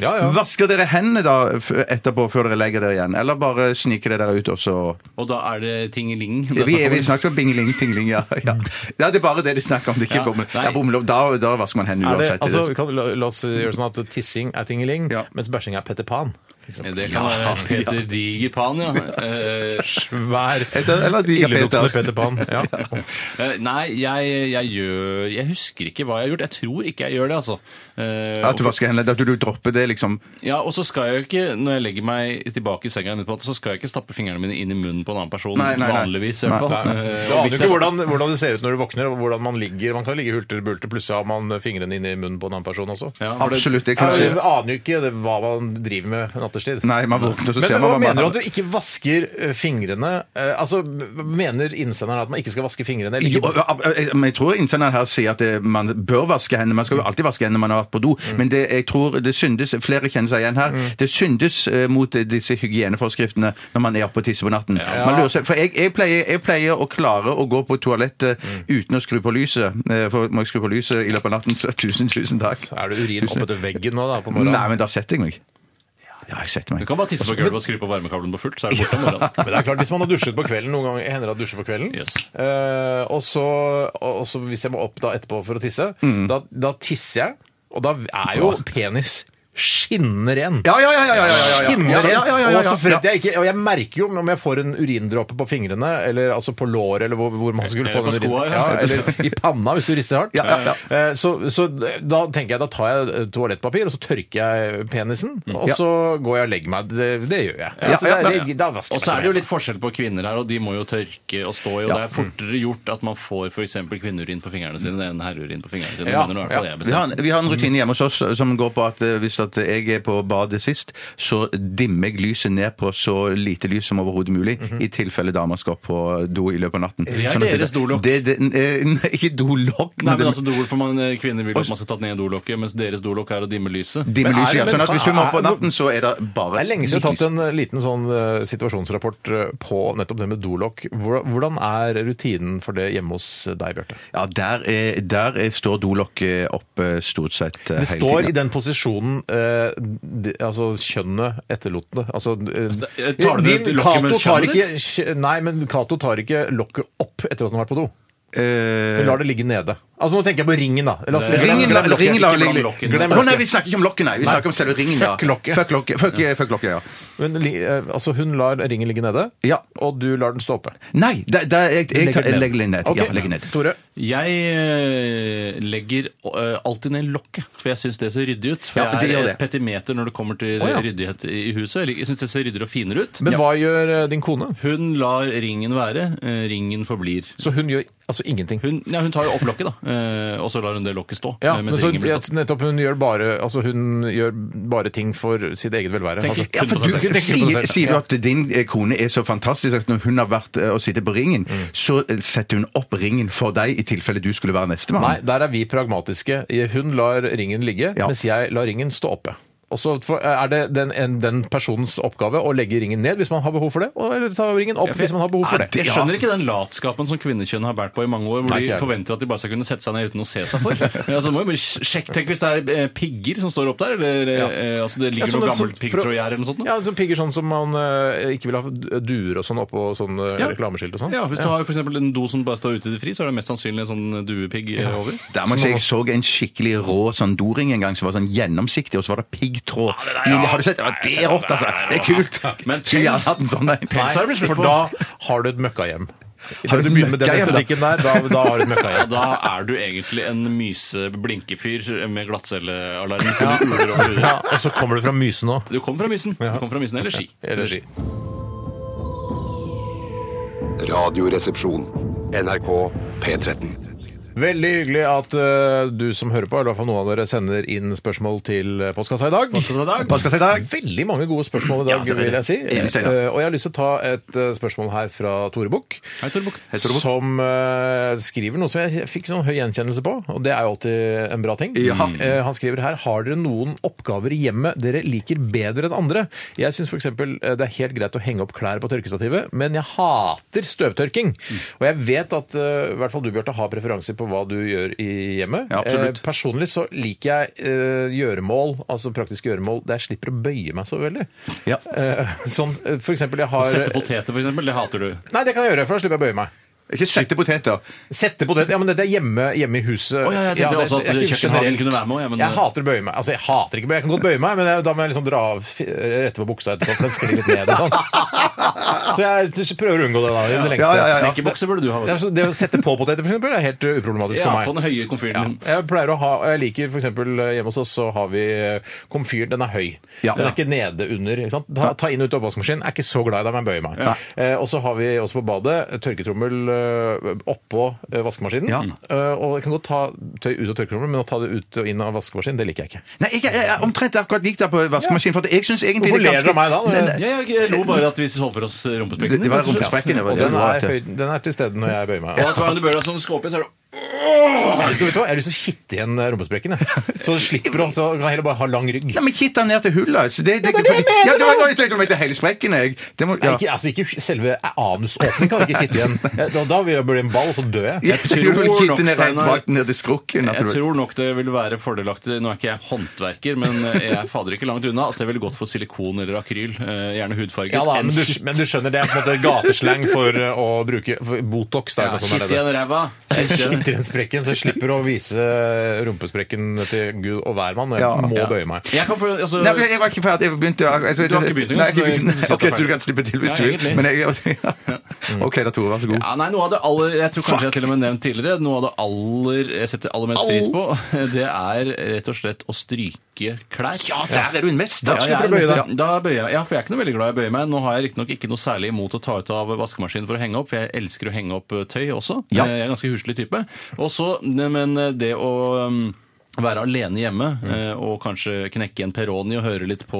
[SPEAKER 7] Ja, ja.
[SPEAKER 3] Vasker dere hendene da f- etterpå før dere legger dere igjen, eller bare sniker dere ut og så
[SPEAKER 8] Og da er det tingeling.
[SPEAKER 3] Vi, er- vi snakker om bingling, tingling, ja. ja. Ja, Det er bare det de snakker om. Det er
[SPEAKER 8] Ja,
[SPEAKER 3] ikke bomull.
[SPEAKER 8] nei.
[SPEAKER 3] Ja, bomull. Da, da vasker man hendene
[SPEAKER 7] Er det,
[SPEAKER 3] uansett.
[SPEAKER 7] altså, vi kan, la, la oss gjøre sånn at tissing er tingeling,
[SPEAKER 3] Ja.
[SPEAKER 7] mens bæsjing er Petter Pan.
[SPEAKER 8] Det kan være Peter Digerpan, ja. Eh,
[SPEAKER 7] Svær,
[SPEAKER 3] Etter- eller de-
[SPEAKER 7] illeluktende
[SPEAKER 3] Peter.
[SPEAKER 7] Peter Pan. Ja.
[SPEAKER 8] eh, nei, jeg, jeg gjør Jeg husker ikke hva jeg har gjort. Jeg tror ikke jeg gjør det, altså. Eh,
[SPEAKER 3] At du vasker hendene, at du, du dropper det, liksom.
[SPEAKER 8] Ja, og så skal jeg jo ikke, når jeg legger meg tilbake i senga, midt på natta, så skal jeg ikke stappe fingrene mine inn i munnen på en annen person.
[SPEAKER 3] Nei, nei, nei.
[SPEAKER 8] Vanligvis, i hvert fall. Eh, og
[SPEAKER 7] Du aner
[SPEAKER 8] hvis
[SPEAKER 7] ikke
[SPEAKER 8] jeg-
[SPEAKER 7] hvordan, hvordan det ser ut når du våkner, og hvordan man ligger. Man kan ligge hulter bulter, plutselig har man fingrene inn i munnen på en annen person også.
[SPEAKER 8] Ja, for det-
[SPEAKER 3] Absolutt. Det
[SPEAKER 7] Ja,
[SPEAKER 3] kan skje.
[SPEAKER 7] Du aner jo ikke det, hva man driver med nattestid.
[SPEAKER 3] Nei, man våkner, så
[SPEAKER 7] Men
[SPEAKER 3] ser
[SPEAKER 7] hva
[SPEAKER 3] man hva man
[SPEAKER 7] mener du at du ikke vasker eh, fingrene eh, Altså, Mener innsenderen at man ikke skal vaske fingrene? Eller
[SPEAKER 3] Jo,
[SPEAKER 7] ikke
[SPEAKER 3] jeg- men jeg tror innsenderen her sier at det, man bør vaske hendene. Man skal jo alltid vaske hendene når man har vært på do, men det, jeg tror det syndes Flere kjenner seg igjen her. Det syndes eh, mot eh, disse hygieneforskriftene når man er oppe og tisser på natten. Man lurer seg, for jeg, jeg, pleier, jeg pleier å klare å gå på toalettet uten å skru på lyset. Eh, For må jeg skru på lyset i løpet av natten, så tusen, tusen takk.
[SPEAKER 7] Så er det urin
[SPEAKER 3] Tusen-
[SPEAKER 7] oppetter veggen nå, da, på morgenen?
[SPEAKER 3] Nei, men da setter jeg meg. Ja, jeg setter
[SPEAKER 8] Du
[SPEAKER 3] meg.
[SPEAKER 8] kan bare tisse på gulvet og skru på varmekabelen på fullt, så er det borte om morgenen.
[SPEAKER 7] Men det er klart, Hvis man har dusjet på kvelden noen ganger, hender det at jeg dusjer på kvelden.
[SPEAKER 8] Yes.
[SPEAKER 7] eh, og, så, og og så hvis jeg må opp da etterpå for å tisse,
[SPEAKER 3] Mm.
[SPEAKER 7] da, da tisser jeg, og da er jo penis skinnende ren.
[SPEAKER 3] Ja, ja, ja, ja, ja, ja, ja, ja.
[SPEAKER 7] Skinnende ren.
[SPEAKER 3] Ja, ja, ja, ja,
[SPEAKER 7] Og,
[SPEAKER 3] ja.
[SPEAKER 7] så fremt jeg ikke, og jeg merker jo om jeg får en urindråpe på fingrene, eller altså på låret, eller hvor, hvor man skulle
[SPEAKER 8] Eller
[SPEAKER 7] få den
[SPEAKER 8] på skoa,
[SPEAKER 7] urin...
[SPEAKER 8] ja.
[SPEAKER 7] Ja, eller i panna, hvis du rister hardt.
[SPEAKER 3] Ja, ja,
[SPEAKER 7] Eh, Så, så da tenker jeg, da tar jeg eh, toalettpapir, og så tørker jeg penisen, og
[SPEAKER 3] Mm. Ja.
[SPEAKER 7] så går jeg og legger meg. Det, det gjør jeg.
[SPEAKER 3] Ja,
[SPEAKER 7] så
[SPEAKER 3] ja,
[SPEAKER 7] det-
[SPEAKER 3] ja.
[SPEAKER 7] det- Da vasker
[SPEAKER 8] Og
[SPEAKER 7] jeg
[SPEAKER 8] så er
[SPEAKER 7] meg. Mm.
[SPEAKER 8] det jo litt forskjell på kvinner her, og de må jo tørke og stå i, og det er fortere gjort at man får f.eks. kvinneurin på fingrene sine enn herreurin på fingrene sine.
[SPEAKER 7] Ja,
[SPEAKER 8] mener i hvert fall
[SPEAKER 7] ja.
[SPEAKER 8] jeg
[SPEAKER 3] Vi har,
[SPEAKER 8] bestemt.
[SPEAKER 3] en, vi har
[SPEAKER 7] Mm.
[SPEAKER 3] en rutine hjemme hos oss som går på at eh, hvis at jeg er på badet sist, så dimmer jeg lyset ned på så lite lys som overhodet mulig,
[SPEAKER 7] Mhm.
[SPEAKER 3] i tilfelle damer skal på do i løpet av natten.
[SPEAKER 8] Det er
[SPEAKER 3] at
[SPEAKER 8] deres dolokk.
[SPEAKER 3] Det, det, eh, nei, ikke dolokk,
[SPEAKER 8] Nei,
[SPEAKER 3] men,
[SPEAKER 8] men
[SPEAKER 3] det-
[SPEAKER 8] altså, dol, for man, eh, Kvinner vil jo at man skal ta ned dolokket, mens deres dolokk er å dimme lyset.
[SPEAKER 3] dimmer
[SPEAKER 7] Men er
[SPEAKER 3] lyset.
[SPEAKER 7] det-
[SPEAKER 3] Ja. Sånn at hvis vi må på
[SPEAKER 7] men-
[SPEAKER 3] natten, så er det bare
[SPEAKER 7] Det er lenge siden jeg har
[SPEAKER 3] litt lys.
[SPEAKER 7] tatt en eh, liten sånn eh, situasjonsrapport eh, på nettopp det med dolokk. Hvor- Hvordan er rutinen for det hjemme hos eh, deg, Bjarte?
[SPEAKER 3] Ja, der, er, der er, står dolokket oppe stort sett eh,
[SPEAKER 7] Det
[SPEAKER 3] hele
[SPEAKER 7] står i
[SPEAKER 3] tiden.
[SPEAKER 7] den posisjonen eh, de, altså kjønnet etterlot det. Altså, eh,
[SPEAKER 8] eh, tar du
[SPEAKER 7] din-
[SPEAKER 8] det lokket med
[SPEAKER 7] Cato tar
[SPEAKER 8] kjønnet
[SPEAKER 7] ikke kjø- Nei, men Cato tar ikke lokket opp etter at han har vært på do.
[SPEAKER 3] Eh,
[SPEAKER 7] Hun lar det ligge nede. Altså Nå tenker jeg på ringen, da. La oss- glem-
[SPEAKER 3] Ringen,
[SPEAKER 7] glem
[SPEAKER 3] la,
[SPEAKER 7] lokket.
[SPEAKER 3] ringen la,
[SPEAKER 7] Ikke
[SPEAKER 3] ligge-
[SPEAKER 7] glem lokket. Glem
[SPEAKER 3] Å, nei, vi
[SPEAKER 7] lokket.
[SPEAKER 3] snakker ikke om lokket, nei. Vi snakker om selve ringen. ja.
[SPEAKER 7] Fuck lokket.
[SPEAKER 3] Fuck lokket, fuck, eh, fuck lokket ja.
[SPEAKER 7] Men, li- eh, altså, hun lar ringen ligge nede,
[SPEAKER 3] Ja.
[SPEAKER 7] og du lar den stå oppe.
[SPEAKER 3] Nei, da, da, jeg, jeg, tar- jeg legger den ned.
[SPEAKER 7] Ok.
[SPEAKER 3] Ja, legger ned.
[SPEAKER 7] Tore?
[SPEAKER 8] Jeg eh, legger eh, alltid ned lokket, for jeg syns det ser ryddig ut. For
[SPEAKER 3] Ja, det
[SPEAKER 8] jeg
[SPEAKER 3] gjør
[SPEAKER 8] er
[SPEAKER 3] det.
[SPEAKER 8] et petimeter når det kommer til
[SPEAKER 7] Å, ja.
[SPEAKER 8] ryddighet i i huset. Jeg lik- Jeg syns det ser ryddigere og finere ut.
[SPEAKER 7] Men hva gjør eh, din kone?
[SPEAKER 8] Hun lar ringen være. eh, Ringen forblir.
[SPEAKER 7] Så hun gjør altså ingenting.
[SPEAKER 8] Hun, ja, hun tar jo opp lokket, da, eh, og så lar hun det lokket stå.
[SPEAKER 7] Ja,
[SPEAKER 8] eh,
[SPEAKER 7] men
[SPEAKER 8] mens
[SPEAKER 7] så,
[SPEAKER 8] ringen blir tatt.
[SPEAKER 7] nettopp hun gjør, bare, altså hun gjør bare ting for sitt eget velvære.
[SPEAKER 8] Tenker
[SPEAKER 7] Altså,
[SPEAKER 8] ikke kun på seg selv.
[SPEAKER 7] tenker ikke på
[SPEAKER 3] Sier,
[SPEAKER 7] seg selv.
[SPEAKER 3] sier du at din eh, kone er så fantastisk at når hun har vært eh, og sitter på ringen, så eh, setter hun opp ringen for deg i tilfelle du skulle være nestemann?
[SPEAKER 7] Nei, der er vi pragmatiske. Hun lar ringen ligge,
[SPEAKER 3] Ja.
[SPEAKER 7] mens jeg lar ringen stå oppe. Og så får- er det den, en, den personens oppgave å legge ringen ned hvis man har behov for det, og, eller ta ringen opp
[SPEAKER 8] Ja, for-
[SPEAKER 7] hvis man har behov for det.
[SPEAKER 8] Jeg skjønner ikke den latskapen som kvinnekjønn har båret på i mange år, hvor
[SPEAKER 7] Nei, ikke
[SPEAKER 8] de
[SPEAKER 7] jeg.
[SPEAKER 8] forventer at de bare skal kunne sette seg ned uten å se seg for. Ja, altså, må jo bare sjekk, Tenk hvis det er eh, pigger som står opp der, eller eh,
[SPEAKER 7] Ja.
[SPEAKER 8] eh, altså, det
[SPEAKER 7] Ja,
[SPEAKER 8] ligger
[SPEAKER 7] sånn
[SPEAKER 8] noe
[SPEAKER 7] at-
[SPEAKER 8] gammelt
[SPEAKER 7] for å-
[SPEAKER 8] piggtrådgjerde eller noe sånt. nå.
[SPEAKER 7] Ja, som pigger sånn som man eh, ikke vil ha duer og sånn oppå sånn eh,
[SPEAKER 8] Ja.
[SPEAKER 7] reklameskilt og sånn.
[SPEAKER 8] Ja, Hvis du har for eksempel en do som bare står ute i det fri, så er det mest sannsynlig en sånn duepigg eh, over.
[SPEAKER 3] Der må jeg si, jeg så en skikkelig rå sånn doring en gang som var sånn gjennomsiktig, og så var det piggtråd. i- Har du sett? Ja, det er rått, altså! Det er kult!
[SPEAKER 8] Men
[SPEAKER 3] Skulle gjerne hatt en sånn en.
[SPEAKER 7] Nei, for da har du et møkkahjem. Når du
[SPEAKER 3] du
[SPEAKER 7] begynner med den
[SPEAKER 3] møkkahjem, da?
[SPEAKER 7] estetikken der, da, da har du et
[SPEAKER 8] Ja,
[SPEAKER 7] møkkahjem.
[SPEAKER 8] da er du egentlig en myse-blinkefyr med glattcellealarm som du uler over
[SPEAKER 7] Ja,
[SPEAKER 8] hodet.
[SPEAKER 7] og så kommer det fra mysen òg.
[SPEAKER 8] Du kom fra mysen. Du kom fra mysen eller ski.
[SPEAKER 6] Radioresepsjon.
[SPEAKER 1] NRK P13.
[SPEAKER 7] Veldig hyggelig at eh, du som hører på, eller i hvert fall noen av dere, sender inn spørsmål til eh, postkassa i dag.
[SPEAKER 3] Postkassa i dag.
[SPEAKER 7] Veldig mange gode spørsmål i dag,
[SPEAKER 3] Ja, det er det.
[SPEAKER 7] vil jeg si.
[SPEAKER 3] Enig stein, ja.
[SPEAKER 7] Eh, og jeg har lyst til å ta et eh, spørsmål her fra Tore Bukk.
[SPEAKER 8] Hei, Tore Bukk.
[SPEAKER 3] Tore Bukk.
[SPEAKER 7] Som eh, skriver noe som jeg fikk sånn høy gjenkjennelse på, og det er jo alltid en bra ting.
[SPEAKER 3] Ja.
[SPEAKER 7] Eh, han skriver her Har dere noen oppgaver i hjemmet dere liker bedre enn andre? Jeg syns f.eks. eh, det er helt greit å henge opp klær på tørkestativet, men jeg hater støvtørking.
[SPEAKER 3] Mm.
[SPEAKER 7] Og jeg vet at eh, i hvert fall du, Bjarte, har preferanser på hva du gjør i hjemmet.
[SPEAKER 3] Ja, absolutt.
[SPEAKER 7] Eh, personlig så liker jeg eh, gjøremål, altså praktiske gjøremål, der jeg slipper å bøye meg så veldig.
[SPEAKER 3] Ja.
[SPEAKER 7] Eh, sånn, eh, for eksempel, jeg har
[SPEAKER 8] Sette poteter, for eksempel. Det hater du.
[SPEAKER 7] Nei, det kan jeg gjøre, for da slipper jeg å bøye meg.
[SPEAKER 3] Ikke sette poteter.
[SPEAKER 7] Sette potet, ja, men dette er hjemme, hjemme i huset.
[SPEAKER 8] Å, ja, jeg tenkte også at
[SPEAKER 7] er ikke
[SPEAKER 8] kjøkkenhagen
[SPEAKER 7] generelt.
[SPEAKER 8] kunne være med også, ja, men-
[SPEAKER 7] Jeg hater å bøye meg. Altså, jeg hater ikke bøye. Jeg kan godt bøye meg, men jeg, da må jeg liksom dra av fi- rette på buksa etterpå, for den sklir litt ned og sånn. Så jeg prøver å unngå det da, i det lengste.
[SPEAKER 3] Ja, ja, ja, ja.
[SPEAKER 8] Snekkerbukse burde du ha.
[SPEAKER 7] Det, er så, det å sette på poteter, for eksempel, er helt uh, uproblematisk
[SPEAKER 8] Ja, på
[SPEAKER 7] for
[SPEAKER 8] den
[SPEAKER 7] meg.
[SPEAKER 8] høye komfyren din.
[SPEAKER 7] Jeg pleier å ha, jeg liker for eksempel eh, hjemme hos oss, så har vi eh, komfyr, den er høy.
[SPEAKER 3] Ja.
[SPEAKER 7] Den er ikke nede under, ikke sant? Ta, ta inn og ut oppvaskmaskinen, er ikke så glad i deg, men bøyer meg. Eh, og så har vi også på badet tørketrommel eh, oppå eh, vaskemaskinen.
[SPEAKER 3] Ja.
[SPEAKER 7] Eh, og jeg kan godt ta tøy ut av tørketrommelen, men å ta det ut og inn av vaskemaskinen, det liker jeg ikke.
[SPEAKER 3] Nei, jeg, jeg, jeg omtrent akkurat lik der på vaskemaskinen. For at jeg synes egentlig
[SPEAKER 7] Hvorfor
[SPEAKER 3] det er
[SPEAKER 7] ler dere av meg da?
[SPEAKER 3] Nei, nei,
[SPEAKER 8] Jeg, jeg lo bare at vi så for oss
[SPEAKER 3] Det,
[SPEAKER 8] rumpesprekken.
[SPEAKER 3] det var rumpesprekken. det var
[SPEAKER 7] Og
[SPEAKER 3] det
[SPEAKER 7] den
[SPEAKER 3] du var
[SPEAKER 7] er,
[SPEAKER 3] til.
[SPEAKER 7] høy, den er til stede når jeg bøyer meg.
[SPEAKER 8] Og at hver gang du bør deg sånn skåpe, så er det
[SPEAKER 7] Jeg har lyst til- vet du hva? Jeg har lyst til å kitte igjen eh, rumpesprekken, jeg. Så slipper du, så kan jeg heller bare ha lang rygg.
[SPEAKER 3] Nei, men kitt den ned til hullet. Så det, det,
[SPEAKER 7] det er det jeg mener,
[SPEAKER 3] ja, det
[SPEAKER 7] da!
[SPEAKER 3] var, jeg tenkte om jeg til hele sprekken, jeg. Det må,
[SPEAKER 7] Nei,
[SPEAKER 3] ja.
[SPEAKER 7] ikke, altså, ikke selve anusåpningen kan ikke sitte igjen. Da, da vil jeg bli en ball, og så dør jeg.
[SPEAKER 3] Jeg tror
[SPEAKER 8] tror
[SPEAKER 3] vel
[SPEAKER 8] nok,
[SPEAKER 3] kitten er rent
[SPEAKER 8] Steinar-
[SPEAKER 3] bak ned til skrukken. at
[SPEAKER 8] Jeg
[SPEAKER 3] det-
[SPEAKER 8] tror nok det vil være fordelaktig Nå er ikke jeg håndverker, men eh, jeg fader ikke langt unna at jeg ville gått for silikon eller akryl. eh, Gjerne hudfarget.
[SPEAKER 7] Ja da,
[SPEAKER 8] Enn
[SPEAKER 7] men du,
[SPEAKER 8] skitt-
[SPEAKER 7] men du skjønner, det er på en måte gatesleng for eh, å bruke for Botox. Da,
[SPEAKER 8] ja,
[SPEAKER 7] eller noe sånt
[SPEAKER 8] Skitt
[SPEAKER 7] er det.
[SPEAKER 8] igjen ræva. Skitt igjen.
[SPEAKER 7] Kitt i den sprekken, så jeg slipper å vise rumpesprekken til Gud og hvermann. og Jeg
[SPEAKER 3] Ja.
[SPEAKER 7] må
[SPEAKER 8] Ja.
[SPEAKER 7] bøye meg.
[SPEAKER 8] Jeg kan få, altså,
[SPEAKER 3] Nei, men jeg var ikke ferdig. Jeg begynte å- jeg, jeg,
[SPEAKER 8] Du har ikke begynt engang,
[SPEAKER 3] Nei, jeg,
[SPEAKER 8] så du-
[SPEAKER 3] har ikke begynt.
[SPEAKER 8] du satt deg
[SPEAKER 3] Ok, så du
[SPEAKER 8] ferdig.
[SPEAKER 3] kan slippe til hvis
[SPEAKER 8] Ja,
[SPEAKER 3] du vil.
[SPEAKER 8] egentlig.
[SPEAKER 3] Men jeg, ja. OK da, Tore. Vær så god.
[SPEAKER 8] Ja, nei, noe av det aller, Jeg tror kanskje jeg til og med nevnt tidligere Noe av det aller jeg setter aller mest pris på, det er rett og slett å stryke klær. Ja,
[SPEAKER 3] der er du en mester.
[SPEAKER 8] jeg
[SPEAKER 3] Ja,
[SPEAKER 8] er
[SPEAKER 3] jeg er
[SPEAKER 8] mest-
[SPEAKER 3] mester.
[SPEAKER 8] ja, da bøyer jeg. Ja, for jeg er ikke noe veldig glad i å bøye meg. Nå har jeg riktignok ikke noe særlig imot å ta ut av vaskemaskinen for å henge opp, for jeg elsker å henge opp eh, tøy også.
[SPEAKER 3] Ja.
[SPEAKER 8] Eh, Jeg er ganske huslig type. Og så, ne- men eh, det å um, være alene hjemme
[SPEAKER 3] Mm.
[SPEAKER 8] eh, og kanskje knekke en Peroni og høre litt på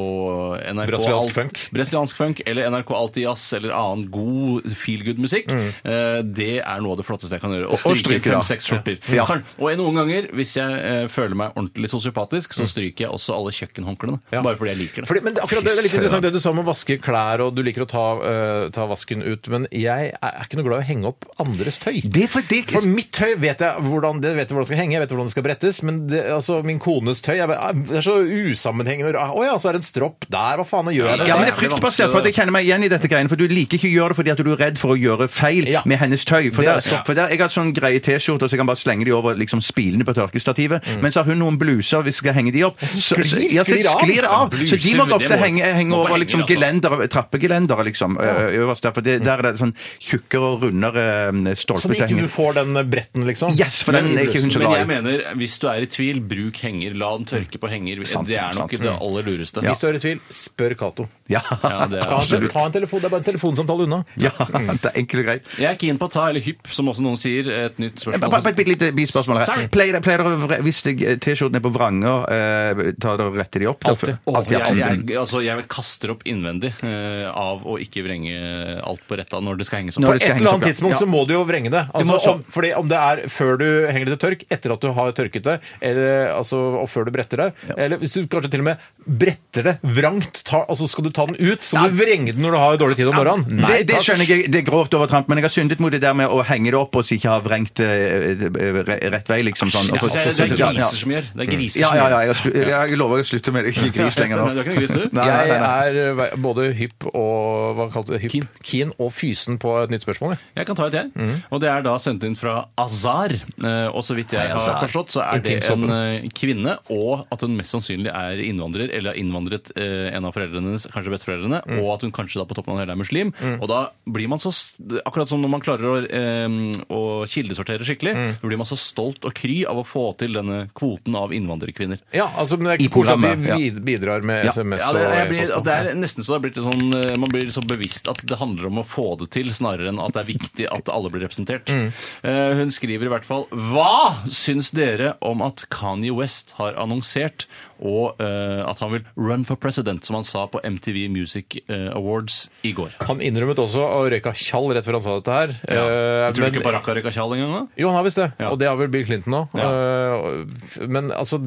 [SPEAKER 8] NRK
[SPEAKER 7] Brasiliansk
[SPEAKER 8] Alt-
[SPEAKER 7] funk.
[SPEAKER 8] Brasiliansk funk eller NRK Alltid Jazz eller annen god feelgood-musikk,
[SPEAKER 3] Mm.
[SPEAKER 8] eh, det er noe av det flotteste jeg kan gjøre. Og
[SPEAKER 3] stryke,
[SPEAKER 8] stryke
[SPEAKER 3] ja.
[SPEAKER 8] fem-seks skjorter.
[SPEAKER 3] Ja.
[SPEAKER 8] Kan- Og noen ganger, hvis jeg eh, føler meg ordentlig sosiopatisk,
[SPEAKER 3] Mm.
[SPEAKER 8] så stryker jeg også alle kjøkkenhåndklærne.
[SPEAKER 7] Ja.
[SPEAKER 8] Bare fordi jeg liker det.
[SPEAKER 7] Fordi, men det- akkurat det er litt interessant det du sa om å vaske klær, og du liker å ta, eh, ta vasken ut. Men jeg er er ikke noe glad i å henge opp andres tøy.
[SPEAKER 3] Det er for det
[SPEAKER 7] For mitt tøy vet jeg hvordan det vet jeg hvordan det skal henge, jeg vet hvordan det skal brettes, men det, altså, min kones tøy. Jeg, bare, det er så usammenhengende. Å ja, så er det en stropp der. Hva faen gjør jeg med
[SPEAKER 3] Ja, men det
[SPEAKER 7] det?
[SPEAKER 3] er fryktbasert, for at jeg kjenner meg igjen i dette greiene. For du liker ikke å gjøre det fordi at du er redd for å gjøre feil
[SPEAKER 7] Ja.
[SPEAKER 3] med hennes tøy. For,
[SPEAKER 7] Det er
[SPEAKER 3] der,
[SPEAKER 7] også-
[SPEAKER 3] for der, Jeg har sånn greie T-skjorter, så jeg kan bare slenge de over liksom spilene på tørkestativet. Men så har hun noen bluser, hvis jeg skal henge de opp, så så-
[SPEAKER 7] sklir-
[SPEAKER 3] ja, så
[SPEAKER 7] sklir av.
[SPEAKER 3] sklir det av.
[SPEAKER 8] Bluser,
[SPEAKER 3] Så de må
[SPEAKER 8] det
[SPEAKER 3] ofte
[SPEAKER 8] må-
[SPEAKER 3] henge, henge
[SPEAKER 8] må på
[SPEAKER 3] over
[SPEAKER 8] henger,
[SPEAKER 3] liksom
[SPEAKER 8] altså.
[SPEAKER 3] gelendere, trappegelendere, liksom, ø- øverst der. For det, der er det sånn tjukkere og rundere ø,
[SPEAKER 7] Sånn at ikke
[SPEAKER 3] stolpetegning.
[SPEAKER 7] du får den bretten, liksom?
[SPEAKER 3] Yes, for den er ikke hun så
[SPEAKER 8] Men jeg
[SPEAKER 3] glad i.
[SPEAKER 8] mener, hvis du er i tvil, bruk henger. La den tørke på henger.
[SPEAKER 3] Sant,
[SPEAKER 8] Det er nok
[SPEAKER 3] sant.
[SPEAKER 8] det aller lureste.
[SPEAKER 7] Hvis du er i tvil, spør Cato.
[SPEAKER 3] Ja,
[SPEAKER 8] Ja, det er
[SPEAKER 7] Ta, en-
[SPEAKER 8] absolutt.
[SPEAKER 7] ta en telefon, det er bare en telefonsamtale unna.
[SPEAKER 3] ja, det er enkelt og greit.
[SPEAKER 8] Jeg er keen på å ta, eller hypp, som også noen sier, et nytt
[SPEAKER 3] Eh, Bare bare
[SPEAKER 8] spørsmål.
[SPEAKER 3] et bitte lite bispørsmål her.
[SPEAKER 8] Sorry.
[SPEAKER 3] Pleier, pleier dere, å vre- hvis jeg- T-skjorten er på vranger, eh, tar dere og retter de opp?
[SPEAKER 7] Alltid.
[SPEAKER 3] Alltid. Alltid,
[SPEAKER 8] jeg,
[SPEAKER 3] alltid.
[SPEAKER 8] jeg, altså, jeg kaster opp innvendig eh, av å ikke vrenge alt på retta når det skal henges
[SPEAKER 3] Når
[SPEAKER 8] opp.
[SPEAKER 3] det skal
[SPEAKER 7] Et eller
[SPEAKER 3] henges opp,
[SPEAKER 7] annet
[SPEAKER 3] ja.
[SPEAKER 7] tidspunkt så må du jo vrenge det. Altså,
[SPEAKER 3] må også-
[SPEAKER 7] om, fordi om det er før du henger det til tørk, etter at du har tørket det, eller, altså, og før du bretter det, eller hvis du kanskje til og med bretter det vrangt, tar, altså skal du ta den ut, så må du vrenge den når du har dårlig tid om morgenen.
[SPEAKER 3] det, det skjønner jeg, det er grovt overtramp, men jeg har syndet mot det der med å henge det opp og så ikke ha vrengt eh, re- rett vei, liksom sånn. Og
[SPEAKER 8] Ja, altså,
[SPEAKER 3] så-
[SPEAKER 8] det, er, det er
[SPEAKER 3] ja, ja.
[SPEAKER 8] griser som gjør. Det er griser
[SPEAKER 3] Ja,
[SPEAKER 8] som
[SPEAKER 3] ja,
[SPEAKER 8] gjør.
[SPEAKER 3] ja, jeg, har slu- jeg lover å slutte med det. Ikke gris lenger nå.
[SPEAKER 8] Nei, du er ikke noen gris, du.
[SPEAKER 3] Nei, nei,
[SPEAKER 7] Jeg
[SPEAKER 3] nei, nei.
[SPEAKER 7] er eh, både hypp og hva kalte du det? Hypp?
[SPEAKER 8] Keen.
[SPEAKER 7] Keen og fysen på et nytt spørsmål. jeg.
[SPEAKER 8] Jeg kan ta et, jeg. Og det er da sendt inn fra Azar. Eh, Og så vidt jeg har forstått, så er det en
[SPEAKER 7] Intimsoppen.
[SPEAKER 8] eh, kvinne, og at hun mest sannsynlig er innvandrer, eller har innvandret eh, en av foreldrene hennes, kanskje besteforeldrene, og at hun kanskje da på toppen av det hele er muslim. Og da blir man så s- Akkurat som når man klarer å, eh, å kildesortere skikkelig, så blir man så stolt og kry av å få til denne kvoten av innvandrerkvinner.
[SPEAKER 7] Ja, altså, men det er
[SPEAKER 3] I
[SPEAKER 7] koselig at
[SPEAKER 3] programmet,
[SPEAKER 7] de
[SPEAKER 3] ja.
[SPEAKER 7] vid- bidrar med
[SPEAKER 8] Ja,
[SPEAKER 7] SMS
[SPEAKER 8] ja, det,
[SPEAKER 7] og
[SPEAKER 8] jeg blir,
[SPEAKER 7] e-post.
[SPEAKER 8] at det er nesten så det er blitt sånn, eh, man blir så bevisst at det handler om å få det til, snarere enn at det er viktig at alle blir representert.
[SPEAKER 7] Mm.
[SPEAKER 8] Eh, Hun skriver i hvert fall Hva syns dere om at Kanye West har annonsert og eh, at han vil run for president, som han sa på MTV Music eh, Awards i går?
[SPEAKER 7] Han innrømmet også å røyka tjall rett før han sa dette her.
[SPEAKER 8] Ja.
[SPEAKER 7] Eh,
[SPEAKER 8] Tror
[SPEAKER 7] men-
[SPEAKER 8] du ikke Barack har røyka tjall engang? da?
[SPEAKER 7] Jo, han har visst det.
[SPEAKER 8] Ja.
[SPEAKER 7] Og det har vel Bill Clinton òg.
[SPEAKER 8] Ja.
[SPEAKER 7] Men altså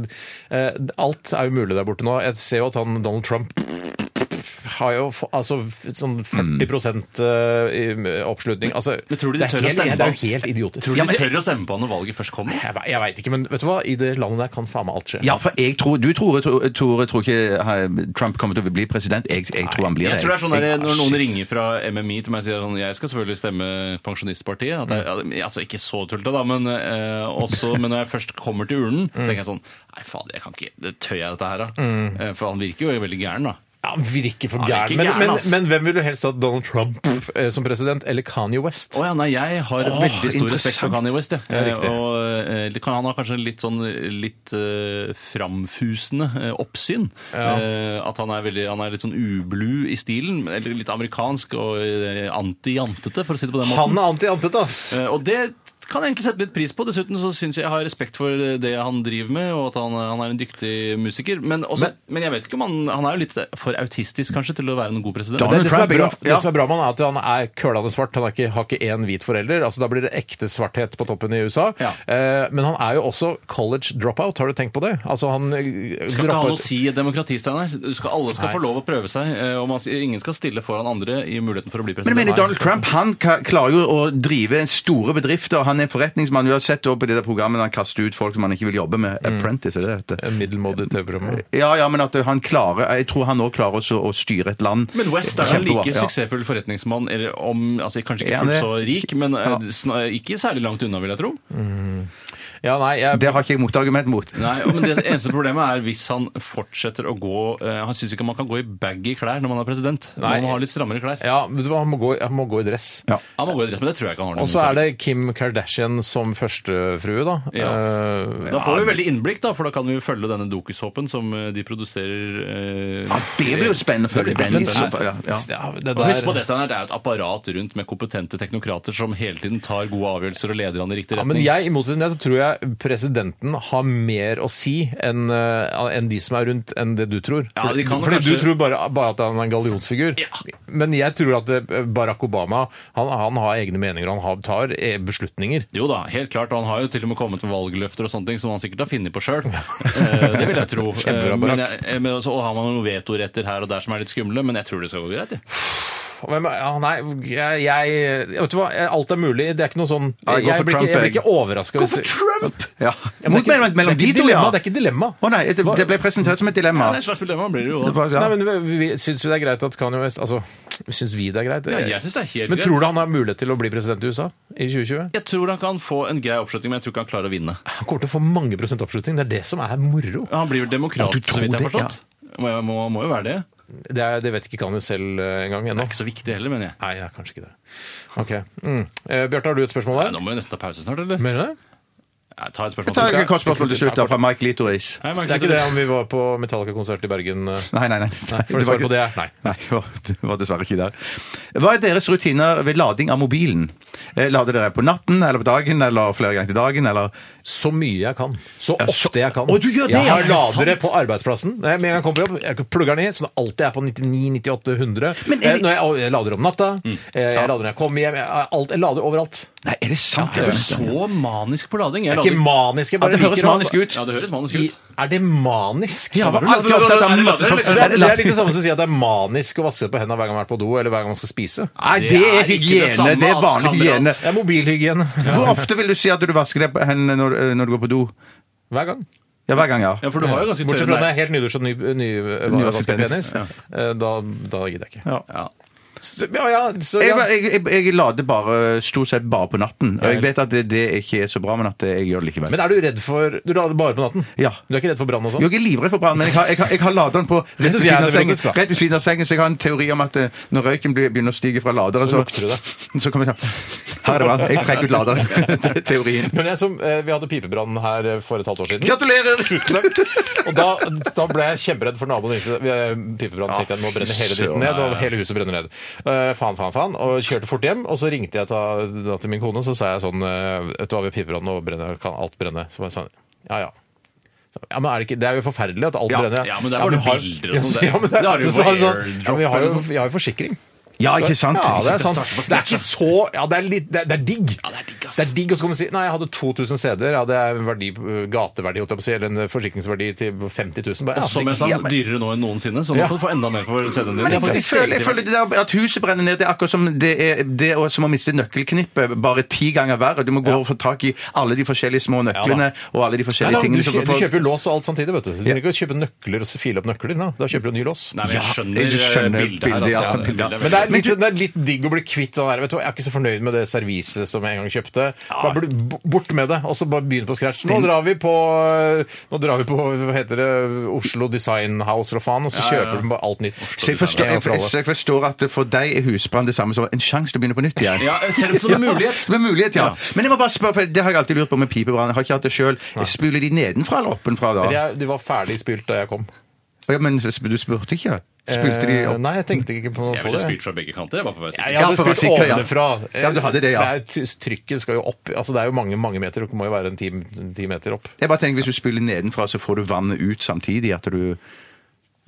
[SPEAKER 7] eh, Alt er jo mulig der borte nå. Jeg ser jo at han Donald Trump har jo f- altså, f- sånn 40 eh, i- oppslutning. Altså,
[SPEAKER 8] Mm. Men tror du de
[SPEAKER 7] det, er
[SPEAKER 8] tør å
[SPEAKER 7] helt,
[SPEAKER 8] stemme
[SPEAKER 7] det er
[SPEAKER 8] på
[SPEAKER 7] jo helt idiotisk.
[SPEAKER 8] Tror du
[SPEAKER 7] Ja, men-
[SPEAKER 8] de tør å stemme på han når valget først kommer?
[SPEAKER 7] jeg, jeg veit ikke, men vet du hva? I det landet der kan faen meg alt skje.
[SPEAKER 3] Ja, for jeg tror, du tror, Tore, Tore, tror ikke eh, Trump kommer til å bli president. Jeg, jeg tror han blir
[SPEAKER 8] Jeg
[SPEAKER 3] det.
[SPEAKER 8] tror det er sånn der,
[SPEAKER 3] Jeg-
[SPEAKER 8] Når noen
[SPEAKER 3] Shit.
[SPEAKER 8] ringer fra MMI til meg og sier sånn Jeg skal selvfølgelig stemme Pensjonistpartiet. At jeg, ja, altså Ikke så tullete, da, men, eh, også, men når jeg først kommer til urnen,
[SPEAKER 3] Mm.
[SPEAKER 8] tenker jeg sånn Nei, fader, jeg kan ikke det tør jeg dette her, da? Eh, For han virker jo veldig gæren, da.
[SPEAKER 7] Ja, han virker for
[SPEAKER 8] Han virker
[SPEAKER 7] gæren. Men,
[SPEAKER 8] gæren,
[SPEAKER 7] men,
[SPEAKER 8] ass.
[SPEAKER 7] men hvem ville du helst hatt Donald Trump eh, som president, eller Kanye West?
[SPEAKER 8] Å ja, nei, jeg har veldig stor respekt for
[SPEAKER 3] interessant.
[SPEAKER 8] Kanye West. jeg.
[SPEAKER 7] Ja,
[SPEAKER 8] Eh,
[SPEAKER 7] riktig.
[SPEAKER 8] og, eh, det kan- han har kanskje en litt sånn eh, litt eh, framfusende eh, oppsyn. Eh, at han er, veldig, han er litt sånn ublu i stilen, eller litt amerikansk og eh, anti-jantete, for å si det på den måten.
[SPEAKER 7] Han er anti-antet, ass!
[SPEAKER 8] Eh, Og det kan jeg egentlig sette litt pris på. Dessuten så syns jeg jeg har respekt for det han driver med, og at han, han er en dyktig musiker. Men, også,
[SPEAKER 7] Men-
[SPEAKER 8] men, jeg vet ikke om han, han er jo litt for autistisk kanskje til å være en god president.
[SPEAKER 7] Det,
[SPEAKER 3] Donald
[SPEAKER 7] det, som er
[SPEAKER 3] Trump,
[SPEAKER 7] bra,
[SPEAKER 3] bra.
[SPEAKER 7] det
[SPEAKER 3] Ja.
[SPEAKER 7] som er bra med han, er at han er kølende svart. Han er ikke, har ikke én hvit forelder. altså Da blir det ekte svarthet på toppen i USA.
[SPEAKER 8] Ja.
[SPEAKER 7] Eh, men han er jo også college dropout, har du tenkt på det? Altså han eh,
[SPEAKER 8] skal ikke ha
[SPEAKER 7] dropper
[SPEAKER 8] noe å
[SPEAKER 7] ut-
[SPEAKER 8] si i demokrati, Steinar. Du skal- Alle skal
[SPEAKER 7] Nei.
[SPEAKER 8] få lov å prøve seg. eh, Og man, ingen skal stille foran andre i muligheten for å bli
[SPEAKER 3] Men
[SPEAKER 8] president.
[SPEAKER 3] jeg mener, Donald Trump han ka- klarer jo å drive store bedrifter. Han er en forretningsmann. Vi har sett det også på det der programmet han kaster ut folk som han ikke vil jobbe
[SPEAKER 7] Mm.
[SPEAKER 3] med. Apprentice, er det det heter?
[SPEAKER 7] En middelmådig TV-program.
[SPEAKER 3] Ja, ja, men at han klarer Jeg tror han òg klarer også å styre et land.
[SPEAKER 8] Men West er jo en
[SPEAKER 3] Kjempebra,
[SPEAKER 8] like
[SPEAKER 3] ja.
[SPEAKER 8] suksessfull forretningsmann, eller om, altså kanskje ikke
[SPEAKER 3] Ja,
[SPEAKER 8] fullt
[SPEAKER 3] det-
[SPEAKER 8] så rik, men eh,
[SPEAKER 3] Ja.
[SPEAKER 8] sna- ikke særlig langt unna, vil jeg tro.
[SPEAKER 7] Ja, nei, jeg,
[SPEAKER 3] Det har ikke jeg motargument mot.
[SPEAKER 8] Nei, men det eneste problemet er hvis han fortsetter å gå eh, Han syns ikke man kan gå i baggy klær når man er president.
[SPEAKER 7] Nei.
[SPEAKER 8] Man må ha litt strammere klær.
[SPEAKER 7] ja, vet du hva, han må gå, i- han må gå i dress.
[SPEAKER 3] Ja.
[SPEAKER 8] Han må gå i dress, men det tror jeg ikke han har noe
[SPEAKER 7] Og så er
[SPEAKER 8] imot.
[SPEAKER 7] det Kim Kardashian som førstefrue, da.
[SPEAKER 8] Ja.
[SPEAKER 7] Eh,
[SPEAKER 8] Da får vi veldig innblikk, da, for da kan vi jo følge denne dokusåpen som eh, de produserer. eh,
[SPEAKER 3] Ja, det blir jo spennende å følge den i så fall. Ja, ja.
[SPEAKER 7] ja, det
[SPEAKER 8] Og husk på
[SPEAKER 7] der
[SPEAKER 8] det, Steinar, det er jo et apparat rundt med kompetente teknokrater som hele tiden tar gode avgjørelser og leder han i riktig
[SPEAKER 7] Ja, men
[SPEAKER 8] retning.
[SPEAKER 7] jeg, i motsetning til deg, så tror jeg presidenten har mer å si enn eh, enn de som er rundt, enn det du tror.
[SPEAKER 8] Ja, de kan jo
[SPEAKER 7] fordi
[SPEAKER 8] kanskje-
[SPEAKER 7] du tror bare, bare at han er en gallionsfigur.
[SPEAKER 8] Ja.
[SPEAKER 7] Men jeg tror at eh, Barack Obama han, han har egne meninger, han har, tar eh, beslutninger.
[SPEAKER 8] Jo da, helt klart. Og han har jo til og med kommet med valgløfter og sånne ting som han sikkert har funnet på sjøl. det vil jeg tro.
[SPEAKER 7] Kjempebra,
[SPEAKER 8] Eh, men
[SPEAKER 7] Barack.
[SPEAKER 8] jeg, eh, men også, og har man noen vetoretter her og der som er litt skumle, men jeg tror det skal gå greit. jeg.
[SPEAKER 7] Hvem er, ja, nei, jeg, jeg Vet du hva, alt er mulig. Det er ikke noe sånn
[SPEAKER 3] Ja,
[SPEAKER 7] Jeg,
[SPEAKER 3] jeg går for
[SPEAKER 7] blir,
[SPEAKER 3] Trump,
[SPEAKER 7] ikke, jeg blir
[SPEAKER 3] jeg.
[SPEAKER 7] ikke overraska. hvis-
[SPEAKER 8] Trump!
[SPEAKER 3] Ja.
[SPEAKER 7] Ja, men
[SPEAKER 3] Mot-
[SPEAKER 7] det er
[SPEAKER 3] mellom, mellom
[SPEAKER 7] ikke- det er
[SPEAKER 3] de
[SPEAKER 7] ikke
[SPEAKER 3] to,
[SPEAKER 7] dilemma,
[SPEAKER 3] ja.
[SPEAKER 7] Det er ikke dilemma.
[SPEAKER 3] Å nei, det, det ble presentert som et dilemma.
[SPEAKER 8] Ja, det er et slags dilemma blir det jo.
[SPEAKER 3] Det
[SPEAKER 8] Da.
[SPEAKER 3] var- ja.
[SPEAKER 7] Nei, men vi, vi, Syns vi det er greit at Kanye West altså, Syns vi det er greit?
[SPEAKER 8] Ja, jeg synes det er helt
[SPEAKER 7] men
[SPEAKER 8] greit.
[SPEAKER 7] tror du han har mulighet til å bli president i USA i 2020?
[SPEAKER 8] Jeg tror han kan få en grei oppslutning, men jeg tror ikke han klarer å vinne.
[SPEAKER 7] Han kommer til å få mange prosent oppslutning. Det er det som er moro.
[SPEAKER 8] Han blir vel demokrat,
[SPEAKER 3] Ja, du
[SPEAKER 8] så
[SPEAKER 3] tror
[SPEAKER 8] vidt jeg har
[SPEAKER 3] det, ja.
[SPEAKER 8] forstått. Må, må, må jo være det.
[SPEAKER 7] Det, er, det vet ikke Kanye selv eh, engang
[SPEAKER 8] Det
[SPEAKER 7] ennå.
[SPEAKER 8] er ikke så viktig heller, mener jeg.
[SPEAKER 7] Nei, det er kanskje ikke det. Ok. Mm. Eh, Bjarte, har du et spørsmål
[SPEAKER 8] Nei,
[SPEAKER 7] der?
[SPEAKER 8] nå må vi nesten ta pause snart, eller?
[SPEAKER 7] Mener du det?
[SPEAKER 8] Ja, ta et
[SPEAKER 3] Ta
[SPEAKER 8] spørsmål.
[SPEAKER 3] et kort spørsmål til slutt da, fra Mike Litoris.
[SPEAKER 8] Hei, Mark,
[SPEAKER 7] Det er ikke det om vi var på Metallica-konsert i Bergen. eh.
[SPEAKER 3] Nei, nei, nei.
[SPEAKER 7] for å svare på det, nei.
[SPEAKER 3] Nei, det var, det var dessverre ikke der. Hva er deres rutiner ved lading av mobilen? Eh, Lader dere på natten eller på dagen eller flere ganger til dagen? Eller?
[SPEAKER 7] Så mye jeg kan. Så
[SPEAKER 3] Ja, så-
[SPEAKER 7] ofte jeg kan.
[SPEAKER 3] Å, du gjør det,
[SPEAKER 7] jeg
[SPEAKER 3] ja,
[SPEAKER 7] har
[SPEAKER 3] er det
[SPEAKER 7] ladere
[SPEAKER 3] sant?
[SPEAKER 7] på arbeidsplassen. Når jeg med en gang kommer på jobb, jeg plugger den i, så det alltid er på 99, 98, 100.
[SPEAKER 3] Men er det- Mm.
[SPEAKER 7] Eh, Når jeg, og jeg lader om natta, eh, jeg lader når jeg kommer hjem, jeg, eh, alt, jeg lader overalt.
[SPEAKER 3] Nei, er det sant?
[SPEAKER 8] Er
[SPEAKER 3] det,
[SPEAKER 8] du så manisk på lading? Jeg
[SPEAKER 7] Det er ikke
[SPEAKER 8] lader-
[SPEAKER 7] manisk, jeg bare
[SPEAKER 3] det høres
[SPEAKER 7] liker å-
[SPEAKER 3] manisk ut.
[SPEAKER 8] Ja, det høres manisk
[SPEAKER 7] I,
[SPEAKER 8] ut.
[SPEAKER 7] er det manisk?
[SPEAKER 3] Ja, hva-
[SPEAKER 7] Lader du
[SPEAKER 3] alltid opptatt av masse sånn-
[SPEAKER 7] Det er, det er litt det samme som å si at det er manisk å vaske på hendene hver gang man er på do, eller hver gang man skal spise.
[SPEAKER 3] Nei, det er
[SPEAKER 8] Det er ikke det
[SPEAKER 3] hygiene.
[SPEAKER 8] samme,
[SPEAKER 3] Det er
[SPEAKER 8] ass,
[SPEAKER 3] vanlig hygiene.
[SPEAKER 7] Det er mobilhygiene.
[SPEAKER 3] Hvor ofte vil du si at du vasker deg på hendene når, eh, når du går på do?
[SPEAKER 7] Hver gang.
[SPEAKER 3] Ja, hver gang, ja.
[SPEAKER 8] Ja, for du har jo ganske
[SPEAKER 7] Bortsett
[SPEAKER 8] tørre
[SPEAKER 7] fra når jeg
[SPEAKER 8] negler.
[SPEAKER 7] er helt nydusj og ny, eh, ny,
[SPEAKER 3] Nyvasket
[SPEAKER 7] vasket penis.
[SPEAKER 3] penis, ja.
[SPEAKER 7] Eh, Da, da gidder jeg ikke.
[SPEAKER 3] Ja.
[SPEAKER 8] Ja.
[SPEAKER 7] Så, ja, ja, så,
[SPEAKER 3] Jeg,
[SPEAKER 7] ja.
[SPEAKER 3] jeg, jeg, jeg lader bare, stort sett bare på natten. Og jeg vet at det, det ikke er så bra, men at jeg gjør det likevel.
[SPEAKER 7] Men er du redd for Du lader bare på natten?
[SPEAKER 3] Ja.
[SPEAKER 7] Du er ikke redd for brann og
[SPEAKER 3] Jo,
[SPEAKER 7] sånn?
[SPEAKER 3] jeg er livredd for brann, men jeg har, jeg har, jeg har laderen på rett ved
[SPEAKER 7] synes jeg
[SPEAKER 3] siden
[SPEAKER 7] er
[SPEAKER 3] av sengen.
[SPEAKER 7] nevrotisk, da.
[SPEAKER 3] Rett ved siden av sengen, Så jeg har en teori om at eh, når røyken blir- begynner å stige fra laderen,
[SPEAKER 7] Så lukter du det.
[SPEAKER 3] så kommer jeg sånn Her er det brann. Jeg trekker ut laderen. Det er teorien.
[SPEAKER 7] Men jeg som, eh, Vi hadde pipebrann her eh, for et halvt år siden.
[SPEAKER 3] Gratulerer! Tusen
[SPEAKER 7] Og da, da ble jeg kjemperedd for naboen. ringte. Vi, eh, Pipebrann tenkte jeg nå brenner hele dritten ned. Og hele huset brenner ned. Eh, faen, faen, faen. Og kjørte fort hjem. Og så ringte jeg ta, da til min kone, så sa jeg sånn eh, Vet du hva, ved pipebrann nå brenner, kan alt brenne. Så bare sånn, ja, ja. Ja, men er det, ikke, det er jo forferdelig at alt
[SPEAKER 8] Ja,
[SPEAKER 7] brenner.
[SPEAKER 8] ja, men der var det
[SPEAKER 7] har-
[SPEAKER 8] bilder og
[SPEAKER 7] Ja,
[SPEAKER 8] sånn
[SPEAKER 7] så-
[SPEAKER 8] der.
[SPEAKER 7] Ja, men
[SPEAKER 8] Det har du
[SPEAKER 7] så
[SPEAKER 8] på
[SPEAKER 7] sa hun sånn,
[SPEAKER 8] airdrop
[SPEAKER 7] ja, men vi har jo
[SPEAKER 8] eller
[SPEAKER 7] vi har jo forsikring.
[SPEAKER 3] Ja, ikke sant?
[SPEAKER 7] Ja, det er sant.
[SPEAKER 8] starte på
[SPEAKER 7] Det er ikke så Ja, det er, litt, det er, det er digg.
[SPEAKER 8] det er digg, ass.
[SPEAKER 7] Det er digg, og så kan du si Nei, jeg hadde 2000 CD-er. Ja, det er en verdi, gateverdi, holdt jeg på å si, eller en forsikringsverdi til 50 000.
[SPEAKER 8] Og
[SPEAKER 7] Bare, ja,
[SPEAKER 8] som jeg
[SPEAKER 7] digg.
[SPEAKER 8] sa,
[SPEAKER 3] Ja, men-
[SPEAKER 8] dyrere nå enn noensinne, så nå
[SPEAKER 7] Ja.
[SPEAKER 8] kan du få enda mer for CD-en din.
[SPEAKER 3] Men jeg,
[SPEAKER 8] Ja,
[SPEAKER 3] jeg,
[SPEAKER 8] faktisk.
[SPEAKER 3] føler, jeg føler det der at huset brenner ned. Det er akkurat som det er, det er som å miste nøkkelknippet bare ti ganger verre. Du må gå og få tak i alle de forskjellige små nøklene og alle de
[SPEAKER 7] Nei,
[SPEAKER 3] forskjellige
[SPEAKER 7] da,
[SPEAKER 3] tingene.
[SPEAKER 7] du,
[SPEAKER 3] som
[SPEAKER 7] kjø- du
[SPEAKER 3] får-
[SPEAKER 7] kjøper jo lås og alt samtidig, vet du. Du trenger ikke å kjøpe nøkler og s- file opp nøkler. Da, da kjøper du ny lås.
[SPEAKER 8] Nei, men jeg
[SPEAKER 3] Ja,
[SPEAKER 8] skjønner,
[SPEAKER 3] du skjønner
[SPEAKER 8] eh, bildet her.
[SPEAKER 3] bildet, ja,
[SPEAKER 8] altså,
[SPEAKER 3] bildet.
[SPEAKER 8] bildet er
[SPEAKER 7] Men det er, litt,
[SPEAKER 3] Men
[SPEAKER 7] det er litt digg å bli kvitt sånn her. Vet du, hva, jeg er ikke så fornøyd med det serviset som jeg en gang kjøpte. Bare bli b- bort med det, og så bare begynn på scratch. Nå drar vi på Nå drar vi på hva heter det, Oslo Design House eller faen, og så
[SPEAKER 8] Ja, ja, ja.
[SPEAKER 7] kjøper du bare alt nytt.
[SPEAKER 3] Så jeg, forstår,
[SPEAKER 7] En gang
[SPEAKER 3] jeg,
[SPEAKER 7] for alle.
[SPEAKER 3] så jeg forstår at for deg er husbrann det samme som en sjanse til å begynne på nytt igjen.
[SPEAKER 8] Ja, selv om som en sånn mulighet.
[SPEAKER 3] Som en mulighet, ja. Men jeg må bare spørre, for det har jeg alltid lurt på med pipebrann. Jeg har ikke hatt det sjøl. Spyler de nedenfra eller oppenfra da?
[SPEAKER 7] Men jeg, de var ferdig spylt da jeg kom.
[SPEAKER 3] Ja, men du spurte ikke? Spylte de
[SPEAKER 7] Eh,
[SPEAKER 3] opp?
[SPEAKER 7] Nei, jeg tenkte ikke på noe
[SPEAKER 8] Jeg
[SPEAKER 7] på
[SPEAKER 8] ville
[SPEAKER 7] det.
[SPEAKER 8] spylt fra begge kanter. Jeg var på vei
[SPEAKER 7] Ja,
[SPEAKER 8] sikkert.
[SPEAKER 7] jeg hadde
[SPEAKER 3] Ja, for å være
[SPEAKER 7] spylt
[SPEAKER 3] sikker, ja.
[SPEAKER 7] ovenfra.
[SPEAKER 3] Ja, du hadde det, ja.
[SPEAKER 7] For det er jo- Trykket skal jo opp. Altså, det er jo mange mange meter, og det må jo være en ti, ti meter opp.
[SPEAKER 3] Jeg bare tenker, Hvis du spyler nedenfra, så får du vannet ut samtidig. at du...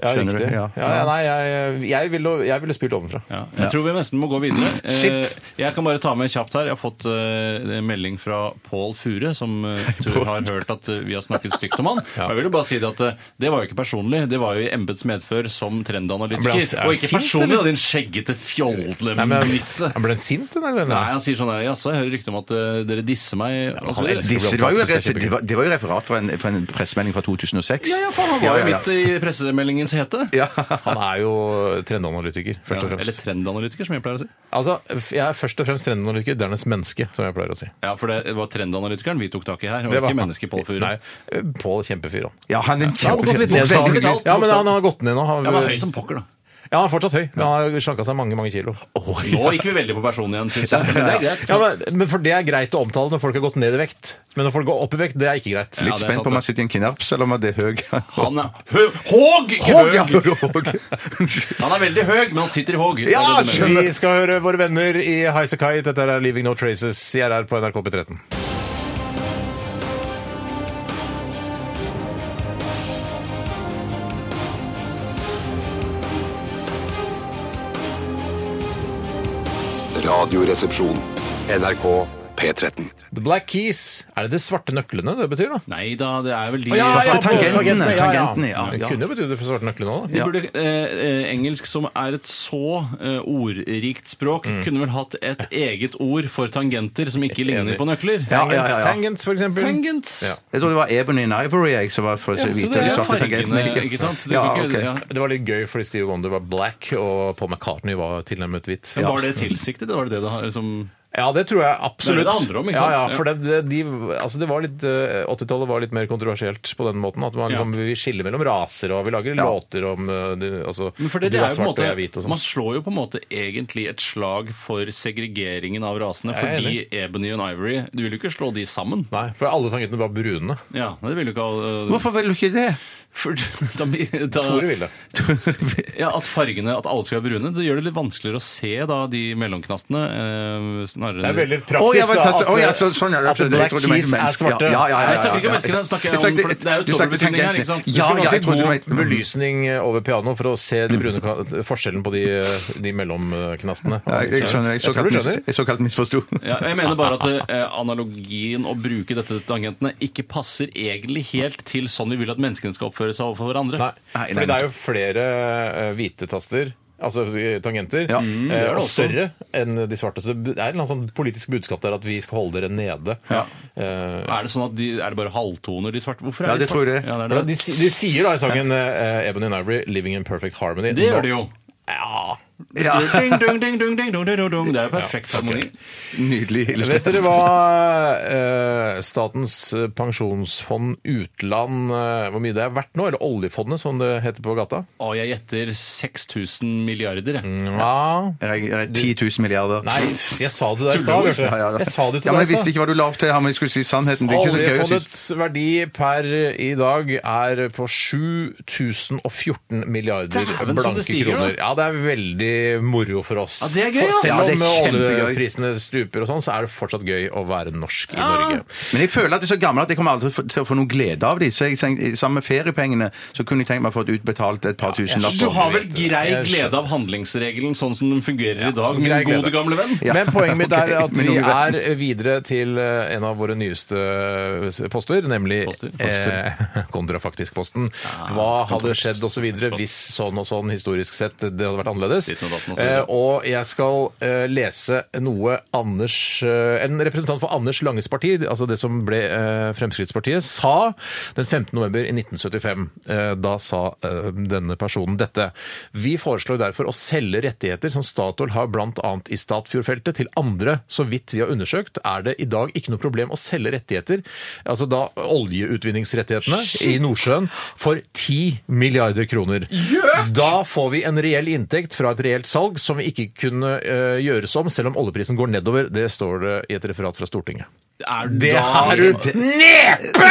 [SPEAKER 7] Ja,
[SPEAKER 3] Skjønner du?
[SPEAKER 7] riktig. Ja.
[SPEAKER 3] Ja.
[SPEAKER 7] ja, nei, jeg, jeg ville, jeg ville spylt ovenfra.
[SPEAKER 8] Ja, jeg tror vi nesten må gå videre. Eh,
[SPEAKER 7] Shit.
[SPEAKER 8] Jeg kan bare ta med kjapt her. Jeg har fått eh, en melding fra Pål Fure, som eh, tror har hørt at eh, vi har snakket stygt om han. Og Jeg vil jo bare si Det at eh, det var jo ikke personlig. Det var jo i embets medfør som
[SPEAKER 7] Men
[SPEAKER 8] trendanalytiker.
[SPEAKER 7] han- er han
[SPEAKER 8] Og ikke
[SPEAKER 7] sint,
[SPEAKER 8] personlig,
[SPEAKER 7] eller?
[SPEAKER 8] da, din skjeggete
[SPEAKER 7] Nei, men-
[SPEAKER 8] fjollemisse.
[SPEAKER 7] Ja, Ble han sint, den, eller?
[SPEAKER 8] Nei, han sier sånn her Jaså, jeg hører rykte om at eh, dere disser meg. og så liksom
[SPEAKER 7] han
[SPEAKER 8] videre.»
[SPEAKER 7] elsker
[SPEAKER 3] Disse, det, var jo,
[SPEAKER 7] Synes jeg er
[SPEAKER 3] rett- det, var, det var jo referat fra en, fra en pressemelding fra 2006.
[SPEAKER 8] Ja, ja, faen, han var
[SPEAKER 3] Ja,
[SPEAKER 8] jo
[SPEAKER 3] ja, ja.
[SPEAKER 8] midt i pressemeldingens hete.
[SPEAKER 7] Han er jo trendanalytiker, først
[SPEAKER 8] Ja,
[SPEAKER 7] og
[SPEAKER 8] Eller
[SPEAKER 7] fremst.
[SPEAKER 8] trendanalytiker, som jeg pleier å si.
[SPEAKER 7] Altså, f- jeg er først og fremst trendanalytiker, dernest menneske, som jeg pleier å si.
[SPEAKER 8] Ja, For det var trendanalytikeren vi tok tak i her, og
[SPEAKER 7] Det var
[SPEAKER 8] ikke mennesket Pål Fure.
[SPEAKER 7] Nei, Pål kjempefyr, han.
[SPEAKER 3] Ja, han er en
[SPEAKER 7] Han har gått litt
[SPEAKER 3] kjempefyr.
[SPEAKER 7] ned,
[SPEAKER 8] Bokstavelig
[SPEAKER 7] stadig.
[SPEAKER 8] talt,
[SPEAKER 7] Ja, men han har gått ned nå. Han,
[SPEAKER 8] Ja, men høy som pokker, da.
[SPEAKER 7] Ja, han er fortsatt høy, men han har slanka seg mange, mange kilo.
[SPEAKER 8] Nå gikk vi veldig på personen igjen, syns jeg. Men det er greit.
[SPEAKER 7] Ja, men, men for det er greit å omtale når folk har gått ned i vekt. Men når folk går opp i vekt, det er ikke greit.
[SPEAKER 8] Ja, det er
[SPEAKER 3] Litt spent
[SPEAKER 8] sant,
[SPEAKER 3] på om
[SPEAKER 8] det.
[SPEAKER 3] han sitter i en knaps eller om han er høy.
[SPEAKER 8] Han er hø Håg! ikke
[SPEAKER 3] Håg, ja,
[SPEAKER 8] høg.
[SPEAKER 3] Håg.
[SPEAKER 8] Han er veldig høg, men han sitter i håg. Det er
[SPEAKER 7] Ja,
[SPEAKER 8] det du mener.
[SPEAKER 7] vi skal høre våre venner i Highasakite. Dette er Leaving No Traces. Jeg er her på NRK P13.
[SPEAKER 6] Radioresepsjon.
[SPEAKER 1] NRK P13.
[SPEAKER 7] The Black Keys. Er det de svarte nøklene det betyr, da?
[SPEAKER 8] Nei da, det er vel de
[SPEAKER 3] ja, ja,
[SPEAKER 7] på
[SPEAKER 3] tangentene,
[SPEAKER 7] ja, ja.
[SPEAKER 3] tangentene, ja,
[SPEAKER 7] Det
[SPEAKER 3] ja.
[SPEAKER 7] kunne jo betydd det for svarte nøklene òg, da.
[SPEAKER 8] Vi burde, eh, eh, engelsk, som er et så eh, ordrikt språk, kunne vel hatt et eget ord for tangenter som ikke ligner
[SPEAKER 7] Enig.
[SPEAKER 8] på nøkler.
[SPEAKER 3] Ja, ja, ja, ja.
[SPEAKER 7] Tangents, for eksempel.
[SPEAKER 8] Tangents.
[SPEAKER 7] Ja.
[SPEAKER 3] Jeg tror det var Ebony and Ivory jeg som var for
[SPEAKER 8] Ja,
[SPEAKER 3] så
[SPEAKER 8] så
[SPEAKER 3] vidt.
[SPEAKER 8] det
[SPEAKER 3] de
[SPEAKER 8] er
[SPEAKER 3] svarte tangentene,
[SPEAKER 8] fargene,
[SPEAKER 3] ikke-
[SPEAKER 8] ikke sant? Det,
[SPEAKER 3] Ja,
[SPEAKER 8] kan ikke-
[SPEAKER 3] ok.
[SPEAKER 8] ja.
[SPEAKER 7] Det var litt gøy fordi Steve Wonder var black, og Paul McCartney var tilnærmet hvit.
[SPEAKER 8] Men Var det tilsiktet? Var det det det har- som
[SPEAKER 7] Ja, det tror jeg absolutt.
[SPEAKER 8] Det er det det handler om, ikke sant?
[SPEAKER 7] Ja, ja, for det, det, de, altså det var litt, eh, 80-tallet var litt mer kontroversielt på den måten. At
[SPEAKER 8] Ja.
[SPEAKER 7] man liksom, vi skiller mellom raser, og vi lager låter om eh, de, altså,
[SPEAKER 8] Men for det,
[SPEAKER 7] du
[SPEAKER 8] det er jo på en
[SPEAKER 7] og jeg er hvit
[SPEAKER 8] måte,
[SPEAKER 7] og sånn.
[SPEAKER 8] Man slår jo på en måte egentlig et slag for segregeringen av rasene,
[SPEAKER 7] Jeg er
[SPEAKER 8] fordi Ebony og Ivory Du vil jo ikke slå de sammen.
[SPEAKER 7] Nei, for alle tangentene var brune.
[SPEAKER 8] Ja, det vil jo ikke ha-
[SPEAKER 3] Hvorfor vil du ikke det?
[SPEAKER 8] For, da, da,
[SPEAKER 7] Tore ville.
[SPEAKER 8] ja, at fargene, at alle skal være brune, det gjør det litt vanskeligere å se da de mellomknastene. Eh, snarere
[SPEAKER 7] Det er
[SPEAKER 3] Å,
[SPEAKER 7] veldig praktisk
[SPEAKER 3] ja, men,
[SPEAKER 7] da,
[SPEAKER 3] altså, å, ja,
[SPEAKER 7] at,
[SPEAKER 3] så, sånn, ja,
[SPEAKER 7] at
[SPEAKER 3] jeg
[SPEAKER 7] black
[SPEAKER 3] trodde du mente
[SPEAKER 7] keys er
[SPEAKER 3] mennesker.
[SPEAKER 7] svarte.
[SPEAKER 3] Ja, ja, ja, ja,
[SPEAKER 8] Jeg snakker ikke om
[SPEAKER 3] ja.
[SPEAKER 8] menneskene, jeg snakker om-
[SPEAKER 3] snakket-
[SPEAKER 8] for det er jo
[SPEAKER 3] du snakket
[SPEAKER 8] dobbeltbetydning her, ikke
[SPEAKER 3] tangentene.
[SPEAKER 8] sant?
[SPEAKER 3] Ja,
[SPEAKER 7] Skulle man
[SPEAKER 3] ja,
[SPEAKER 7] si
[SPEAKER 3] jeg trodde du
[SPEAKER 7] god
[SPEAKER 3] mente
[SPEAKER 7] belysning over pianoet for å se de brune, ka- forskjellen på de, eh, de mellomknastene?
[SPEAKER 3] Ja, jeg, jeg skjønner. Jeg
[SPEAKER 7] Jeg tror
[SPEAKER 3] såkalt,
[SPEAKER 7] du
[SPEAKER 3] mis,
[SPEAKER 7] skjønner.
[SPEAKER 3] jeg såkalt misforsto.
[SPEAKER 8] Ja, jeg mener bare at eh, analogien å bruke dette til tangentene ikke passer egentlig helt til sånn vi vil at menneskene skal oppføre seg overfor hverandre.
[SPEAKER 7] Nei,
[SPEAKER 3] nei,
[SPEAKER 7] fordi
[SPEAKER 3] nei.
[SPEAKER 7] det er jo flere eh, hvite taster. Altså eh, tangenter.
[SPEAKER 3] Ja,
[SPEAKER 7] eh,
[SPEAKER 8] Mm, det er det
[SPEAKER 7] og
[SPEAKER 8] også.
[SPEAKER 7] større enn de svarte. Så det bu- det er et eller annet sånn politisk budskap der at vi skal holde dere nede. Eh,
[SPEAKER 8] Er det sånn at de, er det bare halvtoner de svarte? Hvorfor
[SPEAKER 3] Ja,
[SPEAKER 8] er de
[SPEAKER 3] det tror
[SPEAKER 8] svarte?
[SPEAKER 3] jeg det.
[SPEAKER 8] Ja, det, er
[SPEAKER 7] for de,
[SPEAKER 8] det.
[SPEAKER 7] si- de sier da i sangen eh, Ebony and Ivory 'Living in Perfect Harmony'.
[SPEAKER 8] det
[SPEAKER 7] Nå-
[SPEAKER 8] gjør de jo.
[SPEAKER 7] Ja.
[SPEAKER 3] Ja,
[SPEAKER 8] Ding, ding, ding, ding, ding, ding, ding, ding. Det er jo perfekt harmoni.
[SPEAKER 3] Nydelig
[SPEAKER 7] Vet
[SPEAKER 3] illustrert.
[SPEAKER 7] dere hva eh, Statens pensjonsfond utland eh, Hvor mye det er verdt nå? Eller oljefondet, som det heter på gata?
[SPEAKER 8] Å, jeg gjetter 6000 milliarder, jeg.
[SPEAKER 7] Mm. Ja.
[SPEAKER 3] Jeg- jeg- 10 000 milliarder.
[SPEAKER 7] Nei, jeg sa det til deg i stad.
[SPEAKER 3] Tuller du?
[SPEAKER 7] Bjarte.
[SPEAKER 3] Ja, ja, ja.
[SPEAKER 7] Jeg sa det til
[SPEAKER 3] ja,
[SPEAKER 7] deg
[SPEAKER 3] men
[SPEAKER 7] i
[SPEAKER 3] jeg
[SPEAKER 7] stad.
[SPEAKER 3] visste ikke hva du la opp til her, men jeg skulle si sannheten. Det er ikke så gøy å si
[SPEAKER 7] Oljefondets verdi per i dag er på 7014 milliarder
[SPEAKER 8] Dæven, så
[SPEAKER 7] blanke
[SPEAKER 8] det stiger,
[SPEAKER 7] kroner.
[SPEAKER 8] da.
[SPEAKER 7] Ja, det er veldig moro for oss.
[SPEAKER 8] Ja, det er gøy, ass.
[SPEAKER 7] For
[SPEAKER 3] Ja, det er
[SPEAKER 7] selv om
[SPEAKER 3] kjempegøy.
[SPEAKER 7] oljeprisene stuper og sånn, så er det fortsatt gøy å være norsk i Norge.
[SPEAKER 3] Men jeg føler at jeg er så gammel at jeg kommer aldri til å få- til å få noen glede av de. Så jeg tenkte, sammen med feriepengene så kunne jeg tenkt meg å få utbetalt et par tusen
[SPEAKER 8] Du
[SPEAKER 3] lapper.
[SPEAKER 8] har vel grei glede av handlingsregelen sånn som den fungerer i dag, min
[SPEAKER 7] grei glede.
[SPEAKER 8] gode gamle venn?
[SPEAKER 3] Ja.
[SPEAKER 7] Men poenget mitt er
[SPEAKER 3] Ok,
[SPEAKER 7] at
[SPEAKER 3] men
[SPEAKER 7] vi
[SPEAKER 3] noe
[SPEAKER 7] er
[SPEAKER 3] verden.
[SPEAKER 7] videre til eh, en av våre nyeste eh, poster, nemlig
[SPEAKER 8] Poster.
[SPEAKER 7] Eh, kontrafaktisk-posten. Hva hadde skjedd osv. hvis sånn og sånn historisk sett det hadde vært annerledes?
[SPEAKER 8] Ditt og datten og så
[SPEAKER 7] Eh,
[SPEAKER 8] videre.
[SPEAKER 7] og jeg skal eh, lese noe Anders eh, En representant for Anders Langes parti, altså det som ble eh, Fremskrittspartiet, sa den 15. november i 1975. Eh, da sa eh, denne personen dette. Vi foreslår derfor å selge rettigheter som Statoil har bl.a. i Statfjordfeltet til andre. Så vidt vi har undersøkt, er det i dag ikke noe problem å selge rettigheter, altså da oljeutvinningsrettighetene i Nordsjøen, for 10 milliarder kroner. Da får vi en reell inntekt fra et reelt salg som vi ikke kunne eh, gjøres om, selv om oljeprisen går nedover. Det står det i et referat fra Stortinget.
[SPEAKER 8] Er
[SPEAKER 7] Det
[SPEAKER 8] da-
[SPEAKER 7] har du nepe!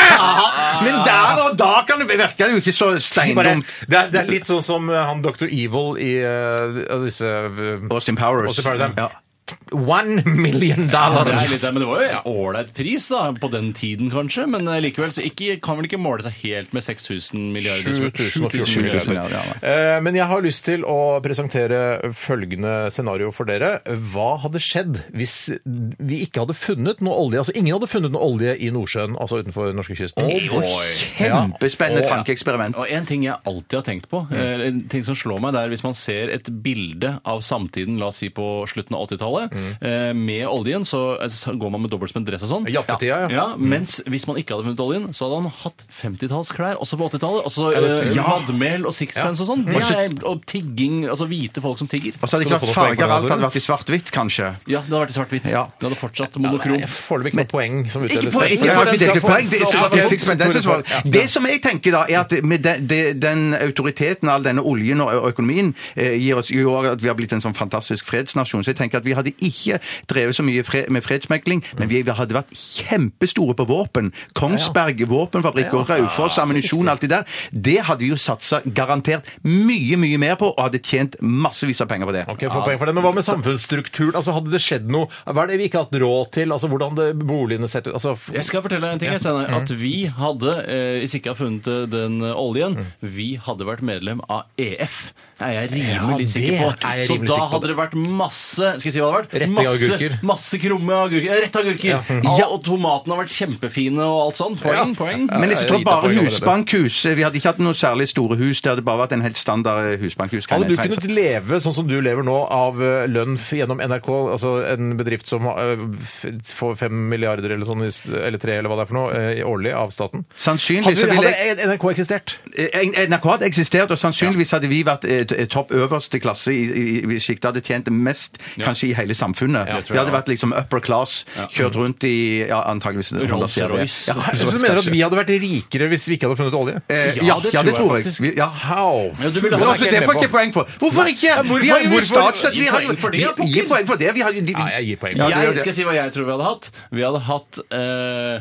[SPEAKER 3] Men der og da kan det virker det jo ikke så
[SPEAKER 7] Bare,
[SPEAKER 3] steindumt.
[SPEAKER 7] det, er, det er litt sånn som eh, han Dr. Evil i eh, disse eh,
[SPEAKER 3] Austin Powers.
[SPEAKER 7] Austin Powers, ja.
[SPEAKER 3] Ja.
[SPEAKER 7] One million
[SPEAKER 8] Det er litt,
[SPEAKER 7] dollars!
[SPEAKER 8] men det var jo en ålreit pris da, på den tiden, kanskje. Men eh, likevel så ikke, kan vel ikke måle seg helt med 6000 milliarder.
[SPEAKER 7] 7014
[SPEAKER 3] 7000
[SPEAKER 7] milliarder.
[SPEAKER 3] milliarder, ja,
[SPEAKER 7] Eh, Men jeg har lyst til å presentere følgende scenario for dere. Hva hadde skjedd hvis vi ikke hadde funnet noe olje? Altså ingen hadde funnet noe olje i Nordsjøen, altså utenfor norskekysten.
[SPEAKER 3] Kjempespennende
[SPEAKER 7] Ja.
[SPEAKER 3] tankeeksperiment.
[SPEAKER 8] Og en ting jeg alltid har tenkt på, eh, en ting som slår meg, det er hvis man ser et bilde av samtiden, la oss si på slutten av 80-tallet, eh, med oljen, så eh, så går man med dobbelt dress og sånn.
[SPEAKER 7] Jappetida, ja.
[SPEAKER 8] Ja, mens hvis man ikke hadde funnet oljen, så hadde han hatt 50-tallsklær også på 80-tallet. Altså
[SPEAKER 7] det-
[SPEAKER 8] eh, vadmel og sixpence og sånn. Det er- Og tigging, altså hvite folk som tigger.
[SPEAKER 3] Og så hadde det
[SPEAKER 7] Skal
[SPEAKER 3] ikke
[SPEAKER 7] du
[SPEAKER 3] vært
[SPEAKER 7] få noe poeng på
[SPEAKER 3] farger,
[SPEAKER 7] det,
[SPEAKER 3] alt hadde
[SPEAKER 7] Tore?
[SPEAKER 3] vært i svart-hvitt, kanskje.
[SPEAKER 8] Ja, det hadde vært i svart-hvitt.
[SPEAKER 3] Ja.
[SPEAKER 8] Det hadde fortsatt
[SPEAKER 7] Jeg
[SPEAKER 8] monokromt.
[SPEAKER 7] får Foreløpig ikke noe poeng som
[SPEAKER 3] Ikke
[SPEAKER 7] utdeles.
[SPEAKER 3] på, ikke
[SPEAKER 7] Ja,
[SPEAKER 3] på det
[SPEAKER 7] men så-
[SPEAKER 3] delte poeng. Det,
[SPEAKER 7] så-
[SPEAKER 3] er- det, er six men det, er
[SPEAKER 7] Tore,
[SPEAKER 3] så- det som jeg tenker, da, er at med den, det- den autoriteten all denne oljen og og økonomien eh, gir oss, gjør at vi har blitt en sånn fantastisk fredsnasjon. Så jeg tenker at vi hadde ikke drevet så mye fred, med fredsmekling, men vi hadde vært kjempestore på våpen. Kongsberg våpenfabrikk og Raufoss ammunisjon, alt det der. Det hadde vi jo satsa garantert mye, mye mer på, og hadde tjent massevis av penger på det.
[SPEAKER 7] Ok, jeg får poeng for det. Men hva med samfunnsstrukturen? Altså, hadde det skjedd noe? Hva er det vi ikke har hatt råd til? Altså, hvordan det, boligene sett ut? Altså,
[SPEAKER 8] Jeg skal fortelle deg en ting, jeg, Steinar. At vi hadde, eh, hvis ikke jeg hadde funnet eh, den eh, oljen,
[SPEAKER 7] Mm.
[SPEAKER 8] vi hadde vært medlem av EF. Det er jeg rimelig
[SPEAKER 7] Ja,
[SPEAKER 8] sikker på.
[SPEAKER 7] det er jeg
[SPEAKER 8] Så
[SPEAKER 7] rimelig
[SPEAKER 8] da
[SPEAKER 7] sikker på.
[SPEAKER 8] hadde det vært masse Skal jeg si hva har vært
[SPEAKER 7] Retting av
[SPEAKER 8] masse,
[SPEAKER 7] agurker.
[SPEAKER 8] masse krumme agurker. Ja, Rette agurker! Ja.
[SPEAKER 3] Ja.
[SPEAKER 8] og tomatene har vært kjempefine og alt sånn. Poeng, poeng.
[SPEAKER 3] Men jeg
[SPEAKER 7] jeg
[SPEAKER 3] tror
[SPEAKER 7] gir deg
[SPEAKER 3] bare
[SPEAKER 7] poeng allerede.
[SPEAKER 3] husbankhus Vi hadde ikke hatt noe særlig store hus. Det hadde bare vært en helt standard eh, husbankhus. kan
[SPEAKER 7] Hadde du
[SPEAKER 3] jeg tegne seg.
[SPEAKER 7] kunnet leve sånn som du lever nå, av eh, lønn f- gjennom NRK, altså en bedrift som eh, f- får fem milliarder eller sånn, i st- eller tre, eller hva det er for noe, eh, i årlig av staten?
[SPEAKER 3] Sannsynligvis så
[SPEAKER 7] Hadde,
[SPEAKER 3] ville
[SPEAKER 7] hadde
[SPEAKER 3] jeg
[SPEAKER 7] NRK eksistert?
[SPEAKER 3] Eh, NRK hadde eksistert, og sannsynligvis hadde vi vært eh, t- topp øverste klasse i, i, i sjiktet. Hadde tjent mest kanskje i hele samfunnet.
[SPEAKER 8] Ja, det tror
[SPEAKER 3] vi
[SPEAKER 8] jeg
[SPEAKER 3] hadde
[SPEAKER 8] også.
[SPEAKER 3] vært liksom upper class, kjørt rundt i ja, antageligvis
[SPEAKER 8] Rolls-Royce.
[SPEAKER 3] Ja,
[SPEAKER 7] Så du
[SPEAKER 3] Rolls-Royce,
[SPEAKER 7] mener at
[SPEAKER 3] kanskje.
[SPEAKER 7] vi hadde vært rikere hvis vi ikke hadde funnet olje?
[SPEAKER 3] Eh, ja, ja, det tror jeg. Vi- Ja.
[SPEAKER 7] How?
[SPEAKER 8] Ja, du ville
[SPEAKER 3] Men
[SPEAKER 8] ha-
[SPEAKER 3] altså, det får ikke jeg poeng for. Hvorfor ikke? vi har jo
[SPEAKER 7] hvorfor-
[SPEAKER 3] statsstøtte. Vi har
[SPEAKER 8] Gi
[SPEAKER 3] jo
[SPEAKER 8] poeng for det, ja,
[SPEAKER 3] vi-
[SPEAKER 8] pokker.
[SPEAKER 3] Gi poeng for det. Vi har jo de-
[SPEAKER 7] Nei, jeg gir poeng.
[SPEAKER 3] Ja, det gjør
[SPEAKER 8] jeg
[SPEAKER 3] det.
[SPEAKER 8] skal si hva jeg tror vi hadde hatt. Vi hadde hatt eh,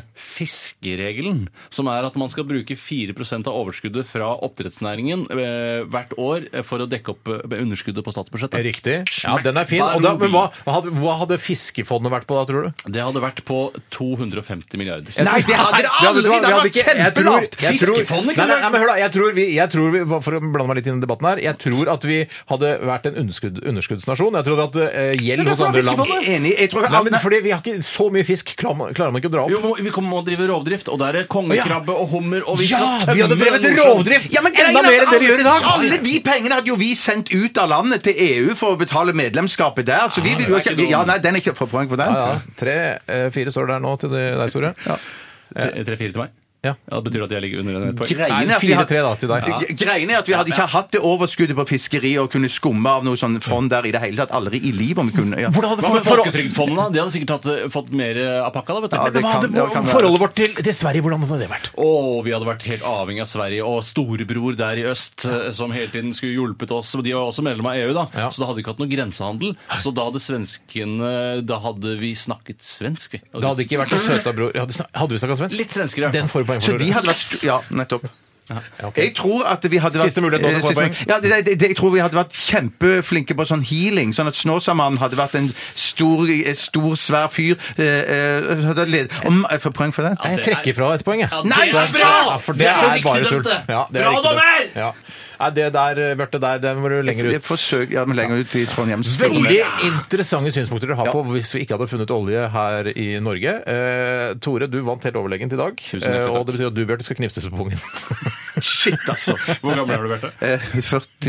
[SPEAKER 8] fiskeregelen, som er at man skal bruke 4 av overskuddet fra oppdrettsnæringen eh, hvert år eh, for å dekke opp eh, underskuddet på statsbudsjettet.
[SPEAKER 7] Riktig. Ja, den er fin. Og da, men hva, hva, hadde, hva hadde fiskefondet vært på da, tror du?
[SPEAKER 8] Det hadde vært på 250 milliarder.
[SPEAKER 3] Nei, det hadde dere aldri! Det
[SPEAKER 7] vi hadde- vi
[SPEAKER 3] var
[SPEAKER 7] hadde ikke- jeg tror-
[SPEAKER 3] kjempelavt!
[SPEAKER 7] jeg tror-
[SPEAKER 8] Fiskefondet
[SPEAKER 7] Nei,
[SPEAKER 8] kunne
[SPEAKER 7] nei,
[SPEAKER 8] vært-
[SPEAKER 7] nei, men hør da, jeg tror vi, jeg tror vi For å blande meg litt inn i debatten her Jeg tror at vi hadde vært en underskudd, underskuddsnasjon. Jeg trodde at eh, gjeld hos andre land
[SPEAKER 3] Jeg er Enig. Jeg tror
[SPEAKER 7] Nei, men
[SPEAKER 3] alle-
[SPEAKER 7] fordi vi har ikke så mye fisk, klarer man, klarer man ikke å dra opp.
[SPEAKER 8] Jo, må, vi kommer må drive rovdrift, og der er kongekrabbe og hummer og vi skal
[SPEAKER 3] vi hadde
[SPEAKER 8] tømme
[SPEAKER 3] drevet
[SPEAKER 8] Nordsjøen.
[SPEAKER 3] rovdrift! Ja, men
[SPEAKER 7] Enda
[SPEAKER 3] greien er
[SPEAKER 7] mer
[SPEAKER 3] at
[SPEAKER 7] enn det vi
[SPEAKER 3] alle-
[SPEAKER 7] gjør i dag.
[SPEAKER 3] Alle de pengene hadde jo vi sendt ut av landet til EU for å betale medlemskapet der, så vi vil jo
[SPEAKER 8] det er
[SPEAKER 3] ikke
[SPEAKER 8] ikke noe-
[SPEAKER 3] Ja, nei, den er ikke for poeng for den.
[SPEAKER 7] Ja, ja. Tre-fire står der nå til det- deg, Tore.
[SPEAKER 8] Eh, Tre- Tre-fire til meg?
[SPEAKER 7] Ja.
[SPEAKER 8] Det betyr at jeg ligger under en ett poeng.
[SPEAKER 3] Greien
[SPEAKER 7] Nei,
[SPEAKER 3] er at vi har-
[SPEAKER 7] 4-3 da, til deg.
[SPEAKER 3] Ja. Greien er at vi hadde ikke hatt det overskuddet på fiskeri og kunne skumme av noe sånn fond der i det hele tatt. Aldri i livet om vi kunne ja.
[SPEAKER 7] altså,
[SPEAKER 8] Hva med Folketrygdfondet? da? De hadde sikkert hatt, eh, fått mer eh, av pakka da, vet du.
[SPEAKER 3] Ja, det kan- det kan være.
[SPEAKER 7] vårt til, til Sverige, hvordan hadde det vært?
[SPEAKER 8] Og vi hadde vært helt avhengig av Sverige og storebror der i øst, eh, som hele tiden skulle hjulpet oss. Og De var også medlem av EU, da,
[SPEAKER 7] Ja.
[SPEAKER 8] så da hadde vi ikke hatt noe grensehandel. Så da hadde svenskene Da hadde vi snakket svensk, vi.
[SPEAKER 7] Det hadde ikke vært en søta bror. Hadde, snak- hadde vi snakka svensk?
[SPEAKER 8] Litt svenskere, i hvert
[SPEAKER 7] Den
[SPEAKER 8] fall.
[SPEAKER 7] får du poeng
[SPEAKER 3] Så
[SPEAKER 7] for.
[SPEAKER 3] de
[SPEAKER 7] Tore.
[SPEAKER 3] hadde vært stu- Ja, nettopp.
[SPEAKER 7] Ja, ok.
[SPEAKER 3] Jeg tror at vi hadde vært
[SPEAKER 7] Siste mulighet nå til å
[SPEAKER 3] eh,
[SPEAKER 7] få
[SPEAKER 3] siste-
[SPEAKER 7] poeng.
[SPEAKER 3] Ja, det, det, det, jeg tror vi hadde vært kjempeflinke på sånn healing. Sånn at Snåsamannen hadde vært en stor, eh, stor svær fyr. Eh, eh, så hadde led, om, jeg får poeng for det?
[SPEAKER 7] Nei, jeg trekker fra ett poeng, jeg.
[SPEAKER 8] Ja, Nei, det er bra!
[SPEAKER 7] Ja, for det,
[SPEAKER 8] Det er så
[SPEAKER 7] er
[SPEAKER 8] riktig
[SPEAKER 7] bare tull.
[SPEAKER 8] dømt, det.
[SPEAKER 7] Ja, det er
[SPEAKER 8] Bra,
[SPEAKER 7] riktig dømt.
[SPEAKER 8] dommer!
[SPEAKER 7] Ja. Nei, det der, Bjarte, der, der må du lenger
[SPEAKER 3] Jeg
[SPEAKER 7] ut.
[SPEAKER 3] forsøker ja, men lenger ut i Trondheims
[SPEAKER 7] Veldig interessante synspunkter dere har på hvis vi ikke hadde funnet olje her i Norge. Eh, Tore, du vant helt overlegent i dag.
[SPEAKER 8] hjertelig
[SPEAKER 7] eh,
[SPEAKER 8] takk.
[SPEAKER 7] og det betyr at du, Bjarte, skal knipses på pungen.
[SPEAKER 3] Shit, altså.
[SPEAKER 8] Hvor gammel er du, Bjarte?
[SPEAKER 3] Eh,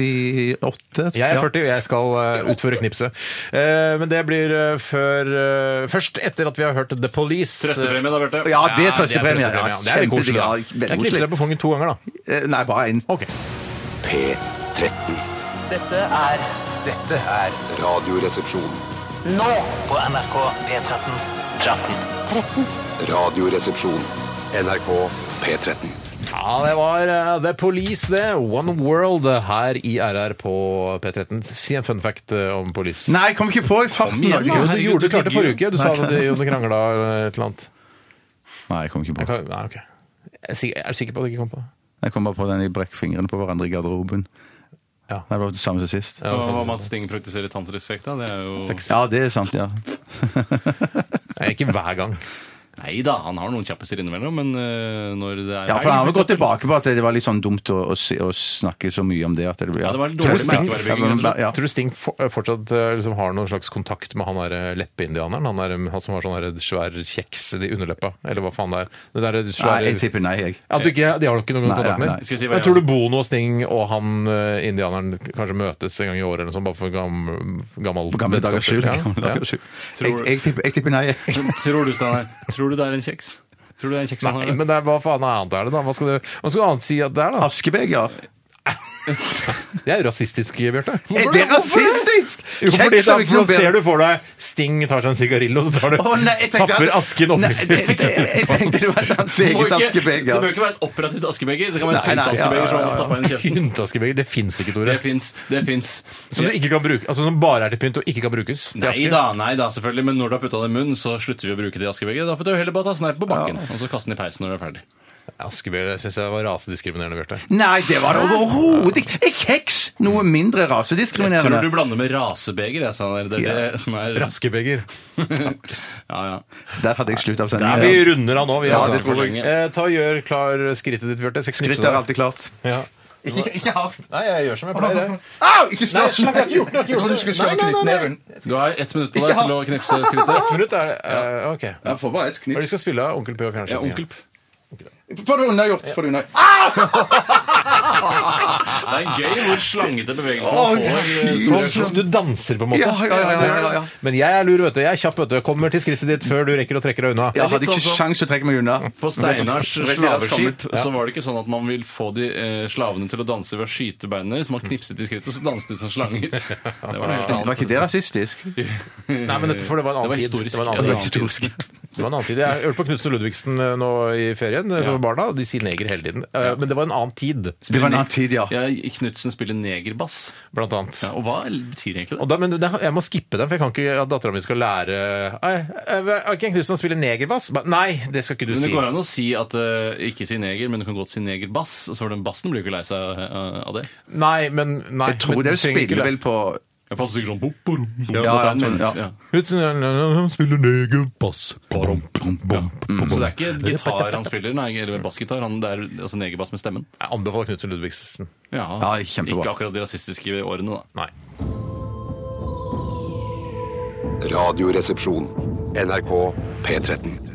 [SPEAKER 3] 48?
[SPEAKER 7] Jeg er
[SPEAKER 3] Ja.
[SPEAKER 7] 40, og jeg skal eh, utføre knipset. Eh, men det blir eh, før eh, Først etter at vi har hørt The Police.
[SPEAKER 8] Trøstepremie, da, Bjarte?
[SPEAKER 3] Ja, det er
[SPEAKER 7] Ja,
[SPEAKER 3] trøstepremie.
[SPEAKER 7] det er
[SPEAKER 3] Ja,
[SPEAKER 7] trøstepremie, ja. Det er litt koselig,
[SPEAKER 3] kjempedigg,
[SPEAKER 7] da.
[SPEAKER 3] ja, veldig
[SPEAKER 7] Jeg knipser
[SPEAKER 3] koselig.
[SPEAKER 7] deg på pungen to ganger, da.
[SPEAKER 3] Eh, Nei, bare én.
[SPEAKER 7] Ok.
[SPEAKER 1] P13.
[SPEAKER 5] Dette er
[SPEAKER 6] Dette er Radioresepsjon.
[SPEAKER 5] nå på NRK P13.
[SPEAKER 6] Radioresepsjon.
[SPEAKER 1] NRK P13.
[SPEAKER 7] Ja, det var eh, The Police, det. One World eh, her i RR på P13. Si en fun fact eh, om Police.
[SPEAKER 3] Nei, jeg kom ikke på i farten.
[SPEAKER 8] igjen,
[SPEAKER 7] Jo,
[SPEAKER 3] Jo,
[SPEAKER 7] du
[SPEAKER 8] herregud,
[SPEAKER 7] gjorde
[SPEAKER 8] du
[SPEAKER 7] det klart det
[SPEAKER 8] digger
[SPEAKER 7] forrige
[SPEAKER 8] jo.
[SPEAKER 7] uke. Du sa at Jon krangla eller eh, et eller annet.
[SPEAKER 3] Nei, jeg kom ikke
[SPEAKER 7] Jeg
[SPEAKER 3] på.
[SPEAKER 7] kan, nei, ok. Jeg er sikker- jeg er sikker på at du ikke kom på det.
[SPEAKER 3] Jeg kom bare på den i brekkfingrene på hverandre i garderoben.
[SPEAKER 7] Ja.
[SPEAKER 3] Nei, Det var det samme som sist.
[SPEAKER 7] Ja,
[SPEAKER 8] Hva hva
[SPEAKER 7] sånn-
[SPEAKER 8] Mats Sting praktiserer tantrisk sekt, da? Det er jo
[SPEAKER 3] Ja, det er sant, ja.
[SPEAKER 7] Nei, Ikke hver gang.
[SPEAKER 8] Nei da, han har noen kjappiser innimellom, men eh, når det er
[SPEAKER 3] Ja, for Han har vel gått tilbake på at det var litt sånn dumt å, å, si- å snakke så mye om det. At det, ble-
[SPEAKER 8] Ja, det var litt
[SPEAKER 7] Tror du
[SPEAKER 8] dårlig
[SPEAKER 7] Sting-
[SPEAKER 8] merkevarebygging. altså. rett og slett.
[SPEAKER 3] Ja.
[SPEAKER 7] Tror du Sting for, fortsatt eh, liksom, har noen slags kontakt med han der eh, leppeindianeren? Han, der, eh, han som har sånn der svær kjeks i underleppa, eller hva faen det er? Det der
[SPEAKER 3] Nei,
[SPEAKER 7] svære...
[SPEAKER 3] jeg tipper nei, jeg.
[SPEAKER 7] ja, du, ikke, de har nok ikke noen
[SPEAKER 3] Nei,
[SPEAKER 7] kontakt
[SPEAKER 3] nei,
[SPEAKER 7] med
[SPEAKER 3] nei.
[SPEAKER 8] Skal jeg si hva
[SPEAKER 7] Men
[SPEAKER 8] jeg-
[SPEAKER 7] Tror du Bono og Sting og han eh, indianeren kanskje møtes en gang i året, eller noe sånt, bare for gammel, gammel
[SPEAKER 3] På gamle dagers skyld.
[SPEAKER 7] Ja,
[SPEAKER 3] gamle
[SPEAKER 7] ja.
[SPEAKER 3] dagers skyld.
[SPEAKER 8] Tror
[SPEAKER 3] Jeg,
[SPEAKER 8] du-
[SPEAKER 3] jeg, tipper, jeg tipper nei, jeg.
[SPEAKER 8] Men Tror du, Steinar, tror du det er en kjeks? Tror du det er en kjeks han
[SPEAKER 7] Nei,
[SPEAKER 8] har?
[SPEAKER 7] men det er, hva faen annet er det, da? Hva skal du, hva skal du annet si at det er, da?
[SPEAKER 3] Askebeger.
[SPEAKER 7] Det er jo rasistisk, Bjarte.
[SPEAKER 3] Er det rasistisk?!
[SPEAKER 7] Jo, fordi
[SPEAKER 3] Kjeks er
[SPEAKER 7] da
[SPEAKER 3] jo ikke
[SPEAKER 7] for
[SPEAKER 3] noe
[SPEAKER 7] da ser
[SPEAKER 3] bedre.
[SPEAKER 7] du for deg Sting tar seg en sigarillo, så tar du,
[SPEAKER 3] Å, nei, jeg tenkte
[SPEAKER 7] tapper
[SPEAKER 3] at-
[SPEAKER 7] asken
[SPEAKER 3] Nei,
[SPEAKER 7] oppi
[SPEAKER 3] det- det- Jeg tenkte det var
[SPEAKER 8] Må
[SPEAKER 3] hans eget
[SPEAKER 8] ikke- Det
[SPEAKER 3] askebeger.
[SPEAKER 8] bør ikke være et operativt askebeger. Det kan være en
[SPEAKER 3] Nei, nei, ja,
[SPEAKER 8] pyntaskebeger som han
[SPEAKER 3] ja, ja.
[SPEAKER 8] har stappa inn i kjeften.
[SPEAKER 7] Pyntaskebeger, det fins ikke, Tore.
[SPEAKER 8] Det fins. Det fins.
[SPEAKER 7] Som du ikke kan bruke, altså som bare er til pynt og ikke kan brukes. til
[SPEAKER 8] Nei
[SPEAKER 7] aske.
[SPEAKER 8] da, nei da, selvfølgelig. Men når du har putta det i munnen, så slutter vi å bruke det askebeget. Da får du heller bare ta sneip på bakken, og så kaste den i peisen når du er ferdig.
[SPEAKER 7] Askebeger syns jeg var rasediskriminerende, Bjarte.
[SPEAKER 3] Nei, det var det overhodet ikke! Er kjeks noe mindre
[SPEAKER 8] Jeg tror du
[SPEAKER 3] rasediskriminerende?
[SPEAKER 8] blander med rasebeger, jeg, Steinar. Det er det som er
[SPEAKER 7] Raskebeger.
[SPEAKER 8] Ja, ja.
[SPEAKER 3] Der hadde jeg slutt av
[SPEAKER 7] Nei,
[SPEAKER 3] sendingen.
[SPEAKER 7] vi
[SPEAKER 3] ja.
[SPEAKER 7] runder av nå, vi.
[SPEAKER 3] Ja,
[SPEAKER 7] altså.
[SPEAKER 3] det tror
[SPEAKER 8] jeg.
[SPEAKER 7] Eh, ta og Gjør klar skrittet ditt, Bjarte. Jeg skal knipse
[SPEAKER 3] Skritt er
[SPEAKER 7] deg.
[SPEAKER 3] alltid klart.
[SPEAKER 7] Ja.
[SPEAKER 9] Ikke, ikke hardt.
[SPEAKER 7] Nei, jeg gjør som jeg pleier. jeg.
[SPEAKER 9] Au! Ikke slå!
[SPEAKER 7] Nei, slapp av, ikke gjort noe, ikke
[SPEAKER 9] Jeg
[SPEAKER 7] gjort
[SPEAKER 9] trodde du
[SPEAKER 7] noe.
[SPEAKER 9] skulle slå
[SPEAKER 7] Nei, nei, nei,
[SPEAKER 9] knyttneven.
[SPEAKER 8] Du har ett minutt på
[SPEAKER 9] Ikke
[SPEAKER 8] deg til å
[SPEAKER 9] hardt.
[SPEAKER 8] knipse skrittet.
[SPEAKER 7] Ett minutt er det. eh, ok.
[SPEAKER 9] Jeg får bare et
[SPEAKER 7] Hva er det
[SPEAKER 9] knipp.
[SPEAKER 7] de skal spille av Onkel P
[SPEAKER 8] Ja,
[SPEAKER 7] og Fjernsyn?
[SPEAKER 8] onkel.
[SPEAKER 9] Får du unnagjort? Får du unna.
[SPEAKER 8] Det er gøy hvor slangete bevegelser man får. eh,
[SPEAKER 7] Sånn, du danser, på en måte.
[SPEAKER 3] Ja, ja, ja, ja, ja, ja.
[SPEAKER 7] Men jeg er lur, vet du. Jeg er kjapp, vet du. Kommer til skrittet ditt før du rekker å trekke deg unna.
[SPEAKER 3] Jeg hadde ikke sjans til å trekke meg unna.
[SPEAKER 8] sånn På Steinars
[SPEAKER 9] Veldig raskt
[SPEAKER 8] slaveskip så var det ikke sånn at man vil få de eh, slavene til å danse ved å skyte beina deres. Man knipset i skrittet, så danset de som slanger. Det var noe helt
[SPEAKER 3] Var
[SPEAKER 8] annet.
[SPEAKER 3] ikke det rasistisk?
[SPEAKER 7] Nei, men dette, for det var en
[SPEAKER 8] Det var
[SPEAKER 7] annen tid.
[SPEAKER 8] historisk.
[SPEAKER 7] Det var
[SPEAKER 8] Ja,
[SPEAKER 7] en
[SPEAKER 8] det var
[SPEAKER 7] annen tid. Det var en annen tid. Jeg hørte på Knutsen og Ludvigsen eh, nå i ferien. eh, som barna, De sier neger hele tiden. Eh, Men det var en annen tid,
[SPEAKER 3] Det var en annen tid, ja.
[SPEAKER 8] Ja, Knutsen spiller negerbass.
[SPEAKER 7] blant annet.
[SPEAKER 8] Ja, og hva betyr egentlig
[SPEAKER 7] Og
[SPEAKER 8] det?
[SPEAKER 7] da, men det, jeg må skippe den, for jeg kan ikke at dattera mi skal lære Nei, Er ikke Knutsen spiller negerbass? Ba- Nei, det skal ikke du
[SPEAKER 8] Men det
[SPEAKER 7] si.
[SPEAKER 8] går an å si at eh, ikke si neger, men du kan godt si negerbass. og Så for den bassen blir jo ikke lei seg eh, av det.
[SPEAKER 7] Nei, men nei,
[SPEAKER 3] Jeg tror
[SPEAKER 7] men
[SPEAKER 3] det
[SPEAKER 7] du trenger ikke
[SPEAKER 3] spiller vel på
[SPEAKER 8] Jeg passer sikkert sånn bop, bop, bop,
[SPEAKER 3] Ja,
[SPEAKER 8] at det er
[SPEAKER 3] ja,
[SPEAKER 8] en
[SPEAKER 3] ja.
[SPEAKER 8] mens, ja.
[SPEAKER 7] Knutsen eh, spiller negerbass. Barom, bom, bom, bom.
[SPEAKER 8] Så det er ikke gitar han spiller, nei, eller bassgitar. Han, det er altså negerbass med stemmen.
[SPEAKER 7] Jeg anbefaler Knutsen Ludvigsen.
[SPEAKER 8] Ja,
[SPEAKER 3] Ja, kjempebra.
[SPEAKER 8] ikke akkurat de rasistiske årene, da.
[SPEAKER 7] Nei.
[SPEAKER 6] Radioresepsjon. NRK P13.